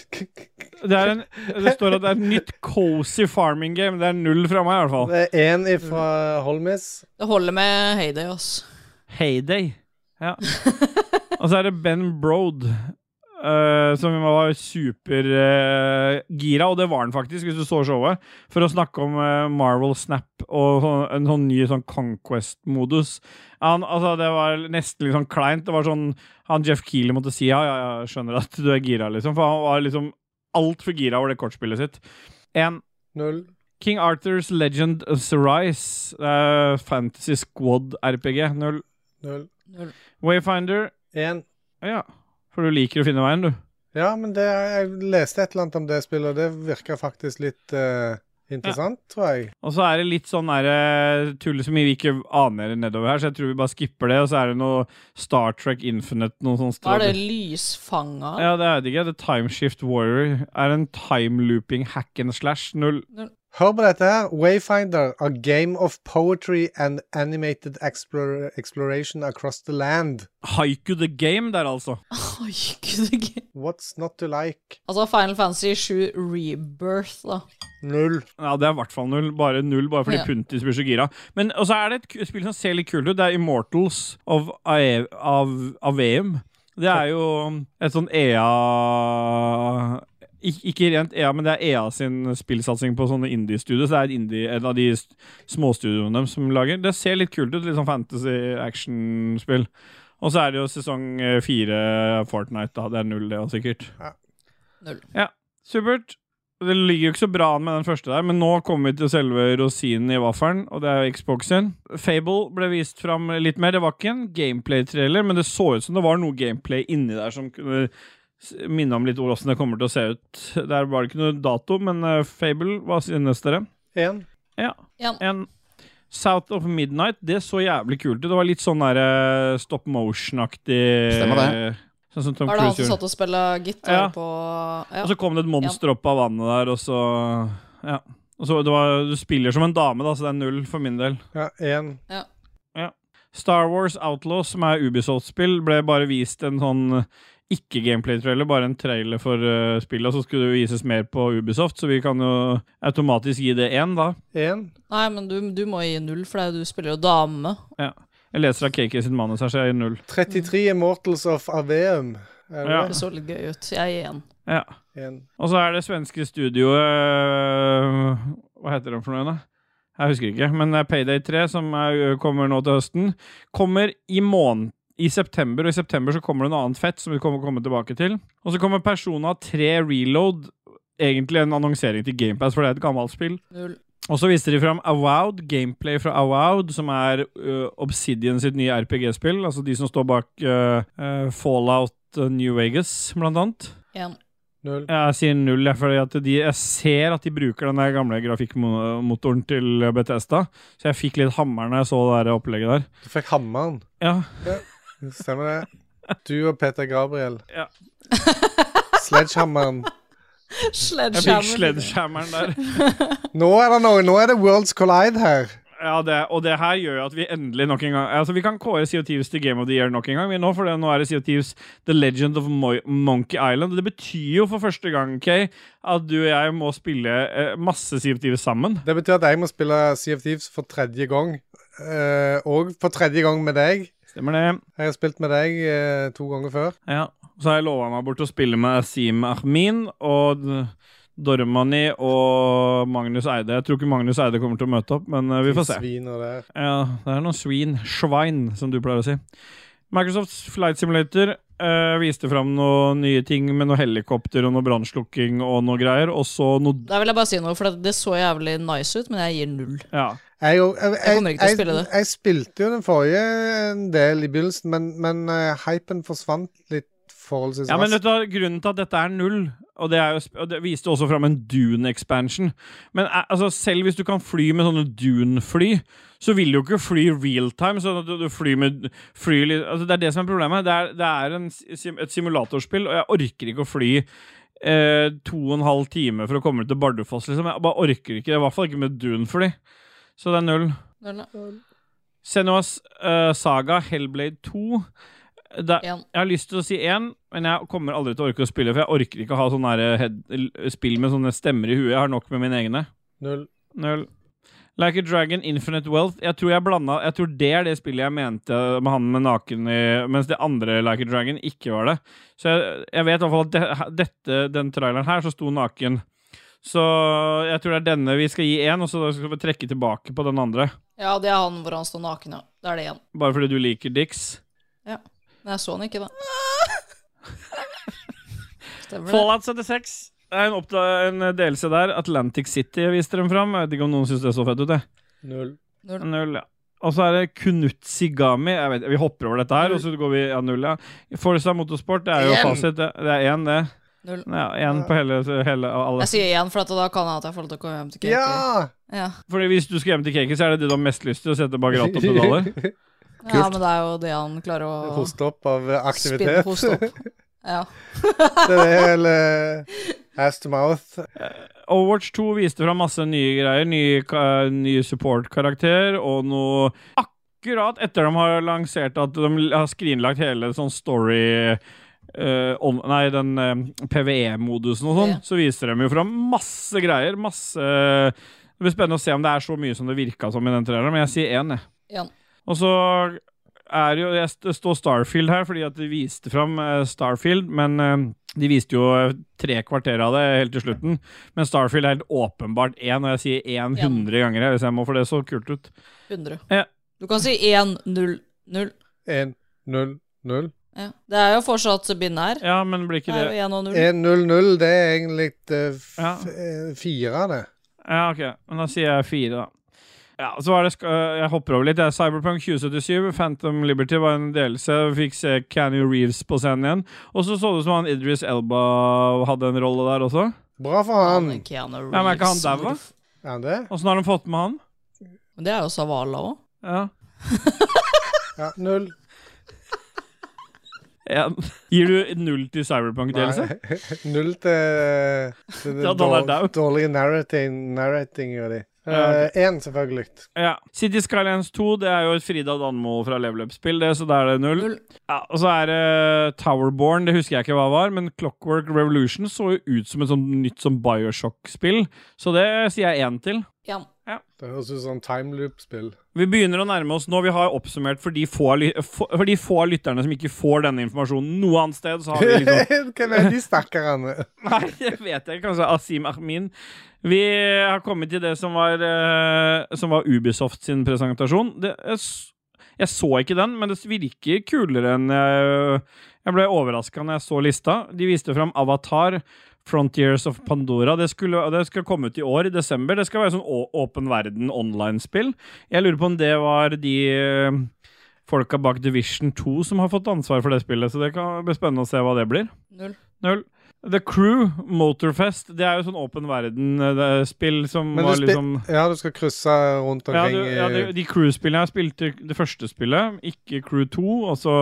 [SPEAKER 1] Det, er en, det står at det er et nytt cozy farming game. Det er null fra meg, i hvert fall.
[SPEAKER 2] Det er én ifra Holmis.
[SPEAKER 3] Det holder med Heyday, ass.
[SPEAKER 1] Heyday. Ja. Og så er det Ben Brode, eh, som var supergira, eh, og det var han faktisk, hvis du så showet, for å snakke om eh, Marvel Snap og sånn- en sånn ny sånn Conquest-modus. Han, altså, det var nesten litt sånn kleint. Det var sånn han Jeff Keeley måtte si ja, ja, ja, jeg skjønner at du er gira, liksom, for han var liksom altfor gira over det kortspillet sitt. En
[SPEAKER 2] Null.
[SPEAKER 1] King Arthurs Legend of Sarise, eh, Fantasy Squad RPG. Null.
[SPEAKER 2] Null.
[SPEAKER 3] Null.
[SPEAKER 1] Wayfinder.
[SPEAKER 2] En.
[SPEAKER 1] Ja. For du liker å finne veien, du.
[SPEAKER 2] Ja, men det, jeg leste et eller annet om det spillet, og det virka faktisk litt eh, interessant, tror jeg.
[SPEAKER 1] Og så er det litt sånn der, eh, tull som vi ikke aner nedover her, så jeg tror vi bare skipper det. Og så er det noe Star Trek Infinite, noe sånt
[SPEAKER 3] Hva er det
[SPEAKER 1] strål-
[SPEAKER 3] lysfanga?
[SPEAKER 1] Ja, det er det ikke. The Timeshift Warrior er en timelooping hack and slash. Null
[SPEAKER 2] Hør på dette her. Wayfinder, a game of poetry and animated explor exploration across the land.
[SPEAKER 1] Haiku the Game der, altså.
[SPEAKER 3] Oi, gud, det er gøy.
[SPEAKER 2] What's not to like?
[SPEAKER 3] Altså Final Fantasy 7 Rebirth, da.
[SPEAKER 2] Null.
[SPEAKER 1] Ja, det er i hvert fall null. Bare null, bare fordi
[SPEAKER 3] Ja.
[SPEAKER 1] Puntis blir så gira. Men og så er det et ku- spill som ser litt kult ut. Det er Immortals of, Ae- av Aveum. Det er jo et sånn EA Ik ikke rent EA, men det er EA sin spillsatsing på sånne indie-studier. Så det er et indie, en av de st- småstudioene dem som lager. Det ser litt kult ut. Litt sånn fantasy-action-spill. Og så er det jo sesong eh, fire Fortnite, da. Det er null, det òg, sikkert.
[SPEAKER 3] Null.
[SPEAKER 1] Ja, supert. Det ligger jo ikke så bra an med den første der, men nå kommer vi til selve rosinen i vaffelen, og det er jo Xboxen. Fable ble vist fram litt mer. Det var ikke en gameplay-trailer, men det så ut som det var noe gameplay inni der som kunne s- minne om litt hvordan det kommer til å se ut. Der var det ikke noe dato, men eh, Fable, hva synes dere?
[SPEAKER 2] En.
[SPEAKER 1] Ja.
[SPEAKER 3] Ja.
[SPEAKER 1] En South of Midnight, det så jævlig kult ut. Det var litt sånn der eh, stop motion-aktig
[SPEAKER 8] Stemmer
[SPEAKER 1] Sånn som Tom
[SPEAKER 3] Var det han
[SPEAKER 1] Cruise
[SPEAKER 3] som
[SPEAKER 1] gjorde.
[SPEAKER 3] satt og spilte gitar
[SPEAKER 1] Ja.
[SPEAKER 3] på ja.
[SPEAKER 1] Og så kom det et monster opp av vannet der, og så Ja. Og så det var, du spiller som en dame, da, så det er null for min del.
[SPEAKER 2] Ja, en.
[SPEAKER 1] Star Wars Outlaw, som er Ubisoft-spill, ble bare vist en sånn ikke-gameplay-trailer, bare en trailer for eh, spillet, og så skulle det vises mer på Ubisoft, så vi kan jo automatisk gi det én, da.
[SPEAKER 2] En.
[SPEAKER 3] Nei, men du, du må gi null, for det er jo du spiller jo dame.
[SPEAKER 1] Jeg leser av KK sitt manus her, så jeg gir null.
[SPEAKER 2] 33 Immortals of Aveum. Er det
[SPEAKER 1] Ja.
[SPEAKER 3] Det så litt gøy ut. Jeg er én.
[SPEAKER 1] Ja.
[SPEAKER 2] det? En.
[SPEAKER 1] Og så er det svenske studioet øh, Hva heter den for noe? da? Jeg husker ikke, men det er Payday 3 som er, kommer nå til høsten. Kommer i måned i september, og i september så kommer det noe annet fett som vi kommer komme tilbake til. Og så kommer Persona 3 Reload, egentlig en annonsering til GamePass, for det er et gammelt spill.
[SPEAKER 3] Null.
[SPEAKER 1] Og så viste de fram Avowed, gameplay fra Avowed, som er ø, Obsidian sitt nye RPG-spill. Altså de som står bak ø, ø, Fallout ø, New Vegas, blant annet.
[SPEAKER 3] Én.
[SPEAKER 2] Null.
[SPEAKER 1] Jeg sier null, jeg, fordi at de, jeg ser at de bruker den der gamle grafikkmotoren til Bethesda. Så jeg fikk litt hammer når jeg så det der opplegget der.
[SPEAKER 2] Du fikk hammeren.
[SPEAKER 1] Ja,
[SPEAKER 2] Stemmer det? Du og Peter Gabriel.
[SPEAKER 1] Ja.
[SPEAKER 2] Sledgehammeren.
[SPEAKER 1] jeg fikk
[SPEAKER 3] Sledgehammer.
[SPEAKER 1] sledgehammeren der.
[SPEAKER 2] Nå er det noe. Nå er det Worlds Collide her.
[SPEAKER 1] Ja, det, og det her gjør jo at vi endelig nok en gang Altså, vi kan kåre CO2s til Game of the Year nok en gang, vi nå, for det, nå er det CO2s The Legend of Mo Monkey Island. Og det betyr jo for første gang, Kay, at du og jeg må spille eh, masse CO2 sammen.
[SPEAKER 2] Det betyr at jeg må spille Sea of Thieves for tredje gang. Eh, og for tredje gang med deg.
[SPEAKER 1] Stemmer det?
[SPEAKER 2] Jeg har spilt med deg eh, to ganger før.
[SPEAKER 1] Ja, så har jeg lova meg bort å spille med Asim Ahmin og D- Dormani og Magnus Eide. Jeg tror ikke Magnus Eide kommer til å møte opp, men eh, vi får se.
[SPEAKER 2] Sviner der.
[SPEAKER 1] Ja, det er noen svin. Schwein, som du pleier å si. Microsofts Flight Simulator eh, viste fram noen nye ting med noe helikopter og noe brannslukking og noe greier, og så noe
[SPEAKER 3] Der vil jeg bare si noe, for det, det så jævlig nice ut, men jeg gir null.
[SPEAKER 1] Ja.
[SPEAKER 2] Jeg, og- jeg,
[SPEAKER 3] Jeg kommer ikke til å spille det.
[SPEAKER 2] Jeg, jeg spilte jo den forrige en del i begynnelsen, men, men eh, hypen forsvant litt forholdsvis
[SPEAKER 1] Ja, men vet
[SPEAKER 2] raskt.
[SPEAKER 1] du, hva, Grunnen til at dette er null, og det, er jo, sp- og det viste også fram en Dune-expansion Men eh, altså, selv hvis du kan fly med sånne Dune-fly, så vil du jo ikke fly realtime. Sånn at du, du flyr med fly, li- altså, Det er det som er problemet. Det er, det er en, sim- et simulatorspill, og jeg orker ikke å fly eh, to og en halv time for å komme til Bardufoss. Liksom. Jeg bare orker ikke det, i hvert fall ikke med Dune-fly. Så det er null.
[SPEAKER 3] Null, ja.
[SPEAKER 1] Senuas eh, Saga Hellblade 2. Det,
[SPEAKER 3] En.
[SPEAKER 1] jeg har lyst til å si én, men jeg kommer aldri til å orke å spille. For jeg orker ikke å ha sånn der head, l- spill med sånne stemmer i huet. Jeg har nok med mine egne.
[SPEAKER 2] Null.
[SPEAKER 1] Null. Like a Dragon, Infinite Wealth. Jeg tror, jeg blanda, jeg tror det er det spillet jeg mente med han med naken i Mens det andre Like a Dragon ikke var det. Så jeg, jeg vet i hvert fall at det, dette, den traileren her, så sto naken. Så jeg tror det er denne vi skal gi én, og så skal vi trekke tilbake på den andre.
[SPEAKER 3] ja, det er han hvor han står naken, ja. Da er det én.
[SPEAKER 1] Bare fordi du liker Dix.
[SPEAKER 3] Men jeg så han ikke, da. Stemmer det.
[SPEAKER 1] Fallout 76. Det er en, oppda en delelse der. Atlantic City viste dem fram. Jeg vet ikke om noen syns det så fett ut. det
[SPEAKER 2] Null.
[SPEAKER 3] Null.
[SPEAKER 1] Null, ja. Og så er det Kunutsigami. Jeg vet, vi hopper over dette her, og så går vi ja, null, ja. Forza Motorsport, det er jo
[SPEAKER 3] En.
[SPEAKER 1] fasit. Det det er én, det.
[SPEAKER 3] Null.
[SPEAKER 1] Ja, én på hele, hele og alle.
[SPEAKER 3] Jeg sier én, for at da kan jeg at jeg får lov til å gå hjem til Katie.
[SPEAKER 2] Ja!
[SPEAKER 3] Ja.
[SPEAKER 1] Fordi Hvis du skal hjem til Kaki, så er det det du har mest lyst til å sette bak rattet og pedaler.
[SPEAKER 3] ja, men det er jo det han klarer å
[SPEAKER 2] Hoste opp av eh,
[SPEAKER 3] Spinne
[SPEAKER 2] aktivitet.
[SPEAKER 3] hoste opp. Ja.
[SPEAKER 2] det er vel eh, ass to mouth.
[SPEAKER 1] Overwatch 2 viste fram masse nye greier. Ny, ka- ny support-karakter og noe Akkurat etter de har lansert at de har skrinlagt hele sånn story eh, on, Nei, den eh, PVE-modusen og sånn,
[SPEAKER 3] Ja.
[SPEAKER 1] så viser de jo fram masse greier. Masse Det blir spennende å se om det er så mye som det virka som i den traileren, men jeg sier én, jeg.
[SPEAKER 3] Igjen.
[SPEAKER 1] Og så er jo jeg st- Det står Starfield her fordi at de viste fram eh, Starfield, men eh, de viste jo eh, tre kvarter av det helt til slutten. Men Starfield er helt åpenbart én, og jeg sier én
[SPEAKER 3] Ja.
[SPEAKER 1] hundre ganger her, hvis jeg må, for det så kult ut.
[SPEAKER 3] 100.
[SPEAKER 1] Ja.
[SPEAKER 3] Du kan si 1, 0, 0.
[SPEAKER 2] 1, 0, 0.
[SPEAKER 3] Ja. Det er jo fortsatt binær.
[SPEAKER 1] Ja, men blir
[SPEAKER 3] Det
[SPEAKER 1] ikke
[SPEAKER 3] er
[SPEAKER 1] det
[SPEAKER 3] jo 1 og 0.
[SPEAKER 2] 1, 0, 0, det er egentlig eh, f-
[SPEAKER 1] Ja.
[SPEAKER 2] eh, fire, det.
[SPEAKER 1] Ja, OK. Men da sier jeg fire, da. Ja, så var det sk øh, Jeg hopper over litt. Det er Cyberpunk 2077. Phantom Liberty var en delelse. Vi Fikk se Canny Reeves på scenen igjen. Og så så det ut som han Idris Elba hadde en rolle der også.
[SPEAKER 2] Bra for han.
[SPEAKER 3] Men Keanu
[SPEAKER 1] Ja, men er ikke han
[SPEAKER 3] Reeves,
[SPEAKER 1] daua?
[SPEAKER 3] hvorfor-
[SPEAKER 2] Er han det?
[SPEAKER 1] Åssen har de fått med han?
[SPEAKER 3] Men Det er jo Savala òg.
[SPEAKER 1] Ja
[SPEAKER 2] Ja, null.
[SPEAKER 1] En. Gir du null til Cyberpunk-delelse?
[SPEAKER 2] Nei. Null til, eh, til det
[SPEAKER 1] Ja, da var det
[SPEAKER 2] dår-
[SPEAKER 1] dau.
[SPEAKER 2] dårlige narrating, narratinga di.
[SPEAKER 1] Ja,
[SPEAKER 2] Én, selvfølgelig.
[SPEAKER 1] Ja. City Skylines 2 det er jo et Frida Danmo fra Level Up-spill, det, så da er det null.
[SPEAKER 3] Null.
[SPEAKER 1] Ja, og så er det eh, Towerborn, det husker jeg ikke hva var, men Clockwork Revolution så jo ut som et sånt nytt sånn Bioshock-spill, så det sier jeg én til.
[SPEAKER 3] Igjen.
[SPEAKER 2] Det høres ut som timeloop-spill.
[SPEAKER 1] Vi begynner å nærme oss nå. Vi har oppsummert for de få, ly- for, for de få lytterne som ikke får denne informasjonen noe annet sted. Så har vi liksom
[SPEAKER 2] Hvem er de stakkarene?
[SPEAKER 1] Nei, det vet jeg ikke. Kanskje Asim Ahmin. Vi har kommet til det som var, eh, som var Ubisoft sin presentasjon. Det, jeg, s- jeg så ikke den, men det virker kulere enn jeg Jeg ble overraska når jeg så lista. De viste fram Avatar. Frontiers of Pandora. Det, skulle, det skal komme ut i år, i desember. Det skal være sånn å- åpen verden online-spill. Jeg lurer på om det var de eh, folka bak Division 2 som har fått ansvar for det spillet, så det kan bli spennende å se hva det blir.
[SPEAKER 3] Null.
[SPEAKER 1] Null. The Crew, Motorfest, det er jo sånn åpen verden-spill som
[SPEAKER 2] Men du
[SPEAKER 1] var
[SPEAKER 2] spi-
[SPEAKER 1] liksom
[SPEAKER 2] Ja, du skal krysse rundt
[SPEAKER 1] ja, du,
[SPEAKER 2] omkring
[SPEAKER 1] ja, de,
[SPEAKER 2] i-
[SPEAKER 1] de Crew-spillene jeg spilte det første spillet, ikke Crew 2, og så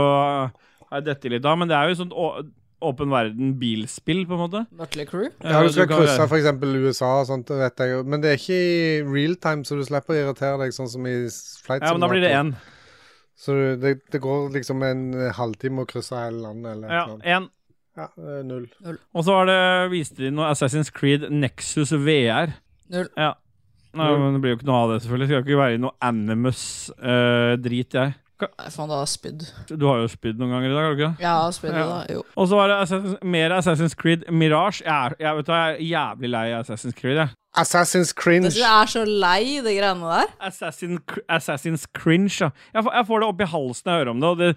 [SPEAKER 1] har jeg dette litt av, men det er jo sånn å- åpen verden-bilspill, på en måte.
[SPEAKER 3] Mötley Crew.
[SPEAKER 2] Ja, du skal
[SPEAKER 1] Eh, kan
[SPEAKER 2] krysse
[SPEAKER 1] gjøre-
[SPEAKER 2] f.eks. USA og sånt, det vet jeg jo. Men det er ikke i real time, så du slipper å irritere deg, sånn som i s- Flight
[SPEAKER 1] Ja, men da blir det
[SPEAKER 2] Simulator.
[SPEAKER 1] én.
[SPEAKER 2] Så du- det, det går liksom en eh, halvtime å krysse hele landet, eller
[SPEAKER 1] Ja,
[SPEAKER 2] noe.
[SPEAKER 1] en.
[SPEAKER 2] Ja, eh, null.
[SPEAKER 1] Og så var det, viste de noe Assassin's Creed Nexus VR.
[SPEAKER 3] Null.
[SPEAKER 1] Ja. Nei, men Det blir jo ikke noe av det, selvfølgelig. Det skal ikke være i noe Animus-drit, jeg.
[SPEAKER 3] Nei, faen, da har jeg spydd.
[SPEAKER 1] Du har jo spydd noen ganger i dag, har du ikke det?
[SPEAKER 3] Jeg har spydd,
[SPEAKER 1] Ja.
[SPEAKER 3] da. Jo.
[SPEAKER 1] Og så var det Assassin's, mer Assassin's Creed Mirage. Jeg er, jeg, vet du, jeg er jævlig lei av Assassin's Creed. Jeg.
[SPEAKER 2] Assassin's Cringe.
[SPEAKER 3] Jeg synes jeg er så lei de greiene der.
[SPEAKER 1] Assassin, Assassin's cringe. Ja. Jeg, får, jeg får det opp i halsen når jeg hører om det. Og det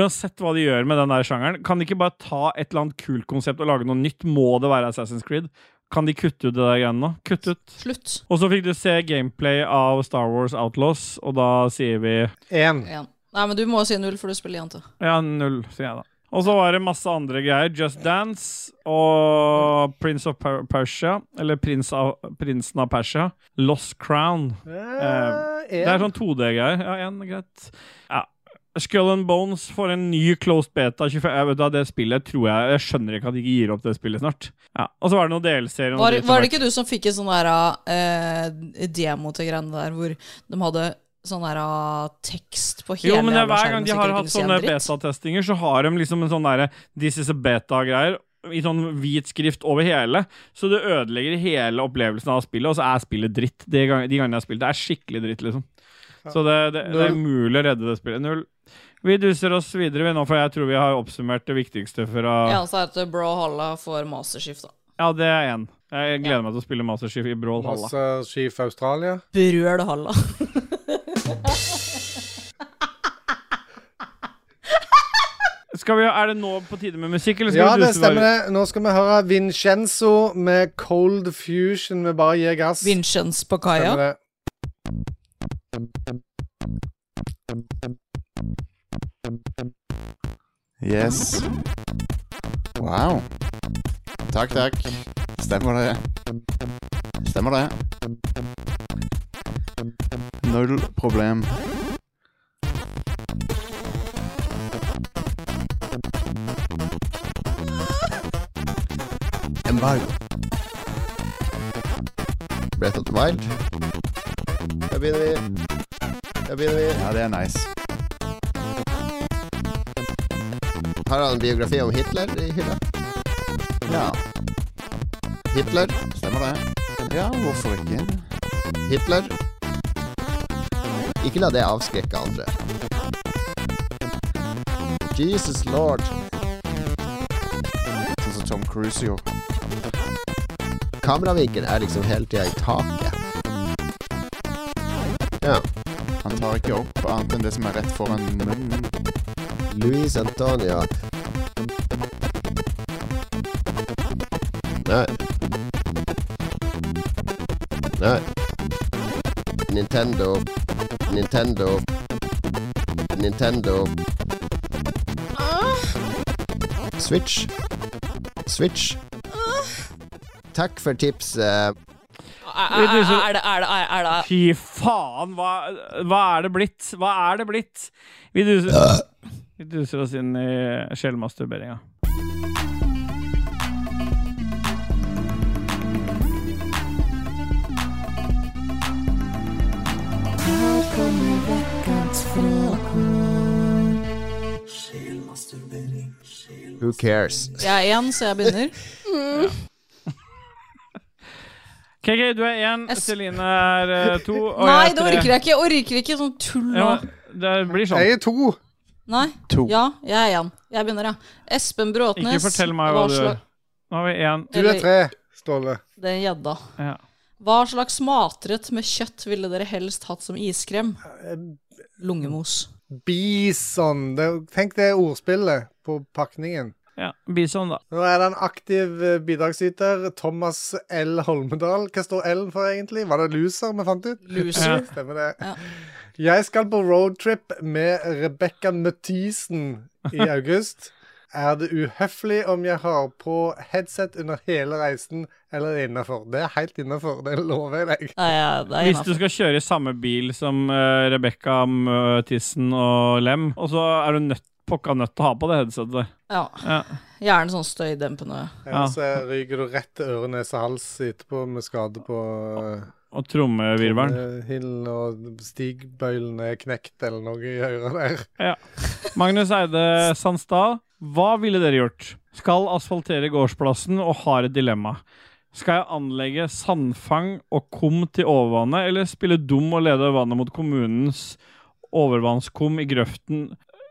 [SPEAKER 1] uansett hva de gjør med den der sjangeren, kan de ikke bare ta et eller annet kult konsept og lage noe nytt? Må det være Assassin's Creed? Kan de kutte ut det der greiene nå? Kutt ut.
[SPEAKER 3] Slutt.
[SPEAKER 1] Og så fikk du se gameplay av Star Wars Outlaws, og da sier vi
[SPEAKER 2] Én.
[SPEAKER 3] Igjen. Nei, men du må si null, for du spiller igjen til.
[SPEAKER 1] Ja, null, sier jeg da. Og så var det masse andre greier. Just Dance og Prince of Per- Persia. Eller Prins av, Prinsen av Persia. Lost Crown. Eh, Det er sånn 2D-greier. Ja, én, greit. Ja. Skull and Bones får en ny closed beta 25. Jeg vet da, Det spillet tror jeg Jeg skjønner ikke at de ikke gir opp det spillet snart. Ja, Og så var det noen delserier. og noe
[SPEAKER 3] Var,
[SPEAKER 1] dritt som
[SPEAKER 3] var
[SPEAKER 1] var-
[SPEAKER 3] det ikke du som fikk en sånn der eh, demo til greiene der, hvor de hadde sånn der eh, tekst på
[SPEAKER 1] Jo,
[SPEAKER 3] hele
[SPEAKER 1] men det er
[SPEAKER 3] jævla
[SPEAKER 1] hver
[SPEAKER 3] skjermen,
[SPEAKER 1] gang de
[SPEAKER 3] så ikke
[SPEAKER 1] har
[SPEAKER 3] du kunne
[SPEAKER 1] hatt
[SPEAKER 3] si en
[SPEAKER 1] sånne
[SPEAKER 3] dritt.
[SPEAKER 1] betatestinger, så har de liksom en sånn derre This is a beta-greier. I sånn hvit skrift over hele. Så det ødelegger hele opplevelsen av spillet, og så er spillet dritt. De gangene, de gangene jeg har spilt det, er skikkelig dritt, liksom. Så det, det, det er umulig å redde det spillet. Null. Vi duser oss videre vi nå, for jeg tror vi har oppsummert det viktigste fra
[SPEAKER 3] Ja,
[SPEAKER 1] Ja,
[SPEAKER 3] så er det at Bro Halla får masterskift, da.
[SPEAKER 1] det er én. Jeg gleder meg til å spille Master Chief i Brawl Halla.
[SPEAKER 2] Masse skip Australia.
[SPEAKER 3] Brøl Halla.
[SPEAKER 1] Skal vi, er det nå på tide med musikk, eller skal
[SPEAKER 2] Ja,
[SPEAKER 1] vi
[SPEAKER 2] det
[SPEAKER 1] duse
[SPEAKER 2] stemmer
[SPEAKER 1] bare?
[SPEAKER 2] det. Nå skal vi høre Vincenzo med Cold Fusion. Vi bare gir gass.
[SPEAKER 3] Vincens på kaia.
[SPEAKER 2] Stemmer det.
[SPEAKER 8] Yes. Wow. Takk, takk. Stemmer det. Stemmer det. Null problem.
[SPEAKER 5] Embargo. Breath of the Wild. Der begynner vi. Der begynner vi.
[SPEAKER 8] Ja, det er nice.
[SPEAKER 5] Her har han en biografi om Hitler i hylla.
[SPEAKER 8] Ja,
[SPEAKER 5] Hitler,
[SPEAKER 8] stemmer det. Ja, hvorfor ikke?
[SPEAKER 5] Hitler. Ikke la det avskrekke andre. Jesus lord.
[SPEAKER 8] Sånn som Tom Cruise gjorde.
[SPEAKER 5] Kameravinkelen er liksom hele tida i taket. Ja.
[SPEAKER 8] Han tar ikke opp annet enn det som er rett foran munnen.
[SPEAKER 5] Luis Antonio. Nei. Nei. Nintendo. Nintendo. Nintendo. Switch. Switch. Takk for tipset.
[SPEAKER 1] Vet du, så-
[SPEAKER 9] Er det, er det, er er det
[SPEAKER 1] Fy faen, hva, hva er det blitt? Hva er det blitt? Vi duser, vi duser oss inn i sjelmasturberinga.
[SPEAKER 5] Who cares?
[SPEAKER 3] Jeg er én, så jeg begynner.
[SPEAKER 1] KK, du er én, Celine er eh, to. Og
[SPEAKER 3] Nei,
[SPEAKER 1] jeg
[SPEAKER 3] det
[SPEAKER 1] er
[SPEAKER 3] orker jeg ikke. Jeg orker ikke sånn tull nå.
[SPEAKER 1] Ja, det blir sånn.
[SPEAKER 2] Jeg er to.
[SPEAKER 3] Nei.
[SPEAKER 8] To.
[SPEAKER 3] Ja, jeg er én. Jeg begynner, ja. Espen Bråtnes.
[SPEAKER 1] Ikke fortell meg hva du gjør. Nå har vi én.
[SPEAKER 2] Du er tre, Ståle.
[SPEAKER 3] Det er gjedda.
[SPEAKER 1] Ja.
[SPEAKER 3] Hva slags matrett med kjøtt ville dere helst hatt som iskrem? Lungemos.
[SPEAKER 2] Bison. Det, tenk det ordspillet på pakningen.
[SPEAKER 1] Ja, Bison, da.
[SPEAKER 2] Nå er det en aktiv eh, bidragsyter, Thomas L. Holmedal. Hva står L-en for egentlig? Var det loser vi fant ut?
[SPEAKER 3] Loser. Ja.
[SPEAKER 2] Stemmer det. Jeg skal på roadtrip med Rebekka Mathisen i august. Er det uhøflig om jeg har på headset under hele reisen, eller innafor? Det er helt innafor, det lover jeg deg.
[SPEAKER 3] Nei, ja, det er
[SPEAKER 1] Hvis du
[SPEAKER 3] innenfor.
[SPEAKER 1] skal kjøre i samme bil som uh, Rebekka, Tissen og Lem, og så er du nødt, pokka nødt til å ha på det headsetet der.
[SPEAKER 3] Ja.
[SPEAKER 1] Ja.
[SPEAKER 3] Gjerne sånn støydempende.
[SPEAKER 2] Ellers eh, ryker du rett til øre, nese, hals etterpå med skade på eh,
[SPEAKER 1] Og trommevirvelen.
[SPEAKER 2] Hillen og stigbøylen er knekt eller noe i øret der.
[SPEAKER 1] Ja. Magnus Eide Sandstad, hva ville dere gjort? Skal asfaltere gårdsplassen og har et dilemma. Skal jeg anlegge sandfang og kum til overvannet, eller spille dum og lede vannet mot kommunens overvannskum i grøften,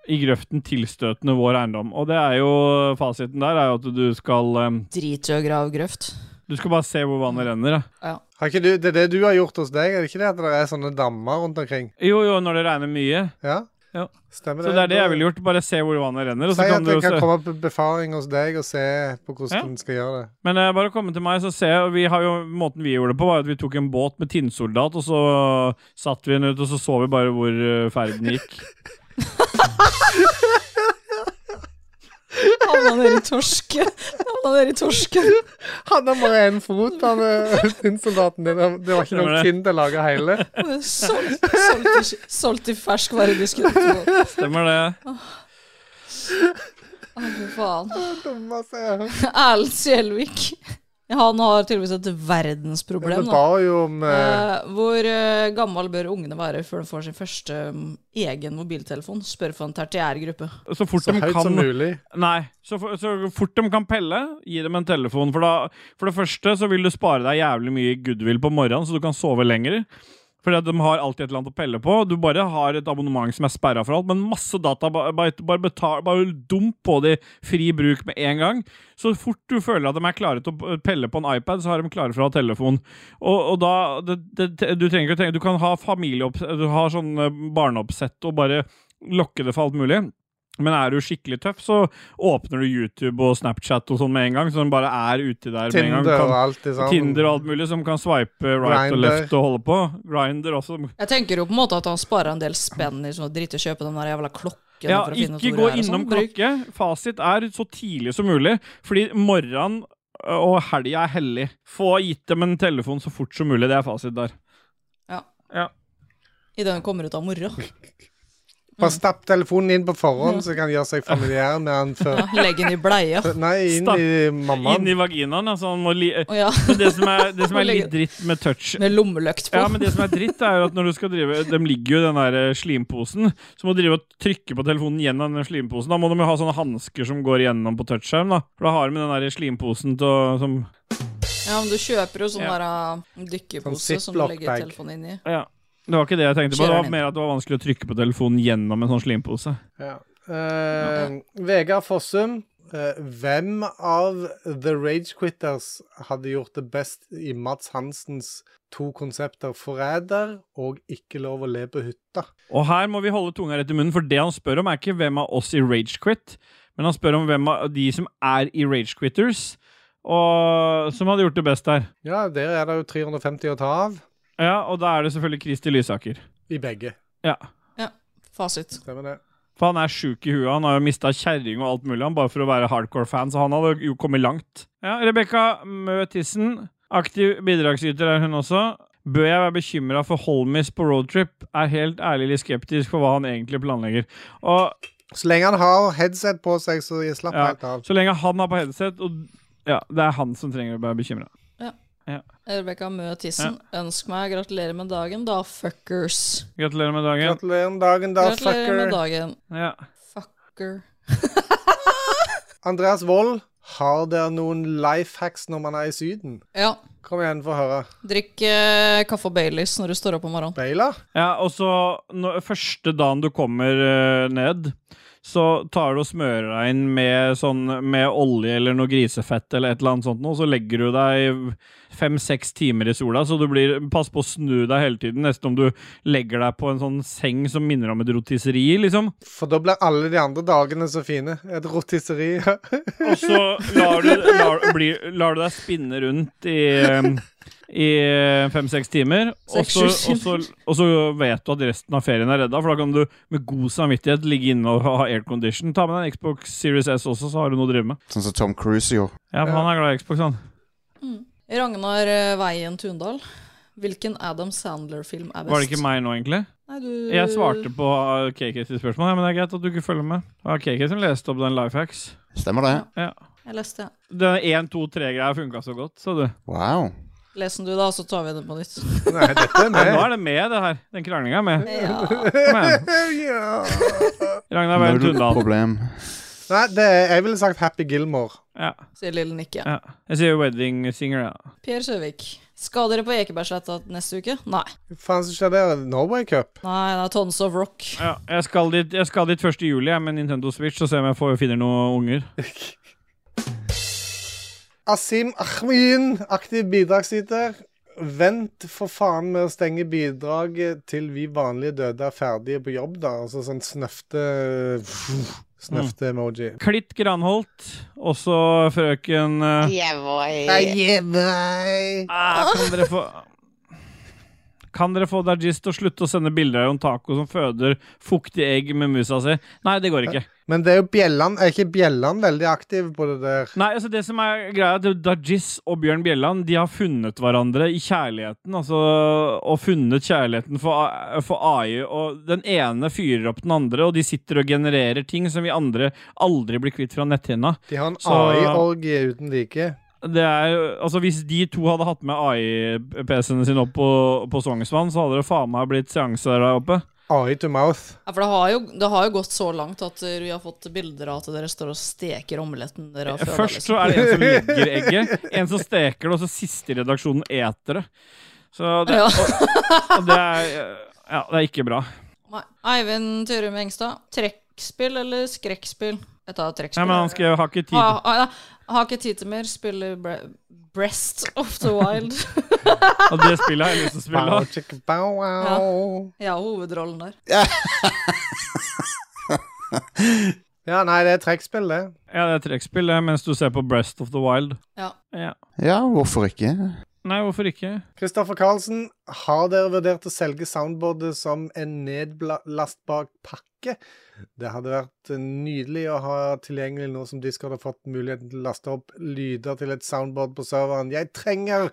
[SPEAKER 1] i grøften tilstøtende vår eiendom? Og det er jo fasiten der, er jo at du skal eh,
[SPEAKER 3] Drit i å grave grøft.
[SPEAKER 1] Du skal bare se hvor vannet renner, da.
[SPEAKER 2] Har ikke du, det er det du har gjort hos deg, er det ikke det at det er sånne dammer rundt omkring?
[SPEAKER 1] Jo, jo, når det regner mye.
[SPEAKER 2] Ja?
[SPEAKER 1] Ja.
[SPEAKER 2] Stemmer
[SPEAKER 1] Så det er det jeg ville gjort. Bare se hvor vannet renner. Og
[SPEAKER 2] Si
[SPEAKER 1] så
[SPEAKER 2] at
[SPEAKER 1] kan du
[SPEAKER 2] det kan
[SPEAKER 1] se.
[SPEAKER 2] komme på befaring hos deg og se på hvordan
[SPEAKER 1] Ja.
[SPEAKER 2] den skal gjøre det.
[SPEAKER 1] Men eh, bare å komme til meg, så ser jeg og vi har jo, Måten vi gjorde det på, var at vi tok en båt med tinnsoldat, og så satt vi den ut, og så så vi bare hvor eh, ferden gikk.
[SPEAKER 3] Havna dere i torske? Havna dere i torsken?
[SPEAKER 2] Han har bare én fot, han eh, tinnsoldaten din. Det var ikke
[SPEAKER 1] Stemmer
[SPEAKER 2] nok
[SPEAKER 1] det.
[SPEAKER 2] tinn til å lage hele.
[SPEAKER 3] Solgt, solgt, i- solgt i ferskvarediskusjon.
[SPEAKER 1] Stemmer det?
[SPEAKER 3] Å, fy faen.
[SPEAKER 2] Dummeste jeg har hørt.
[SPEAKER 3] Erlend Sjelvik. Han har tydeligvis et
[SPEAKER 2] Ja,
[SPEAKER 3] verdensproblem.
[SPEAKER 2] Vi
[SPEAKER 3] Da.
[SPEAKER 2] ba jo om eh,
[SPEAKER 3] Eh, hvor eh, gammel bør ungene være før de får sin første mm, egen mobiltelefon? Spør for en tertiær gruppe.
[SPEAKER 1] Så fort
[SPEAKER 2] så
[SPEAKER 1] de
[SPEAKER 2] høyt
[SPEAKER 1] kan
[SPEAKER 2] som mulig.
[SPEAKER 1] Nei. Så, for, så fort de kan pelle, gi dem en telefon. For, da, for det første så vil du spare deg jævlig mye goodwill på morgenen, så du kan sove lenger. Fordi at de har alltid et eller annet å pelle på. Du bare har et abonnement som er sperra for alt, men masse data. ba- Bare, bare, betal, bare dump på de fri bruk med en gang. Så fort du føler at de er klare til å pelle på en iPad, så har de klare for å ha telefon. Og, og da det, det, Du trenger ikke å tenke Du kan ha familieopp... Du har sånn eh, barneoppsett og bare lokke det for alt mulig. Men er du skikkelig tøff, så åpner du YouTube og Snapchat og sånn med en gang. Så den bare er uti der med en gang.
[SPEAKER 2] Tinder
[SPEAKER 1] Kan-
[SPEAKER 2] og alt det sammen.
[SPEAKER 1] Tinder og alt mulig som kan swipe right
[SPEAKER 2] Grindr.
[SPEAKER 1] og left og holde på. Grinder også.
[SPEAKER 3] Jeg tenker jo på en måte at han sparer en del spenn i sånn dritt å kjøpe den der jævla klokka klokken
[SPEAKER 1] Ja,
[SPEAKER 3] for å finne ut
[SPEAKER 1] ikke
[SPEAKER 3] hvor
[SPEAKER 1] gå
[SPEAKER 3] det er og
[SPEAKER 1] innom
[SPEAKER 3] sånn. Bruk-
[SPEAKER 1] klokke. Fasit er så tidlig som mulig, fordi morgenen og helga er hellig. Få gitt dem en telefon så fort som mulig. Det er fasit der.
[SPEAKER 3] Ja.
[SPEAKER 1] Ja.
[SPEAKER 3] I den kommer ut av mora.
[SPEAKER 2] Bare stapp telefonen inn på forhånd, så kan han gjøre seg familiær med han før.
[SPEAKER 3] Ja, Legg den i bleia.
[SPEAKER 2] Nei, inn
[SPEAKER 1] Stapp-
[SPEAKER 2] i
[SPEAKER 1] Inn
[SPEAKER 2] mammaen.
[SPEAKER 1] i vaginaen. Altså, han må li
[SPEAKER 3] Å ja.
[SPEAKER 1] men det som er, det som er
[SPEAKER 3] Må legge-
[SPEAKER 1] litt dritt med touch
[SPEAKER 3] Med lommelykt på.
[SPEAKER 1] Ja, men det som er dritt, er at når du skal drive De ligger jo i den der eh, slimposen, så må du drive og trykke på telefonen gjennom den slimposen. Da må de jo ha sånne hansker som går gjennom på touchskjerm, da. For da har de den der slimposen til å som
[SPEAKER 3] Ja, men du kjøper jo sånn
[SPEAKER 1] Ja.
[SPEAKER 3] der uh, dykkepose
[SPEAKER 2] Sånn
[SPEAKER 3] som du legger
[SPEAKER 2] Ziploc-bag.
[SPEAKER 3] telefonen inn i.
[SPEAKER 1] Ja. Det var ikke det jeg tenkte på. Det
[SPEAKER 3] Kjører
[SPEAKER 1] var
[SPEAKER 3] den
[SPEAKER 1] mer at det var vanskelig å trykke på telefonen gjennom en sånn slimpose.
[SPEAKER 2] Ja. Eh, Vegard Fossum. eh, hvem av The Rage Quitters hadde gjort det best i Mats Hansens to konsepter 'Forræder' og 'Ikke lov å le på hytta'?
[SPEAKER 1] Og her må vi holde tunga rett i munnen, for det han spør om, er ikke hvem av oss i Ragequit, men han spør om hvem av de som er i Ragequitters, og som hadde gjort det best der.
[SPEAKER 2] Ja, der er det jo 350 å ta av
[SPEAKER 1] Ja, og da er det selvfølgelig Kristi Lysaker.
[SPEAKER 2] i begge.
[SPEAKER 1] Ja.
[SPEAKER 3] Fasit.
[SPEAKER 2] Stemmer det.
[SPEAKER 1] For han er sjuk i huet. Han har jo mista kjerring og alt mulig, han bare for å være hardcore-fan, så han hadde jo kommet langt. Ja, Rebekka Mø Tissen, aktiv bidragsyter er hun også. Bør jeg være bekymra for Holmis på roadtrip? Er helt ærlig litt skeptisk for hva han egentlig planlegger. Og
[SPEAKER 2] Så lenge han har headset på seg, så jeg slapp
[SPEAKER 1] Ja.
[SPEAKER 2] helt av.
[SPEAKER 1] Så lenge han har på headset, og ja, det er han som trenger å være bekymra.
[SPEAKER 3] Rebekka Mø Tissen, ønsk meg gratulerer med dagen, da, fuckers.
[SPEAKER 1] Gratulerer med dagen.
[SPEAKER 2] Gratulerer med dagen, da,
[SPEAKER 3] gratulerer
[SPEAKER 2] fucker.
[SPEAKER 3] med dagen,
[SPEAKER 1] Ja.
[SPEAKER 3] fucker.
[SPEAKER 2] Andreas Wold, har dere noen life hacks når man er i Syden?
[SPEAKER 3] Ja.
[SPEAKER 2] Kom igjen, få høre.
[SPEAKER 3] Drikk eh, kaffe og Baileys når du står opp om morgenen.
[SPEAKER 2] Bailer?
[SPEAKER 1] ja og så når, første dagen du kommer eh, ned, så tar du og smører deg inn med, sånn, med olje eller noe grisefett eller et eller annet sånt noe, så legger du deg fem-seks timer i sola, så du blir Pass på å snu deg hele tiden, nesten om du legger deg på en sånn seng som minner om et rotisseri, liksom.
[SPEAKER 2] For da blir alle de andre dagene så fine. Et rotisseri.
[SPEAKER 1] Og så lar du, lar, bli, lar du deg spinne rundt i um, i eh, fem-seks timer. Og
[SPEAKER 3] Seks,
[SPEAKER 1] så,
[SPEAKER 3] sju
[SPEAKER 1] og, så, og så vet du at resten av ferien er redda, for da kan du med god samvittighet ligge inne og ha aircondition. Ta med deg en Xbox Series S også, så har du noe å drive med.
[SPEAKER 4] Sånn som Tom Cruise gjorde.
[SPEAKER 1] Ja, for han er glad i Xbox, han.
[SPEAKER 3] Ragnar eh, Veien Tundal, hvilken Adam Sandler-film er best?
[SPEAKER 1] Var det ikke meg nå, egentlig?
[SPEAKER 3] Nei, du...
[SPEAKER 1] Jeg svarte på uh, KK sitt spørsmål, ja, men det er greit at du ikke følger med. Det var KK som leste opp den Life Hacks.
[SPEAKER 4] Stemmer det?
[SPEAKER 3] Jeg leste, ja.
[SPEAKER 1] Den 1, 2, 3-greia funka så godt, sa du.
[SPEAKER 4] Wow.
[SPEAKER 3] Les den du, da, så tar vi den på nytt.
[SPEAKER 2] Nei, dette er
[SPEAKER 1] Men nå
[SPEAKER 2] meg.
[SPEAKER 1] er det med, det her. Den kranglinga er med.
[SPEAKER 3] Ja.
[SPEAKER 1] Kom igjen.
[SPEAKER 2] Ja.
[SPEAKER 1] Ragnar
[SPEAKER 4] Null
[SPEAKER 1] Veien Tundal.
[SPEAKER 4] problem.
[SPEAKER 2] Nei, det er, jeg ville sagt Happy Gilmore.
[SPEAKER 1] Ja.
[SPEAKER 3] Sier lille Nikke.
[SPEAKER 1] Ja. Jeg sier wedding singer, ja.
[SPEAKER 3] Per Søvik, skal dere på Ekebergsletta neste uke? Nei.
[SPEAKER 2] Hva faen som skjer der? Norway Cup?
[SPEAKER 3] Nei, det er Tons of Rock.
[SPEAKER 1] ja jeg, skal dit, jeg skal dit 1. juli jeg, med Nintendo Switch og se om jeg får, finner noen unger.
[SPEAKER 2] Asim Ahmin, aktiv bidragsyter. Vent for faen med å stenge bidraget til vi vanlige døde er ferdige på jobb, da. Altså sånn snøfte Snøfte-emoji.
[SPEAKER 1] Klitt Granholt, også frøken eh, ah, Kan dere få Kan dere få Dajis til å slutte å sende bilder av en taco som føder fuktige egg med musa si? Nei, det går ikke.
[SPEAKER 2] Men det er jo Bjelland Er ikke Bjelland veldig aktiv på det der?
[SPEAKER 1] Nei, altså det som er greia er at Dajis og Bjørn Bjelland De har funnet hverandre i kjærligheten altså, Og funnet kjærligheten for, A- for AI Og den ene fyrer opp den andre Og de sitter og genererer ting Som vi andre aldri blir kvitt fra netthinna
[SPEAKER 2] De har en
[SPEAKER 1] Så-
[SPEAKER 2] AI-orgie uten like.
[SPEAKER 1] det er, jo- altså Hvis de to hadde hatt med AI-PC-ene sine opp på, på Sognsvann Så hadde det faen meg blitt seanse der oppe
[SPEAKER 2] AI to mouth.
[SPEAKER 3] Ja, for det har, jo, det har jo gått så langt at eh, vi har fått bilder av at dere står og steker omeletten dere har føda.
[SPEAKER 1] Først så
[SPEAKER 3] liksom.
[SPEAKER 1] er det en som legger egget En som steker det Og så siste i redaksjonen eter det Så det,
[SPEAKER 3] Ja.
[SPEAKER 1] og det er Ja, det er ikke bra
[SPEAKER 3] Nei. Eivind Turum Engstad, trekkspill eller skrekkspill? Jeg tar trekkspill.
[SPEAKER 1] Nei, men han skal ha ikke tid
[SPEAKER 3] Ah, ah, ja. Har ikke tid til mer. Spiller bre Breast of the Wild.
[SPEAKER 1] Og det spillet har jeg lyst til å spille.
[SPEAKER 2] Bow, chicka, bow, wow.
[SPEAKER 3] Jeg har hovedrollen der.
[SPEAKER 2] Ja, nei, det er trekkspill, det.
[SPEAKER 1] Ja, det er trekkspill det, mens du ser på Breast of the Wild.
[SPEAKER 3] Ja.
[SPEAKER 1] Ja.
[SPEAKER 4] Ja, hvorfor ikke?
[SPEAKER 1] Nei, hvorfor ikke?
[SPEAKER 2] Kristoffer Karlsen, har dere vurdert å selge soundboardet som en nedlastbar pakke? Det hadde vært nydelig å ha tilgjengelig nå som Discord har fått muligheten til å laste opp lyder til et soundboard på serveren. Jeg trenger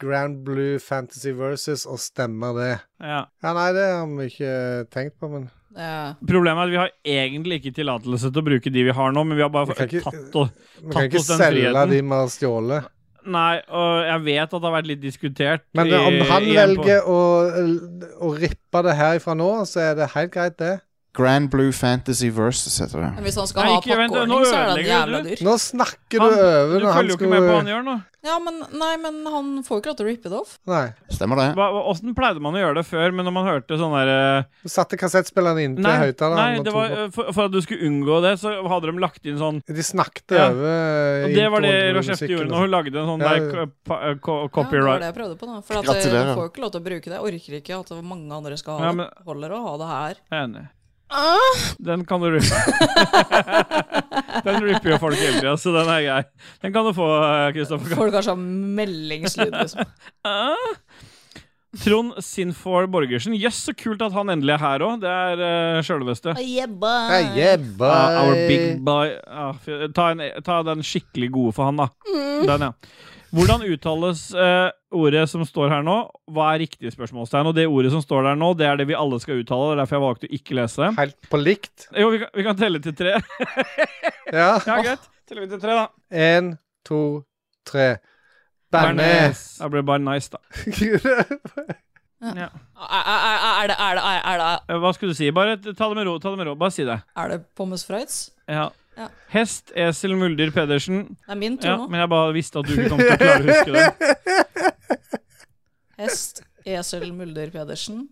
[SPEAKER 2] Grand Blue Fantasy Versus og stemmer det.
[SPEAKER 1] Ja.
[SPEAKER 2] Ja, nei, det har vi ikke tenkt på, men
[SPEAKER 3] Ja.
[SPEAKER 1] Problemet er at vi har egentlig ikke tillatelse til å bruke de vi har nå, men vi har bare
[SPEAKER 2] Vi kan ikke-
[SPEAKER 1] tatt, og,
[SPEAKER 2] vi kan
[SPEAKER 1] tatt
[SPEAKER 2] ikke
[SPEAKER 1] oss den
[SPEAKER 2] selge
[SPEAKER 1] friheten.
[SPEAKER 2] de vi har stjålet.
[SPEAKER 1] Nei, og jeg vet at det har vært litt diskutert.
[SPEAKER 2] Men
[SPEAKER 1] i-
[SPEAKER 2] det, om han
[SPEAKER 1] igjen på-
[SPEAKER 2] velger å, eh, å rippe det herifra nå, så er det helt greit, det.
[SPEAKER 8] Grand Blue Fantasy Versus heter det.
[SPEAKER 3] Men hvis han skal
[SPEAKER 1] Nei,
[SPEAKER 3] ha
[SPEAKER 1] ikke vent,
[SPEAKER 3] pakkeordning,
[SPEAKER 1] nå
[SPEAKER 3] så er den jævla
[SPEAKER 1] ødelegger du.
[SPEAKER 3] dyr.
[SPEAKER 2] Nå snakker du
[SPEAKER 1] Han-
[SPEAKER 2] over
[SPEAKER 1] Du
[SPEAKER 2] når han
[SPEAKER 1] følger jo ikke med på hva han
[SPEAKER 2] skulle
[SPEAKER 1] gjør nå.
[SPEAKER 3] Ja, men, nei, men han får jo ikke lov til å rippe det off.
[SPEAKER 2] Nei.
[SPEAKER 8] Stemmer det?
[SPEAKER 1] Hva, hva- hvordan pleide man å gjøre det før, men når man hørte sånn derre
[SPEAKER 2] Du satte kassettspilleren inn til
[SPEAKER 1] Nei,
[SPEAKER 2] høyttaleren.
[SPEAKER 1] nei
[SPEAKER 2] og
[SPEAKER 1] det
[SPEAKER 2] tok
[SPEAKER 1] var,
[SPEAKER 2] opp.
[SPEAKER 1] eh, for, for at du skulle unngå det, så hadde de lagt inn sånn
[SPEAKER 2] De snakket
[SPEAKER 1] Ja.
[SPEAKER 2] over
[SPEAKER 1] Og det var det
[SPEAKER 2] introen og
[SPEAKER 1] Rochefte
[SPEAKER 2] musikken
[SPEAKER 1] gjorde
[SPEAKER 2] og
[SPEAKER 1] når hun lagde en sånn
[SPEAKER 2] Ja,
[SPEAKER 1] der
[SPEAKER 2] ja.
[SPEAKER 1] co- pa- eh, co-
[SPEAKER 3] Ja, det var
[SPEAKER 1] copyright
[SPEAKER 3] det jeg prøvde på, da. For at
[SPEAKER 8] Gratulerer.
[SPEAKER 3] jeg får jo ikke lov til å bruke det. Jeg orker ikke at mange andre skal ha
[SPEAKER 1] Ja,
[SPEAKER 3] det.
[SPEAKER 1] men-
[SPEAKER 3] Holder å ha det
[SPEAKER 1] Jeg
[SPEAKER 3] her.
[SPEAKER 1] er enig.
[SPEAKER 3] Ah!
[SPEAKER 1] Den kan du rippe. den ripper jo folk hele tida, så den er grei. Den kan du få, eh, Kristoffer.
[SPEAKER 3] Folk har sånn meldingslyd, liksom.
[SPEAKER 1] Ah. Trond Sinfor Borgersen. Jøss, så kult at han endelig er her òg. Det er uh, sjølveste.
[SPEAKER 3] Jebba.
[SPEAKER 2] Hey, yeah, boy.
[SPEAKER 1] Ah,
[SPEAKER 3] Eh,
[SPEAKER 1] our big boy ah, fy- ta, en, ta den skikkelig gode for han, da.
[SPEAKER 3] Mm.
[SPEAKER 1] Den, ja. Hvordan uttales eh, ordet som står her nå? Hva er riktig spørsmålstegn? Og det ordet som står der nå, det er det vi alle skal uttale. og Derfor jeg valgte å ikke lese det.
[SPEAKER 2] Helt på likt.
[SPEAKER 1] Jo, vi kan, vi kan telle til tre.
[SPEAKER 2] Ja.
[SPEAKER 1] Ja, greit. Teller vi til tre, da.
[SPEAKER 2] Én, to, tre. Bernes.
[SPEAKER 1] Da blir det bare nice, da.
[SPEAKER 3] Er, er, er, det, er, det, er, det,
[SPEAKER 1] Eh, Hva skulle du si? Bare ta det med ro. ta det med ro. Bare si det.
[SPEAKER 3] er det pommes frites?
[SPEAKER 1] Ja.
[SPEAKER 3] Ja.
[SPEAKER 1] Hest, esel, muldyr, Pedersen.
[SPEAKER 3] Det er min tur
[SPEAKER 1] Ja,
[SPEAKER 3] nå.
[SPEAKER 1] men jeg bare visste at du ikke kom til å klare å huske det.
[SPEAKER 3] Hest, esel, mulder, Pedersen.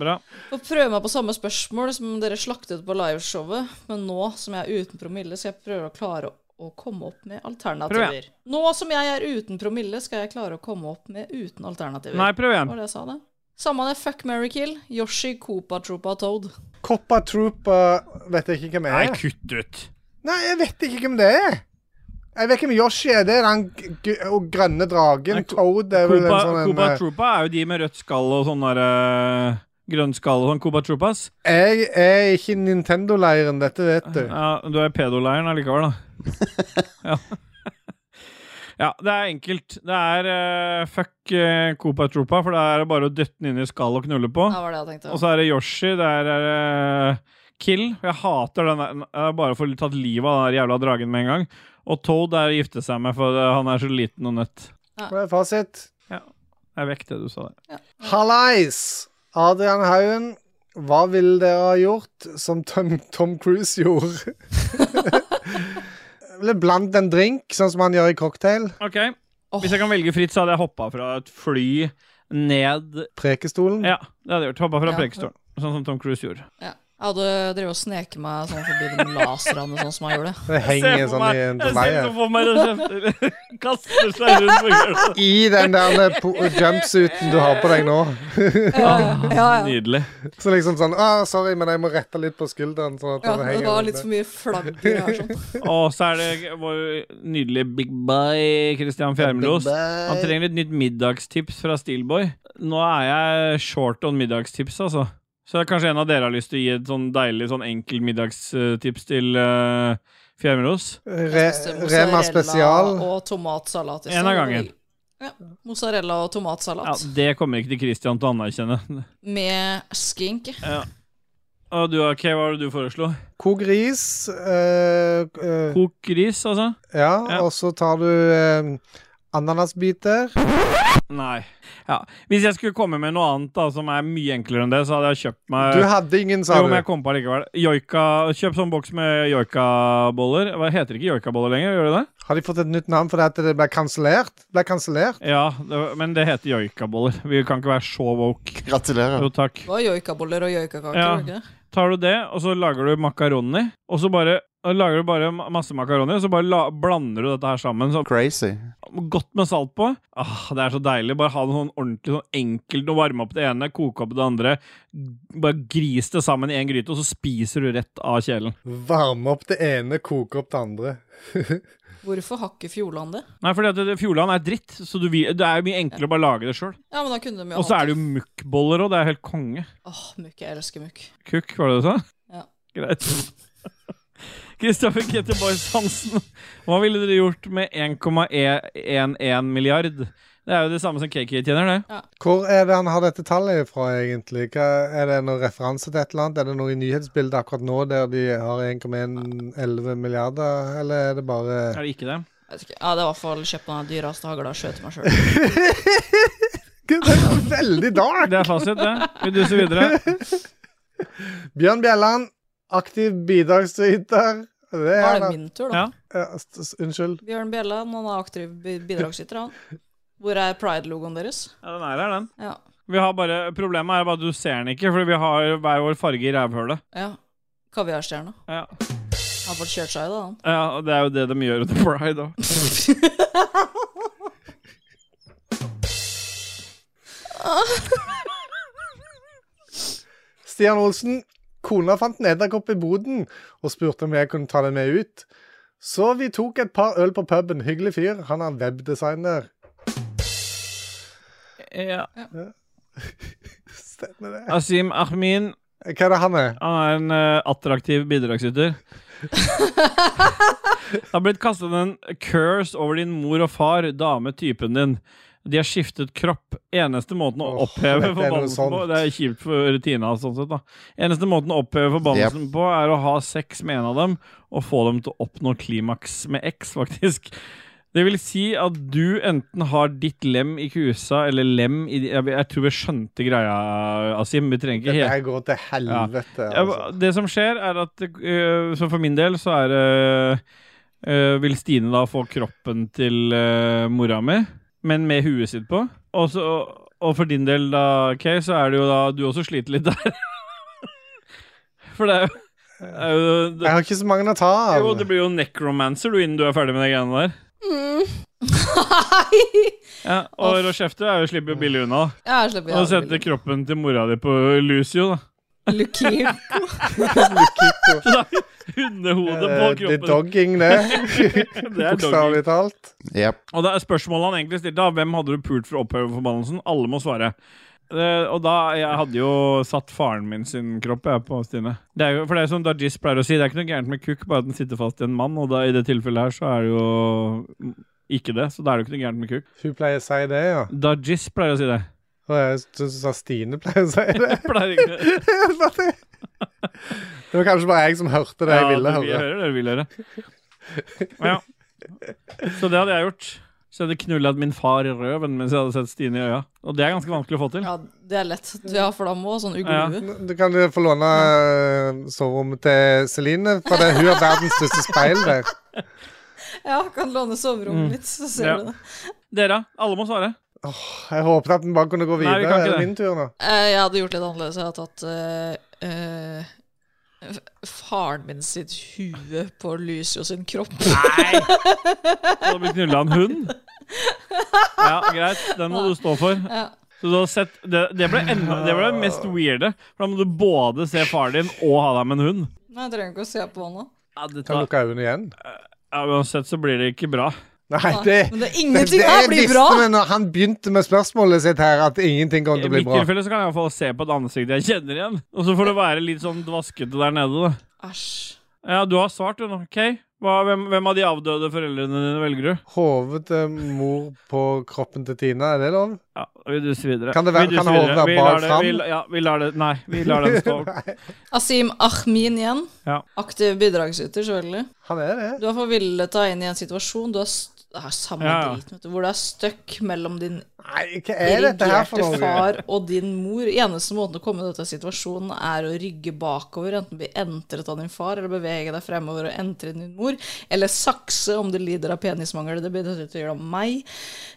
[SPEAKER 1] Bra.
[SPEAKER 3] Får prøve meg på samme spørsmål som dere slaktet på liveshowet, men nå som jeg er uten promille, skal jeg prøve å klare å komme opp med
[SPEAKER 1] Prøv
[SPEAKER 3] alternativer. Nå som jeg er uten promille, skal jeg klare å komme opp med uten alternativer.
[SPEAKER 1] Nei, prøv igjen.
[SPEAKER 3] Var det jeg sa, det? Samme det. Fuck, marry, kill. Yoshi, Koopa, Troopa, Toad.
[SPEAKER 2] Coppa Trooper vet jeg ikke hvem
[SPEAKER 1] Nei,
[SPEAKER 2] er. Nei,
[SPEAKER 1] kutt ut.
[SPEAKER 2] jeg vet ikke hvem det er. Jeg vet ikke hvem Yoshi er. Det er han g g og grønne dragen.
[SPEAKER 1] Nei, Ko-
[SPEAKER 2] Toad er vel en
[SPEAKER 1] Koopa,
[SPEAKER 2] sånn en,
[SPEAKER 1] Koopa
[SPEAKER 2] eh,
[SPEAKER 1] Troopa er jo de med rødt skall og sånn der eh, Grønn skall og sånn. Koopa Troopas.
[SPEAKER 2] Jeg er ikke i Nintendo-leiren, dette vet du.
[SPEAKER 1] Ja, du er pedoleiren allikevel, da. ja. ja, det er enkelt. Det er eh, fuck eh, Koopa Troopa, for det er bare å dytte den inn i skall og knulle på.
[SPEAKER 3] Det var det jeg tenkte.
[SPEAKER 1] Og så er det Yoshi. Der er det Kill. Jeg hater den der. Jeg har bare får tatt livet av den der jævla dragen med en gang. Og Toad er å gifte seg med, for eh, han er så liten og nøtt.
[SPEAKER 2] Hva er fasit?
[SPEAKER 1] Jeg vekk det du sa der.
[SPEAKER 2] Hallais! Adrian Haugen, hva ville dere ha gjort som Tom, Tom Cruise gjorde? Eller blant en drink, sånn som han gjør i cocktail.
[SPEAKER 1] OK. Hvis jeg kan velge fritt, så hadde jeg hoppa fra et fly ned
[SPEAKER 2] Prekestolen.
[SPEAKER 1] Ja, det hadde jeg gjort. Hoppa fra
[SPEAKER 3] Mm. Ja.
[SPEAKER 1] prekestolen. Sånn som Tom Cruise gjorde.
[SPEAKER 3] Ja. Jeg hadde drevet og sneket meg sånn forbi de laserne sånn som jeg gjorde.
[SPEAKER 2] Det henger sånn i en
[SPEAKER 1] jeg
[SPEAKER 2] leie.
[SPEAKER 1] ser for meg det kjefter kaster seg rundt på gulvet.
[SPEAKER 2] I den der po- jumpsuiten du har på deg nå.
[SPEAKER 3] Ja, ja.
[SPEAKER 1] Nydelig.
[SPEAKER 2] Så liksom sånn ah, 'Sorry, men jeg må rette litt på skulderen.' Sånn at
[SPEAKER 3] ja
[SPEAKER 2] den
[SPEAKER 3] det
[SPEAKER 2] henger
[SPEAKER 3] var
[SPEAKER 2] rundt
[SPEAKER 3] litt
[SPEAKER 2] der.
[SPEAKER 3] for mye flagger her sånn.
[SPEAKER 1] Og så er det vår nydelige big bye, Christian Fjermelos. Han trenger et nytt middagstips fra Steelboy. Nå er jeg short on middagstips, altså. Så kanskje en av dere har lyst til å gi et sånn deilig, sånn enkel middagstips til uh, Fjermelos?
[SPEAKER 2] Re Rema
[SPEAKER 3] Mozzarella
[SPEAKER 2] spesial.
[SPEAKER 3] Og tomatsalat. i
[SPEAKER 1] En
[SPEAKER 3] stedet.
[SPEAKER 1] av gangen.
[SPEAKER 3] Ja. Mozzarella
[SPEAKER 1] Ja,
[SPEAKER 3] og tomatsalat
[SPEAKER 1] det kommer ikke til Christian til å anerkjenne.
[SPEAKER 3] med skink.
[SPEAKER 1] Og du, OK, hva var det du foreslo?
[SPEAKER 2] Kok ris. eh, eh,
[SPEAKER 1] Kok ris, altså?
[SPEAKER 2] ja,
[SPEAKER 1] Ja.
[SPEAKER 2] og så tar du eh, ananasbiter.
[SPEAKER 1] Nei. Ja. Hvis jeg skulle komme med noe annet da som er mye enklere enn det, så hadde jeg kjøpt meg
[SPEAKER 2] Du hadde ingen, sa
[SPEAKER 1] jo,
[SPEAKER 2] du.
[SPEAKER 1] men jeg kom på det likevel. Joika, kjøp sånn boks med joikaboller. Hva heter det ikke joikaboller lenger? Gjør det det?
[SPEAKER 2] Har de fått et nytt navn fordi at det ble kansellert? Ble kansellert?
[SPEAKER 1] Ja, det, men det heter joikaboller. Vi kan ikke være så woke.
[SPEAKER 8] Gratulerer.
[SPEAKER 1] Jo, takk.
[SPEAKER 3] Det var joikaboller og joikakaker.
[SPEAKER 1] Ja.
[SPEAKER 3] var det ikke det?
[SPEAKER 1] Tar du det, og så lager du makaroni, og så bare Og lager du bare ma- masse makaroni, og så bare la, blander du dette her sammen. Så
[SPEAKER 8] Crazy.
[SPEAKER 1] godt med salt på. Ah, det er så deilig. Bare ha det sånn ordentlig sånn enkelt og varme opp det ene, koke opp det andre. Bare gris det sammen i en gryte, og så spiser du rett av kjelen.
[SPEAKER 2] Varme opp det ene, koke opp det andre.
[SPEAKER 3] Hvorfor har ikke Fjordland det?
[SPEAKER 1] Nei, fordi at det- Fjordland er dritt, så du, vil- det er jo mye enklere å bare lage det sjøl.
[SPEAKER 3] Ja, men da kunne de jo
[SPEAKER 1] Og så er
[SPEAKER 3] alltid-
[SPEAKER 1] det jo mukkboller òg, det er helt konge.
[SPEAKER 3] Åh, mukk. Jeg elsker mukk.
[SPEAKER 1] Kukk, var det det du sa?
[SPEAKER 3] Ja.
[SPEAKER 1] Greit. Kristoffer Kette Boys Hansen, hva ville dere gjort med 1,11 milliard? Det er jo det samme som KK tjener, det.
[SPEAKER 2] Hvor er det han har dette tallet fra, egentlig? Hva, er det noen referanse til et eller annet? Er det noe i nyhetsbildet akkurat nå der de har 1,11 milliarder, eller er det bare
[SPEAKER 1] Er det ikke det?
[SPEAKER 3] Jeg vet ikke. Ja, det var i hvert fall kjøpt den dyreste hagla og skjøt meg sjøl.
[SPEAKER 2] Det er veldig dark!
[SPEAKER 1] Det er fasit, det. Vi duser videre.
[SPEAKER 2] Bjørn Bjelland, aktiv bidragsyter. Det er
[SPEAKER 3] Da er det
[SPEAKER 2] han.
[SPEAKER 3] min tur,
[SPEAKER 1] Ja.
[SPEAKER 3] da.
[SPEAKER 2] Ja, s- s- Unnskyld.
[SPEAKER 3] Bjørn Bjella, han er aktiv bi- bidragsyter, han. Hvor er pride-logoen deres?
[SPEAKER 1] Ja, den er her, den.
[SPEAKER 3] Ja.
[SPEAKER 1] Vi har bare, problemet er bare at du ser den ikke, fordi vi har hver vår farge i rævhølet.
[SPEAKER 3] ja. Kaviarstjerna.
[SPEAKER 1] Ja.
[SPEAKER 3] Han Har fått kjørt seg i det, han.
[SPEAKER 1] ja, og det er jo det de gjør under Pride, da.
[SPEAKER 2] Ah. Stian Olsen. Kona fant en edderkopp i boden og spurte om jeg kunne ta den med ut. Så vi tok et par øl på puben. Hyggelig fyr. Han er webdesigner.
[SPEAKER 1] Ja.
[SPEAKER 2] Stemmer det.
[SPEAKER 1] Asim Ahmin,
[SPEAKER 2] Hva er det han er?
[SPEAKER 1] han er en eh, attraktiv bidragsyter. Det har blitt kastet en curse over din mor og far, dame typen din. De har skiftet kropp. Eneste måten å
[SPEAKER 2] Åh,
[SPEAKER 1] oppheve
[SPEAKER 2] dette er noe
[SPEAKER 1] forbannelsen på
[SPEAKER 2] sånt.
[SPEAKER 1] Det er kjipt for Tina, sånn sett, da. Eneste måten å oppheve forbannelsen på, er å ha sex med en av dem og få dem til å oppnå klimaks med X, faktisk. Det vil si at du enten har ditt lem i kusa eller lem i Jeg, jeg tror vi skjønte greia, Asim. Vi trenger ikke
[SPEAKER 2] Dette
[SPEAKER 1] helt
[SPEAKER 2] her går til helvete.
[SPEAKER 1] ja,
[SPEAKER 2] Altså.
[SPEAKER 1] Det som skjer, er at øh, Så for min del så er det øh, Vil Stine da få kroppen til øh, mora mi, men med huet sitt på? Og, så, og for din del, da, Kay, så er det jo da du også sliter litt der. for det er jo, er jo
[SPEAKER 2] Jeg
[SPEAKER 1] det,
[SPEAKER 2] har ikke så mange å ta av.
[SPEAKER 1] jo, det blir jo necromancer du innen du er ferdig med de greiene der.
[SPEAKER 2] Mm.
[SPEAKER 3] Nei!
[SPEAKER 1] Ja, og Rochefte er jo slipper jo billig unna.
[SPEAKER 3] Jeg slipper
[SPEAKER 1] Og setter kroppen til mora di på Lucio, da.
[SPEAKER 3] Lukir.
[SPEAKER 1] Så da er Hundehodet på
[SPEAKER 2] Eh, Det er
[SPEAKER 1] kroppen.
[SPEAKER 2] dogging, det.
[SPEAKER 1] Det er dogging.
[SPEAKER 2] Bokstavelig talt.
[SPEAKER 8] Yep.
[SPEAKER 1] Og det er spørsmålet han egentlig stilte, av hvem hadde du pult for å oppheve forbannelsen? Alle må svare. Eh, og da, Jeg hadde jo satt faren min sin kropp jeg, på Stine. Det er jo, for det er som Dajis pleier å si, det er ikke noe gærent med kukk, bare at den sitter fast i en mann. Og da, i det tilfellet her så er det jo ikke det, så da er det jo ikke noe gærent med kukk.
[SPEAKER 2] Hun pleier å si det, ja.
[SPEAKER 1] Dajis pleier å si det.
[SPEAKER 2] Og jeg syns Stine pleier å si det.
[SPEAKER 1] Pleier ikke det.
[SPEAKER 2] det var kanskje bare jeg som hørte det jeg ville
[SPEAKER 1] det vi
[SPEAKER 2] høre.
[SPEAKER 1] hører det vi vil høre. Ja. Så det hadde jeg gjort. Så jeg hadde knullet min far i røven mens jeg hadde sett Stine i øya. Og det er ganske vanskelig å få til.
[SPEAKER 3] Ja, det er lett. Ja, for da må sånn uglue.
[SPEAKER 2] Du kan jo få låne eh, soverommet til Celine, for det, hun har verdens største speil der.
[SPEAKER 3] Ja, kan låne soverommet mitt, så ser
[SPEAKER 1] Ja.
[SPEAKER 3] du det.
[SPEAKER 1] Dere, alle må svare.
[SPEAKER 2] Jeg håpet at den bare kunne gå
[SPEAKER 1] Nei, vi
[SPEAKER 2] videre.
[SPEAKER 1] kan ikke
[SPEAKER 2] er det
[SPEAKER 1] det.
[SPEAKER 2] min tur nå?
[SPEAKER 3] Eh, Jeg hadde gjort litt annerledes. Jeg hadde tatt eh, eh, f- faren min sitt hue på Lucio sin kropp.
[SPEAKER 1] Og da blir knulla en hund. Ja, greit. Den må du stå for.
[SPEAKER 3] Ja.
[SPEAKER 1] Så du har sett, det, det, ble enda, det ble det mest weirde. For da må du både se faren din og ha deg med en hund.
[SPEAKER 3] Nei, jeg trenger ikke å se på han nå.
[SPEAKER 1] Ja,
[SPEAKER 2] Kan lukke øynene igjen?
[SPEAKER 1] Uansett så blir det ikke bra.
[SPEAKER 2] Nei, det
[SPEAKER 3] Men det er
[SPEAKER 2] det,
[SPEAKER 3] ingenting
[SPEAKER 2] det
[SPEAKER 3] her
[SPEAKER 2] jeg
[SPEAKER 3] blir
[SPEAKER 2] visste
[SPEAKER 3] bra!
[SPEAKER 2] vi når han begynte med spørsmålet sitt her, at ingenting kom
[SPEAKER 1] I
[SPEAKER 2] til å bli
[SPEAKER 1] mitt
[SPEAKER 2] bra.
[SPEAKER 1] tilfelle så kan jeg iallfall se på et ansikt jeg kjenner igjen. Og så får det være litt sånn dvaskete der nede, da.
[SPEAKER 3] Æsj.
[SPEAKER 1] Ja, du har svart, du nå. OK? Hva, hvem, hvem av de avdøde foreldrene dine velger du?
[SPEAKER 2] Hodet til mor på kroppen til Tina, er det lov?
[SPEAKER 1] Ja, Vi duser videre.
[SPEAKER 2] Kan det være-
[SPEAKER 1] vi duser
[SPEAKER 2] kan hodet
[SPEAKER 1] videre.
[SPEAKER 2] være
[SPEAKER 1] Vi
[SPEAKER 2] bar
[SPEAKER 1] lar det-
[SPEAKER 2] fram?
[SPEAKER 1] vi la- Ja, vi lar det Nei, vi lar den stå.
[SPEAKER 3] Asim Ahmin igjen.
[SPEAKER 1] Ja.
[SPEAKER 3] Aktiv bidragsyter, selvfølgelig.
[SPEAKER 2] Han er det.
[SPEAKER 3] Du har forvillet deg inn i en situasjon du er st det er samme
[SPEAKER 1] Ja, ja.
[SPEAKER 3] drit, vet du, hvor du er stuck mellom din
[SPEAKER 2] Nei, hva er dette her for noe?
[SPEAKER 3] irrigerte far og din mor. Eneste måten å komme ut av situasjonen er å rygge bakover, enten bli entret av din far, eller bevege deg fremover og entre din mor, eller sakse om du lider av penismangel. Det blir dessuten til om meg.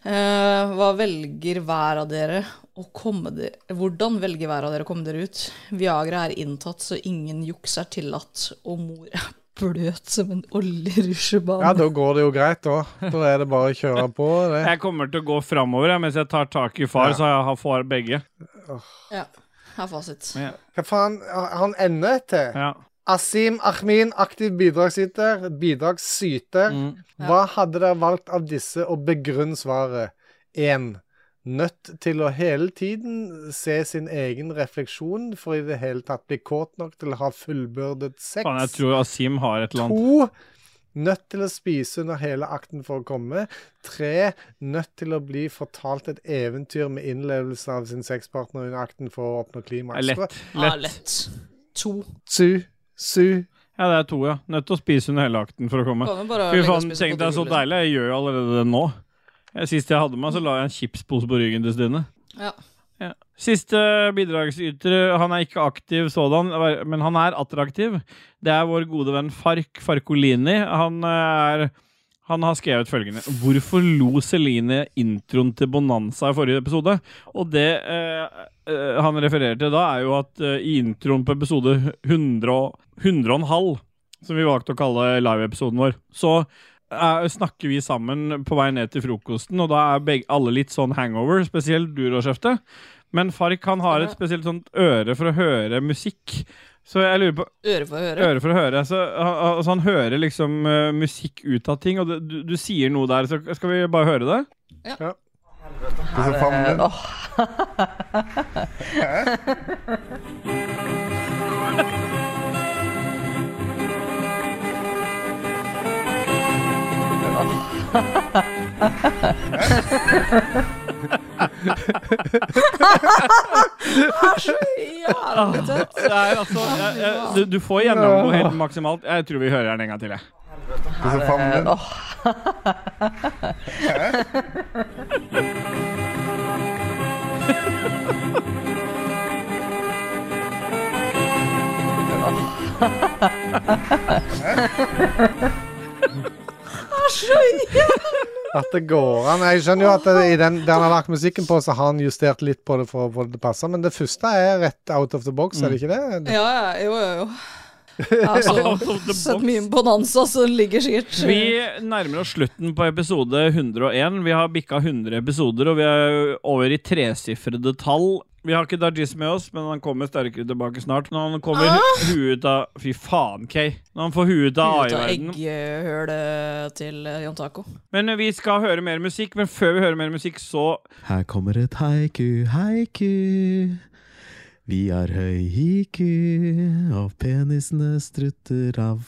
[SPEAKER 3] Eh, hva velger hver av dere å komme dere Hvordan velger hver av dere å komme dere ut? Viagra er inntatt, så ingen juks er tillatt, og mor er bløt som en oljerusjebane.
[SPEAKER 2] Ja, da går det jo greit, da. Da er det bare å kjøre på. Det.
[SPEAKER 1] Jeg kommer til å gå framover jeg, mens jeg tar tak i far,
[SPEAKER 2] Ja.
[SPEAKER 1] så jeg har får begge.
[SPEAKER 3] Ja, her er fasit.
[SPEAKER 1] Ja.
[SPEAKER 2] Hva faen han ender til?
[SPEAKER 1] Ja.
[SPEAKER 2] Asim Ahmin, aktiv bidragsyter, bidragsyter.
[SPEAKER 1] Mm.
[SPEAKER 2] Hva hadde dere valgt av disse, og begrunn svaret. 1. Nødt til å hele tiden se sin egen refleksjon for i det hele tatt bli kåt nok til å ha fullbyrdet sex.
[SPEAKER 1] Faen, jeg tror Asim har et eller annet.
[SPEAKER 2] To nødt til å spise under hele akten for å komme. Tre nødt til å bli fortalt et eventyr med innlevelse av sin sexpartner under akten for å oppnå
[SPEAKER 1] Det er
[SPEAKER 2] klimaks.
[SPEAKER 1] Lett.
[SPEAKER 3] Ja,
[SPEAKER 1] lett.
[SPEAKER 3] lett. To.
[SPEAKER 2] Su, su.
[SPEAKER 1] Ja, det er to, ja. Nødt til å spise under hele akten for å komme.
[SPEAKER 3] Kan jo bare
[SPEAKER 1] Fy
[SPEAKER 3] legge og
[SPEAKER 1] faen,
[SPEAKER 3] spise
[SPEAKER 1] tenk
[SPEAKER 3] på
[SPEAKER 1] deg så
[SPEAKER 3] bordet, liksom.
[SPEAKER 1] deilig. Jeg gjør jo allerede det nå. Jeg- Sist jeg hadde meg, så la jeg en chipspose på ryggen til Stine.
[SPEAKER 3] Ja.
[SPEAKER 1] Ja. Siste bidragsyter, han er ikke aktiv sådan, men han er attraktiv. Det er vår gode venn Fark Farkolini. Han eh, er han har skrevet følgende Hvorfor lo Celine introen til Bonanza i forrige episode? Og det eh, eh, han refererer til da, er jo at eh, i introen på episode 100 og, 100 og en halv, som vi valgte å kalle live-episoden vår, så eh, snakker vi sammen på vei ned til frokosten, og da er begge, alle litt sånn hangover, spesielt du, Råskjefte. Men Fark han har et spesielt sånt øre for å høre musikk. Så jeg lurer på
[SPEAKER 3] Øre for øre.
[SPEAKER 1] øre for å høre. Så, al- altså, han hører liksom eh, musikk ut av ting, og det, du, du sier noe der, så skal vi bare høre det?
[SPEAKER 2] Disse favnen.
[SPEAKER 3] Jævlig tøft.
[SPEAKER 1] Det er altså jeg, jeg, du, du får gjennomgå helt maksimalt. Jeg tror vi hører den en gang til, jeg.
[SPEAKER 2] Disse favnen. At det går an. Jeg skjønner jo at det, i den, det han har lagt musikken på, så har han justert litt på det for å få det til å passe, men det første er rett out of the box, er det ikke det?
[SPEAKER 3] Ja, ja, jo, jo, jo. Jeg har
[SPEAKER 1] Out
[SPEAKER 3] så
[SPEAKER 1] of Altså, the
[SPEAKER 3] sett
[SPEAKER 1] box.
[SPEAKER 3] mye bonanza, så den ligger sikkert
[SPEAKER 1] Vi nærmer oss slutten på episode 101. Vi har bikka 100 episoder, og vi er over i tresifrede tall. Vi har ikke Dargis med oss, men han kommer sterkere tilbake snart. Når han kommer hu- huet ut av Fy faen, Kay. Når han får huet ut av
[SPEAKER 3] ut av
[SPEAKER 1] AI-verdenen.
[SPEAKER 3] eggehølet til eh, Jan Taco.
[SPEAKER 1] Men vi skal høre mer musikk. Men før vi hører mer musikk, så
[SPEAKER 11] Her kommer et haiku, haiku. Vi har høy hiku, og penisene strutter av.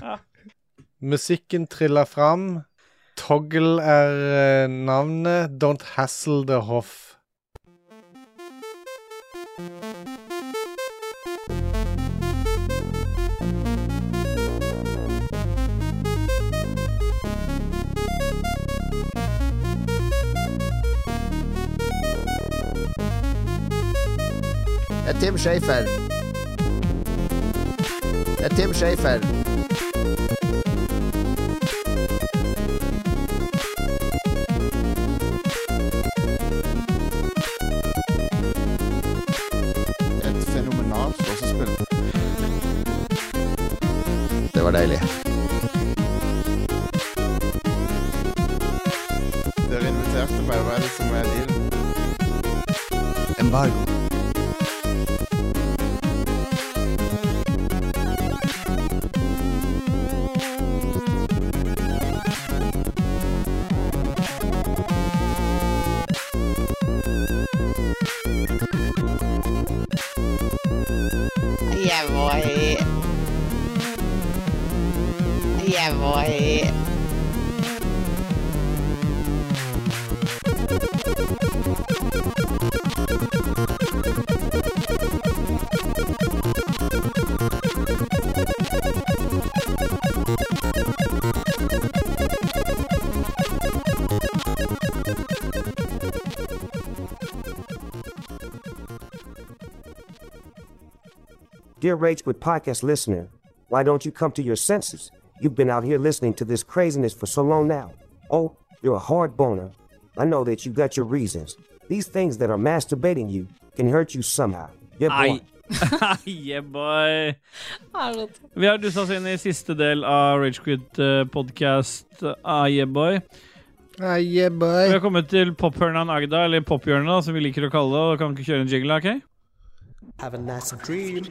[SPEAKER 1] Ah!
[SPEAKER 2] Musikken triller fram. Toggle er eh, navnet. Don't hassle the hoff.
[SPEAKER 5] Det er Tim Schafer. Det er Tim Schafer.
[SPEAKER 8] Et fenomenalt låsespill.
[SPEAKER 5] Det var deilig.
[SPEAKER 8] Dere inviterte meg. Hva er det som er dealen?
[SPEAKER 4] Embargo.
[SPEAKER 9] Jeg må i Jeg må i
[SPEAKER 7] Dear Rage Quit podcast listener, why don't you come to your senses? You've been out here listening to this craziness for so long now. Oh, you're a hard boner. I know that you got your reasons. These things that are masturbating you can hurt you somehow. You're
[SPEAKER 1] Nei,
[SPEAKER 7] born.
[SPEAKER 1] yeah, boy.
[SPEAKER 3] Er det godt?
[SPEAKER 1] Vi har dussa oss inn i siste del av eh, Ragequit-podkast av Yeboy. Vi har kommet til pophørnan Agda, eller pophjørnet, da, som vi liker å kalle det. Og kan ikke kjøre en jingle, OK?
[SPEAKER 7] Have a nice dream.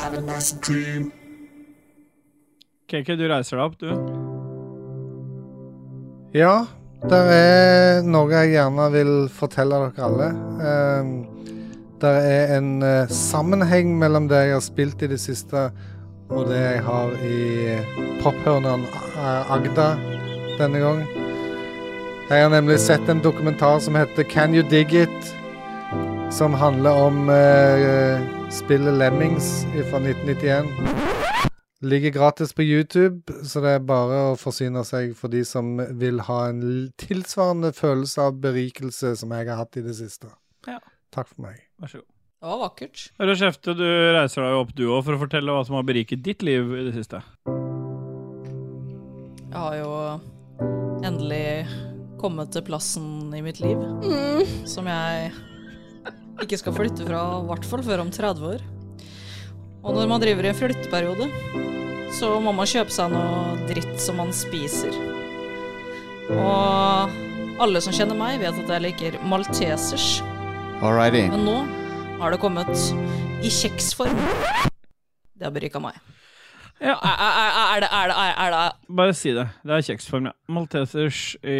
[SPEAKER 10] Have a nice dream.
[SPEAKER 1] KK, du reiser deg opp, du.
[SPEAKER 2] Ja, det er noe jeg gjerne vil fortelle dere alle. Um, det er en eh, sammenheng mellom det jeg har spilt i det siste, og det jeg har i pophørneren eh, Agda denne gang. Jeg har nemlig sett en dokumentar som heter Can You Dig It? Som handler om eh, spillet Lemmings fra 1991. Ligger gratis på YouTube, så det er bare å forsyne seg for de som vil ha en l- tilsvarende følelse av berikelse som jeg har hatt i det siste.
[SPEAKER 1] Ja.
[SPEAKER 2] Takk for meg.
[SPEAKER 1] Vær så god.
[SPEAKER 3] Det var vakkert.
[SPEAKER 1] Rødskjefte, du reiser deg jo opp, du òg, for å fortelle hva som har beriket ditt liv i det siste.
[SPEAKER 3] Jeg har jo endelig kommet til plassen i mitt liv som jeg ikke skal flytte fra, i hvert fall før om 30 år. Og når man driver i en flytteperiode, så må man kjøpe seg noe dritt som man spiser. Og alle som kjenner meg, vet at jeg liker maltesers.
[SPEAKER 8] Alrighty.
[SPEAKER 3] Men nå har det kommet i kjeksform. Det har berika meg.
[SPEAKER 1] Ja,
[SPEAKER 3] er, er, er det, er det, er, er det
[SPEAKER 1] Bare si det. Det er kjeksform, ja. Maltesers i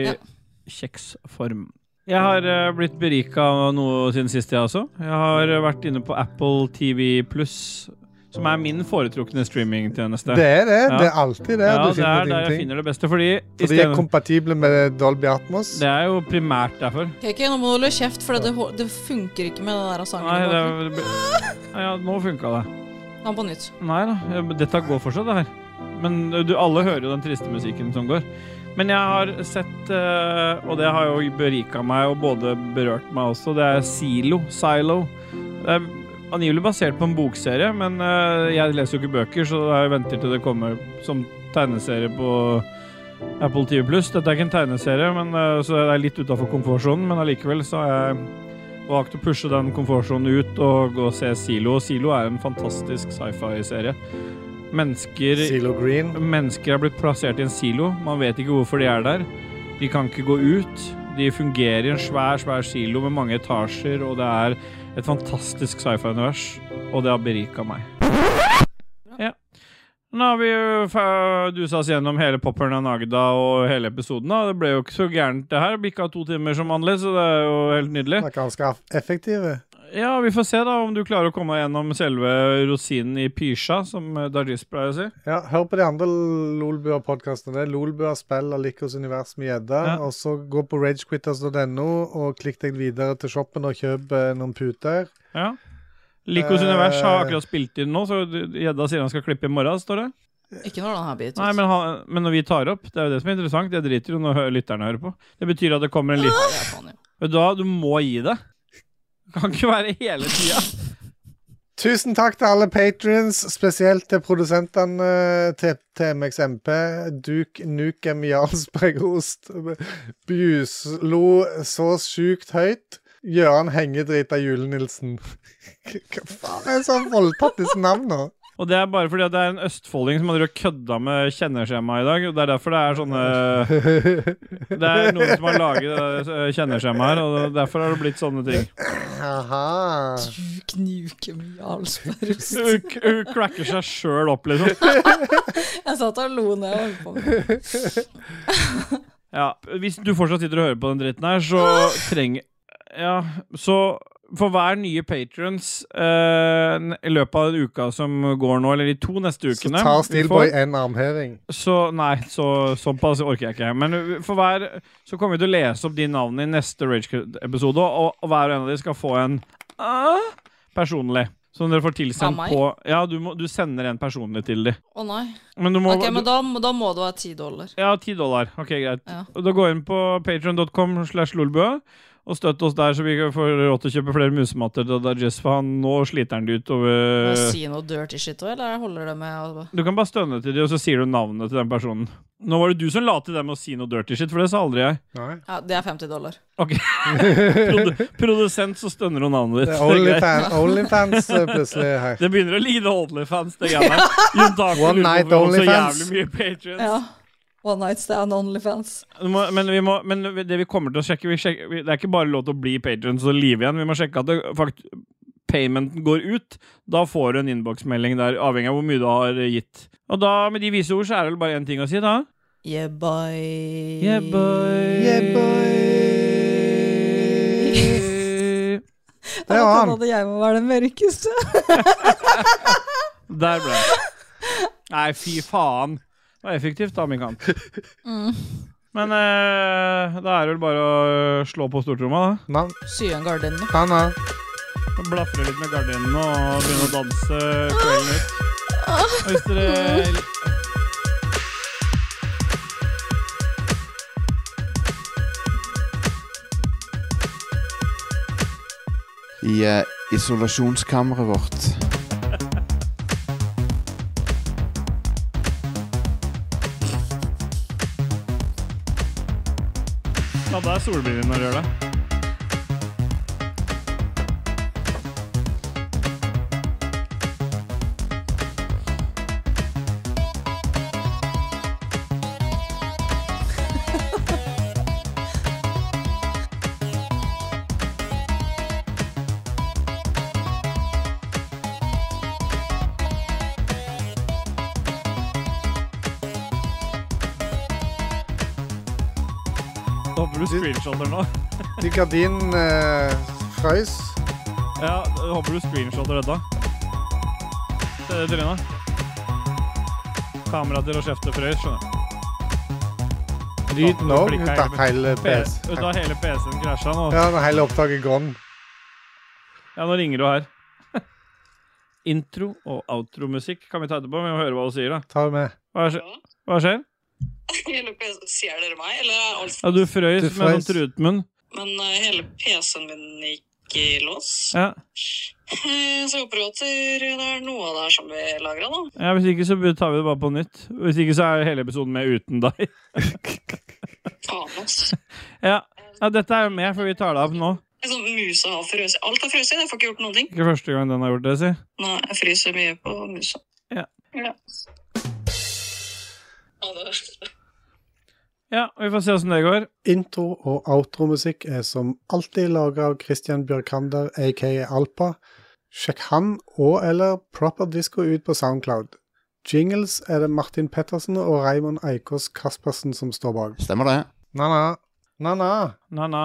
[SPEAKER 1] kjeksform. Jeg har eh, blitt berika av noe siden sist, jeg også. Jeg har eh, vært inne på Apple TV Pluss, som er min foretrukne streamingtjeneste.
[SPEAKER 2] Det er det. Det er alltid det.
[SPEAKER 1] Ja,
[SPEAKER 2] Du
[SPEAKER 1] det
[SPEAKER 2] finner
[SPEAKER 1] er der jeg
[SPEAKER 2] ingenting.
[SPEAKER 1] finner det beste, fordi
[SPEAKER 2] For de er
[SPEAKER 1] isteden-
[SPEAKER 2] kompatible med Dolby Atmos.
[SPEAKER 1] Det er jo primært derfor.
[SPEAKER 3] KK, nå må du holde kjeft, for det, det funker ikke med den der sangen.
[SPEAKER 1] Nei,
[SPEAKER 3] i
[SPEAKER 1] det,
[SPEAKER 3] bakgrunnen.
[SPEAKER 1] det, ja, nå funka det.
[SPEAKER 3] Ta den på nytt.
[SPEAKER 1] Nei da, jeg- dette går fortsatt, det her. Men du, alle hører jo den triste musikken som går. Men jeg har sett, eh, og det har jo berika meg og både berørt meg også, det er Silo. Silo. Det er angivelig basert på en bokserie, men eh, jeg leser jo ikke bøker, så jeg venter til det kommer som tegneserie på Apple TV Pluss. Dette er ikke en tegneserie, men, eh, så det er litt utafor komfortsonen, men allikevel så har jeg valgt å pushe den komfortsonen ut og gå og se Silo. Silo er en fantastisk sci-fi-serie. Mennesker
[SPEAKER 2] Silo Green.
[SPEAKER 1] Mennesker er blitt plassert i en silo. Man vet ikke hvorfor de er der. De kan ikke gå ut. De fungerer i en svær, svær silo med mange etasjer, og det er et fantastisk sci-fi-univers, og det har berika meg. Ja. Nå har vi jo fa- dusa oss gjennom hele popperen av Nagda og hele episoden. Da. Det ble jo ikke så gærent, det her. Bikka to timer som vanlig, så det er jo helt nydelig.
[SPEAKER 2] Det er ganske effektive.
[SPEAKER 1] Ja, vi får se da om du klarer å komme deg gjennom selve rosinen i pysja, som eh, Dargis pleier å si.
[SPEAKER 2] Ja, Hør på de andre Lolbua-podkastene. Det er Lolbua spill av Likos univers med gjedde.
[SPEAKER 1] Ja.
[SPEAKER 2] Og så gå på ragequitters.no og klikk deg videre til shoppen og kjøp eh, noen puter.
[SPEAKER 1] Ja. Likos univers har akkurat spilt inn nå, så gjedda sier han skal klippe i morgen, står det.
[SPEAKER 3] Ikke når den her blir
[SPEAKER 1] Nei, men, han, men når vi tar opp, det er jo det som er interessant. Jeg driter jo når hø- lytterne hører på. Det betyr at det kommer en liten Vet du hva, du må gi det. Det kan ikke være hele tida.
[SPEAKER 2] Tusen takk til alle patrions, spesielt til produsentene eh, til, til MXMP. Duk Nukem Jarlsbergost. Bjuslo så sjukt høyt. Gøran Hengedrita Jule-Nilsen. Hva faen er det som har voldtatt disse navnene?
[SPEAKER 1] Og det er bare fordi at det er en østfolding som har drevet og kødda med kjenneskjemaet i dag. Og det er derfor det er sånne Det er noen som har laget det der, eh, kjenneskjemaet her, og derfor har det blitt sånne ting.
[SPEAKER 2] Aha.
[SPEAKER 3] Knuke mye Jarlsbergost.
[SPEAKER 1] Hun k- hun cracker seg sjøl opp, liksom.
[SPEAKER 3] Jeg satt og lo når jeg holdt på med det.
[SPEAKER 1] Ja, hvis du fortsatt sitter og hører på den dritten her, så trenger Ja, så for hver nye patrons eh, n- i løpet av den uka som går nå, eller de to neste
[SPEAKER 2] Så
[SPEAKER 1] ukene
[SPEAKER 2] tar
[SPEAKER 1] vi får-
[SPEAKER 2] Steelboy en armheving.
[SPEAKER 1] Så nei, så, såpass orker jeg ikke. Men for hver Så kommer vi til å lese opp de navnene i neste Ragecut-episode, og, og hver og en av de skal få en ah, personlig. Som dere får
[SPEAKER 3] Av
[SPEAKER 1] tilsendt
[SPEAKER 3] meg?
[SPEAKER 1] på Ja, du, må, du sender en personlig til de.
[SPEAKER 3] Å nei.
[SPEAKER 1] Men du må
[SPEAKER 3] ok, men
[SPEAKER 1] du,
[SPEAKER 3] da, må- da må det være ti dollar.
[SPEAKER 1] Ja, ti dollar. Ok, greit.
[SPEAKER 3] Ja.
[SPEAKER 1] Og Da gå inn på patreon.com slash lolbua, Og støtt oss der, så vi kan få råd til å kjøpe flere musematter til Dajess, for han, nå sliter han det utover
[SPEAKER 3] Må jeg si noe dirty shit òg, eller holder det med å
[SPEAKER 1] Du kan bare stønne til dem, og så sier du navnet til den personen. Nå var det du som la til det med å si noe dirty shit, for det sa aldri jeg.
[SPEAKER 3] Ja, det er 50 dollar.
[SPEAKER 1] Ok. Produ produsent, så stønner hun navnet ditt.
[SPEAKER 2] Det
[SPEAKER 1] Det
[SPEAKER 2] er
[SPEAKER 1] er greit.
[SPEAKER 2] Onlyfan- Onlyfans eh, plutselig her.
[SPEAKER 1] Det begynner å ligne Onlyfans, det greia der. Jon Takman
[SPEAKER 2] One
[SPEAKER 1] lurer på
[SPEAKER 2] night
[SPEAKER 1] hvorfor han har
[SPEAKER 2] Onlyfans.
[SPEAKER 1] Så jævlig mye patrons.
[SPEAKER 3] Ja. One night stand, Onlyfans.
[SPEAKER 1] Du må, men, vi må, men det vi kommer til å sjekke, vi sjekker vi, Det er ikke bare lov til å bli patrons og live igjen. Vi må sjekke at det, fakt, paymenten går ut. Da får du en innboksmelding der, avhengig av hvor mye du har gitt. Og da, med de vise ord, så er det vel bare én ting å si, da.
[SPEAKER 3] Yeah, boy.
[SPEAKER 1] Yeah, boy. Yeah, boy.
[SPEAKER 3] Det var han. Hadde jeg må være den mørkeste.
[SPEAKER 1] Der ble det. Nei, fy faen. Det var effektivt av min kant.
[SPEAKER 3] Mm.
[SPEAKER 1] Men eh, da er det vel bare å slå på stortromma, da.
[SPEAKER 3] Sy igjen gardinene.
[SPEAKER 1] Og Blafre litt med gardinene og begynne å danse kvelden ut. Og hvis dere
[SPEAKER 8] I eh, isolasjonskammeret vårt.
[SPEAKER 1] Ta på deg solbrillene når du gjør det. Da håper du screenshotter nå.
[SPEAKER 2] De gardinene eh, frøys.
[SPEAKER 1] Ja, jeg håper du screenshotter dette. Se det trynet. Kamera til å kjefte frøys, skjønner du.
[SPEAKER 2] Lyden
[SPEAKER 1] Nå
[SPEAKER 2] òg.
[SPEAKER 1] flikka
[SPEAKER 2] Ut av hele PC.
[SPEAKER 1] Ut av hele PC-en krasja nå.
[SPEAKER 2] eh, Ja, når hele opptaket gone.
[SPEAKER 1] Ja, nå ringer du her. Intro- og outromusikk kan vi ta etterpå. Vi må høre hva du sier, da.
[SPEAKER 2] Tar det med.
[SPEAKER 1] Hva skjer? Hva skjer?
[SPEAKER 12] Hele PC Ser dere meg, eller er alt
[SPEAKER 1] Ja, du frøys
[SPEAKER 2] Du
[SPEAKER 1] med sånn
[SPEAKER 2] frøys.
[SPEAKER 1] trutmunn.
[SPEAKER 12] Men eh, hele PC-en min gikk i lås.
[SPEAKER 1] Ja.
[SPEAKER 12] Eh, så jeg håper jo at det er noe av det her som blir lagra, da.
[SPEAKER 1] ja, hvis ikke så tar vi det bare på nytt. Hvis ikke så er hele episoden med uten deg.
[SPEAKER 12] Faen, ass.
[SPEAKER 1] ja. ja, dette er jo med, for vi tar det opp nå.
[SPEAKER 12] Det er Sånn, musa har frøst. Alt har frøst inn, jeg får ikke gjort noen ting.
[SPEAKER 1] Ikke første gang den har gjort det, si.
[SPEAKER 12] Nei, jeg fryser mye på musa.
[SPEAKER 1] Ja.
[SPEAKER 12] Ja. Ja, det-
[SPEAKER 1] Ja, vi får se åssen det går.
[SPEAKER 2] Intro- og outromusikk er som alltid laga av Christian Bjørkander, aka Alpa. Sjekk han og eller Proper Disco ut på Soundcloud. Jingles er det Martin Pettersen og Raymond Eikås Kaspersen som står bak.
[SPEAKER 8] Stemmer det.
[SPEAKER 2] Na-na. Na-na.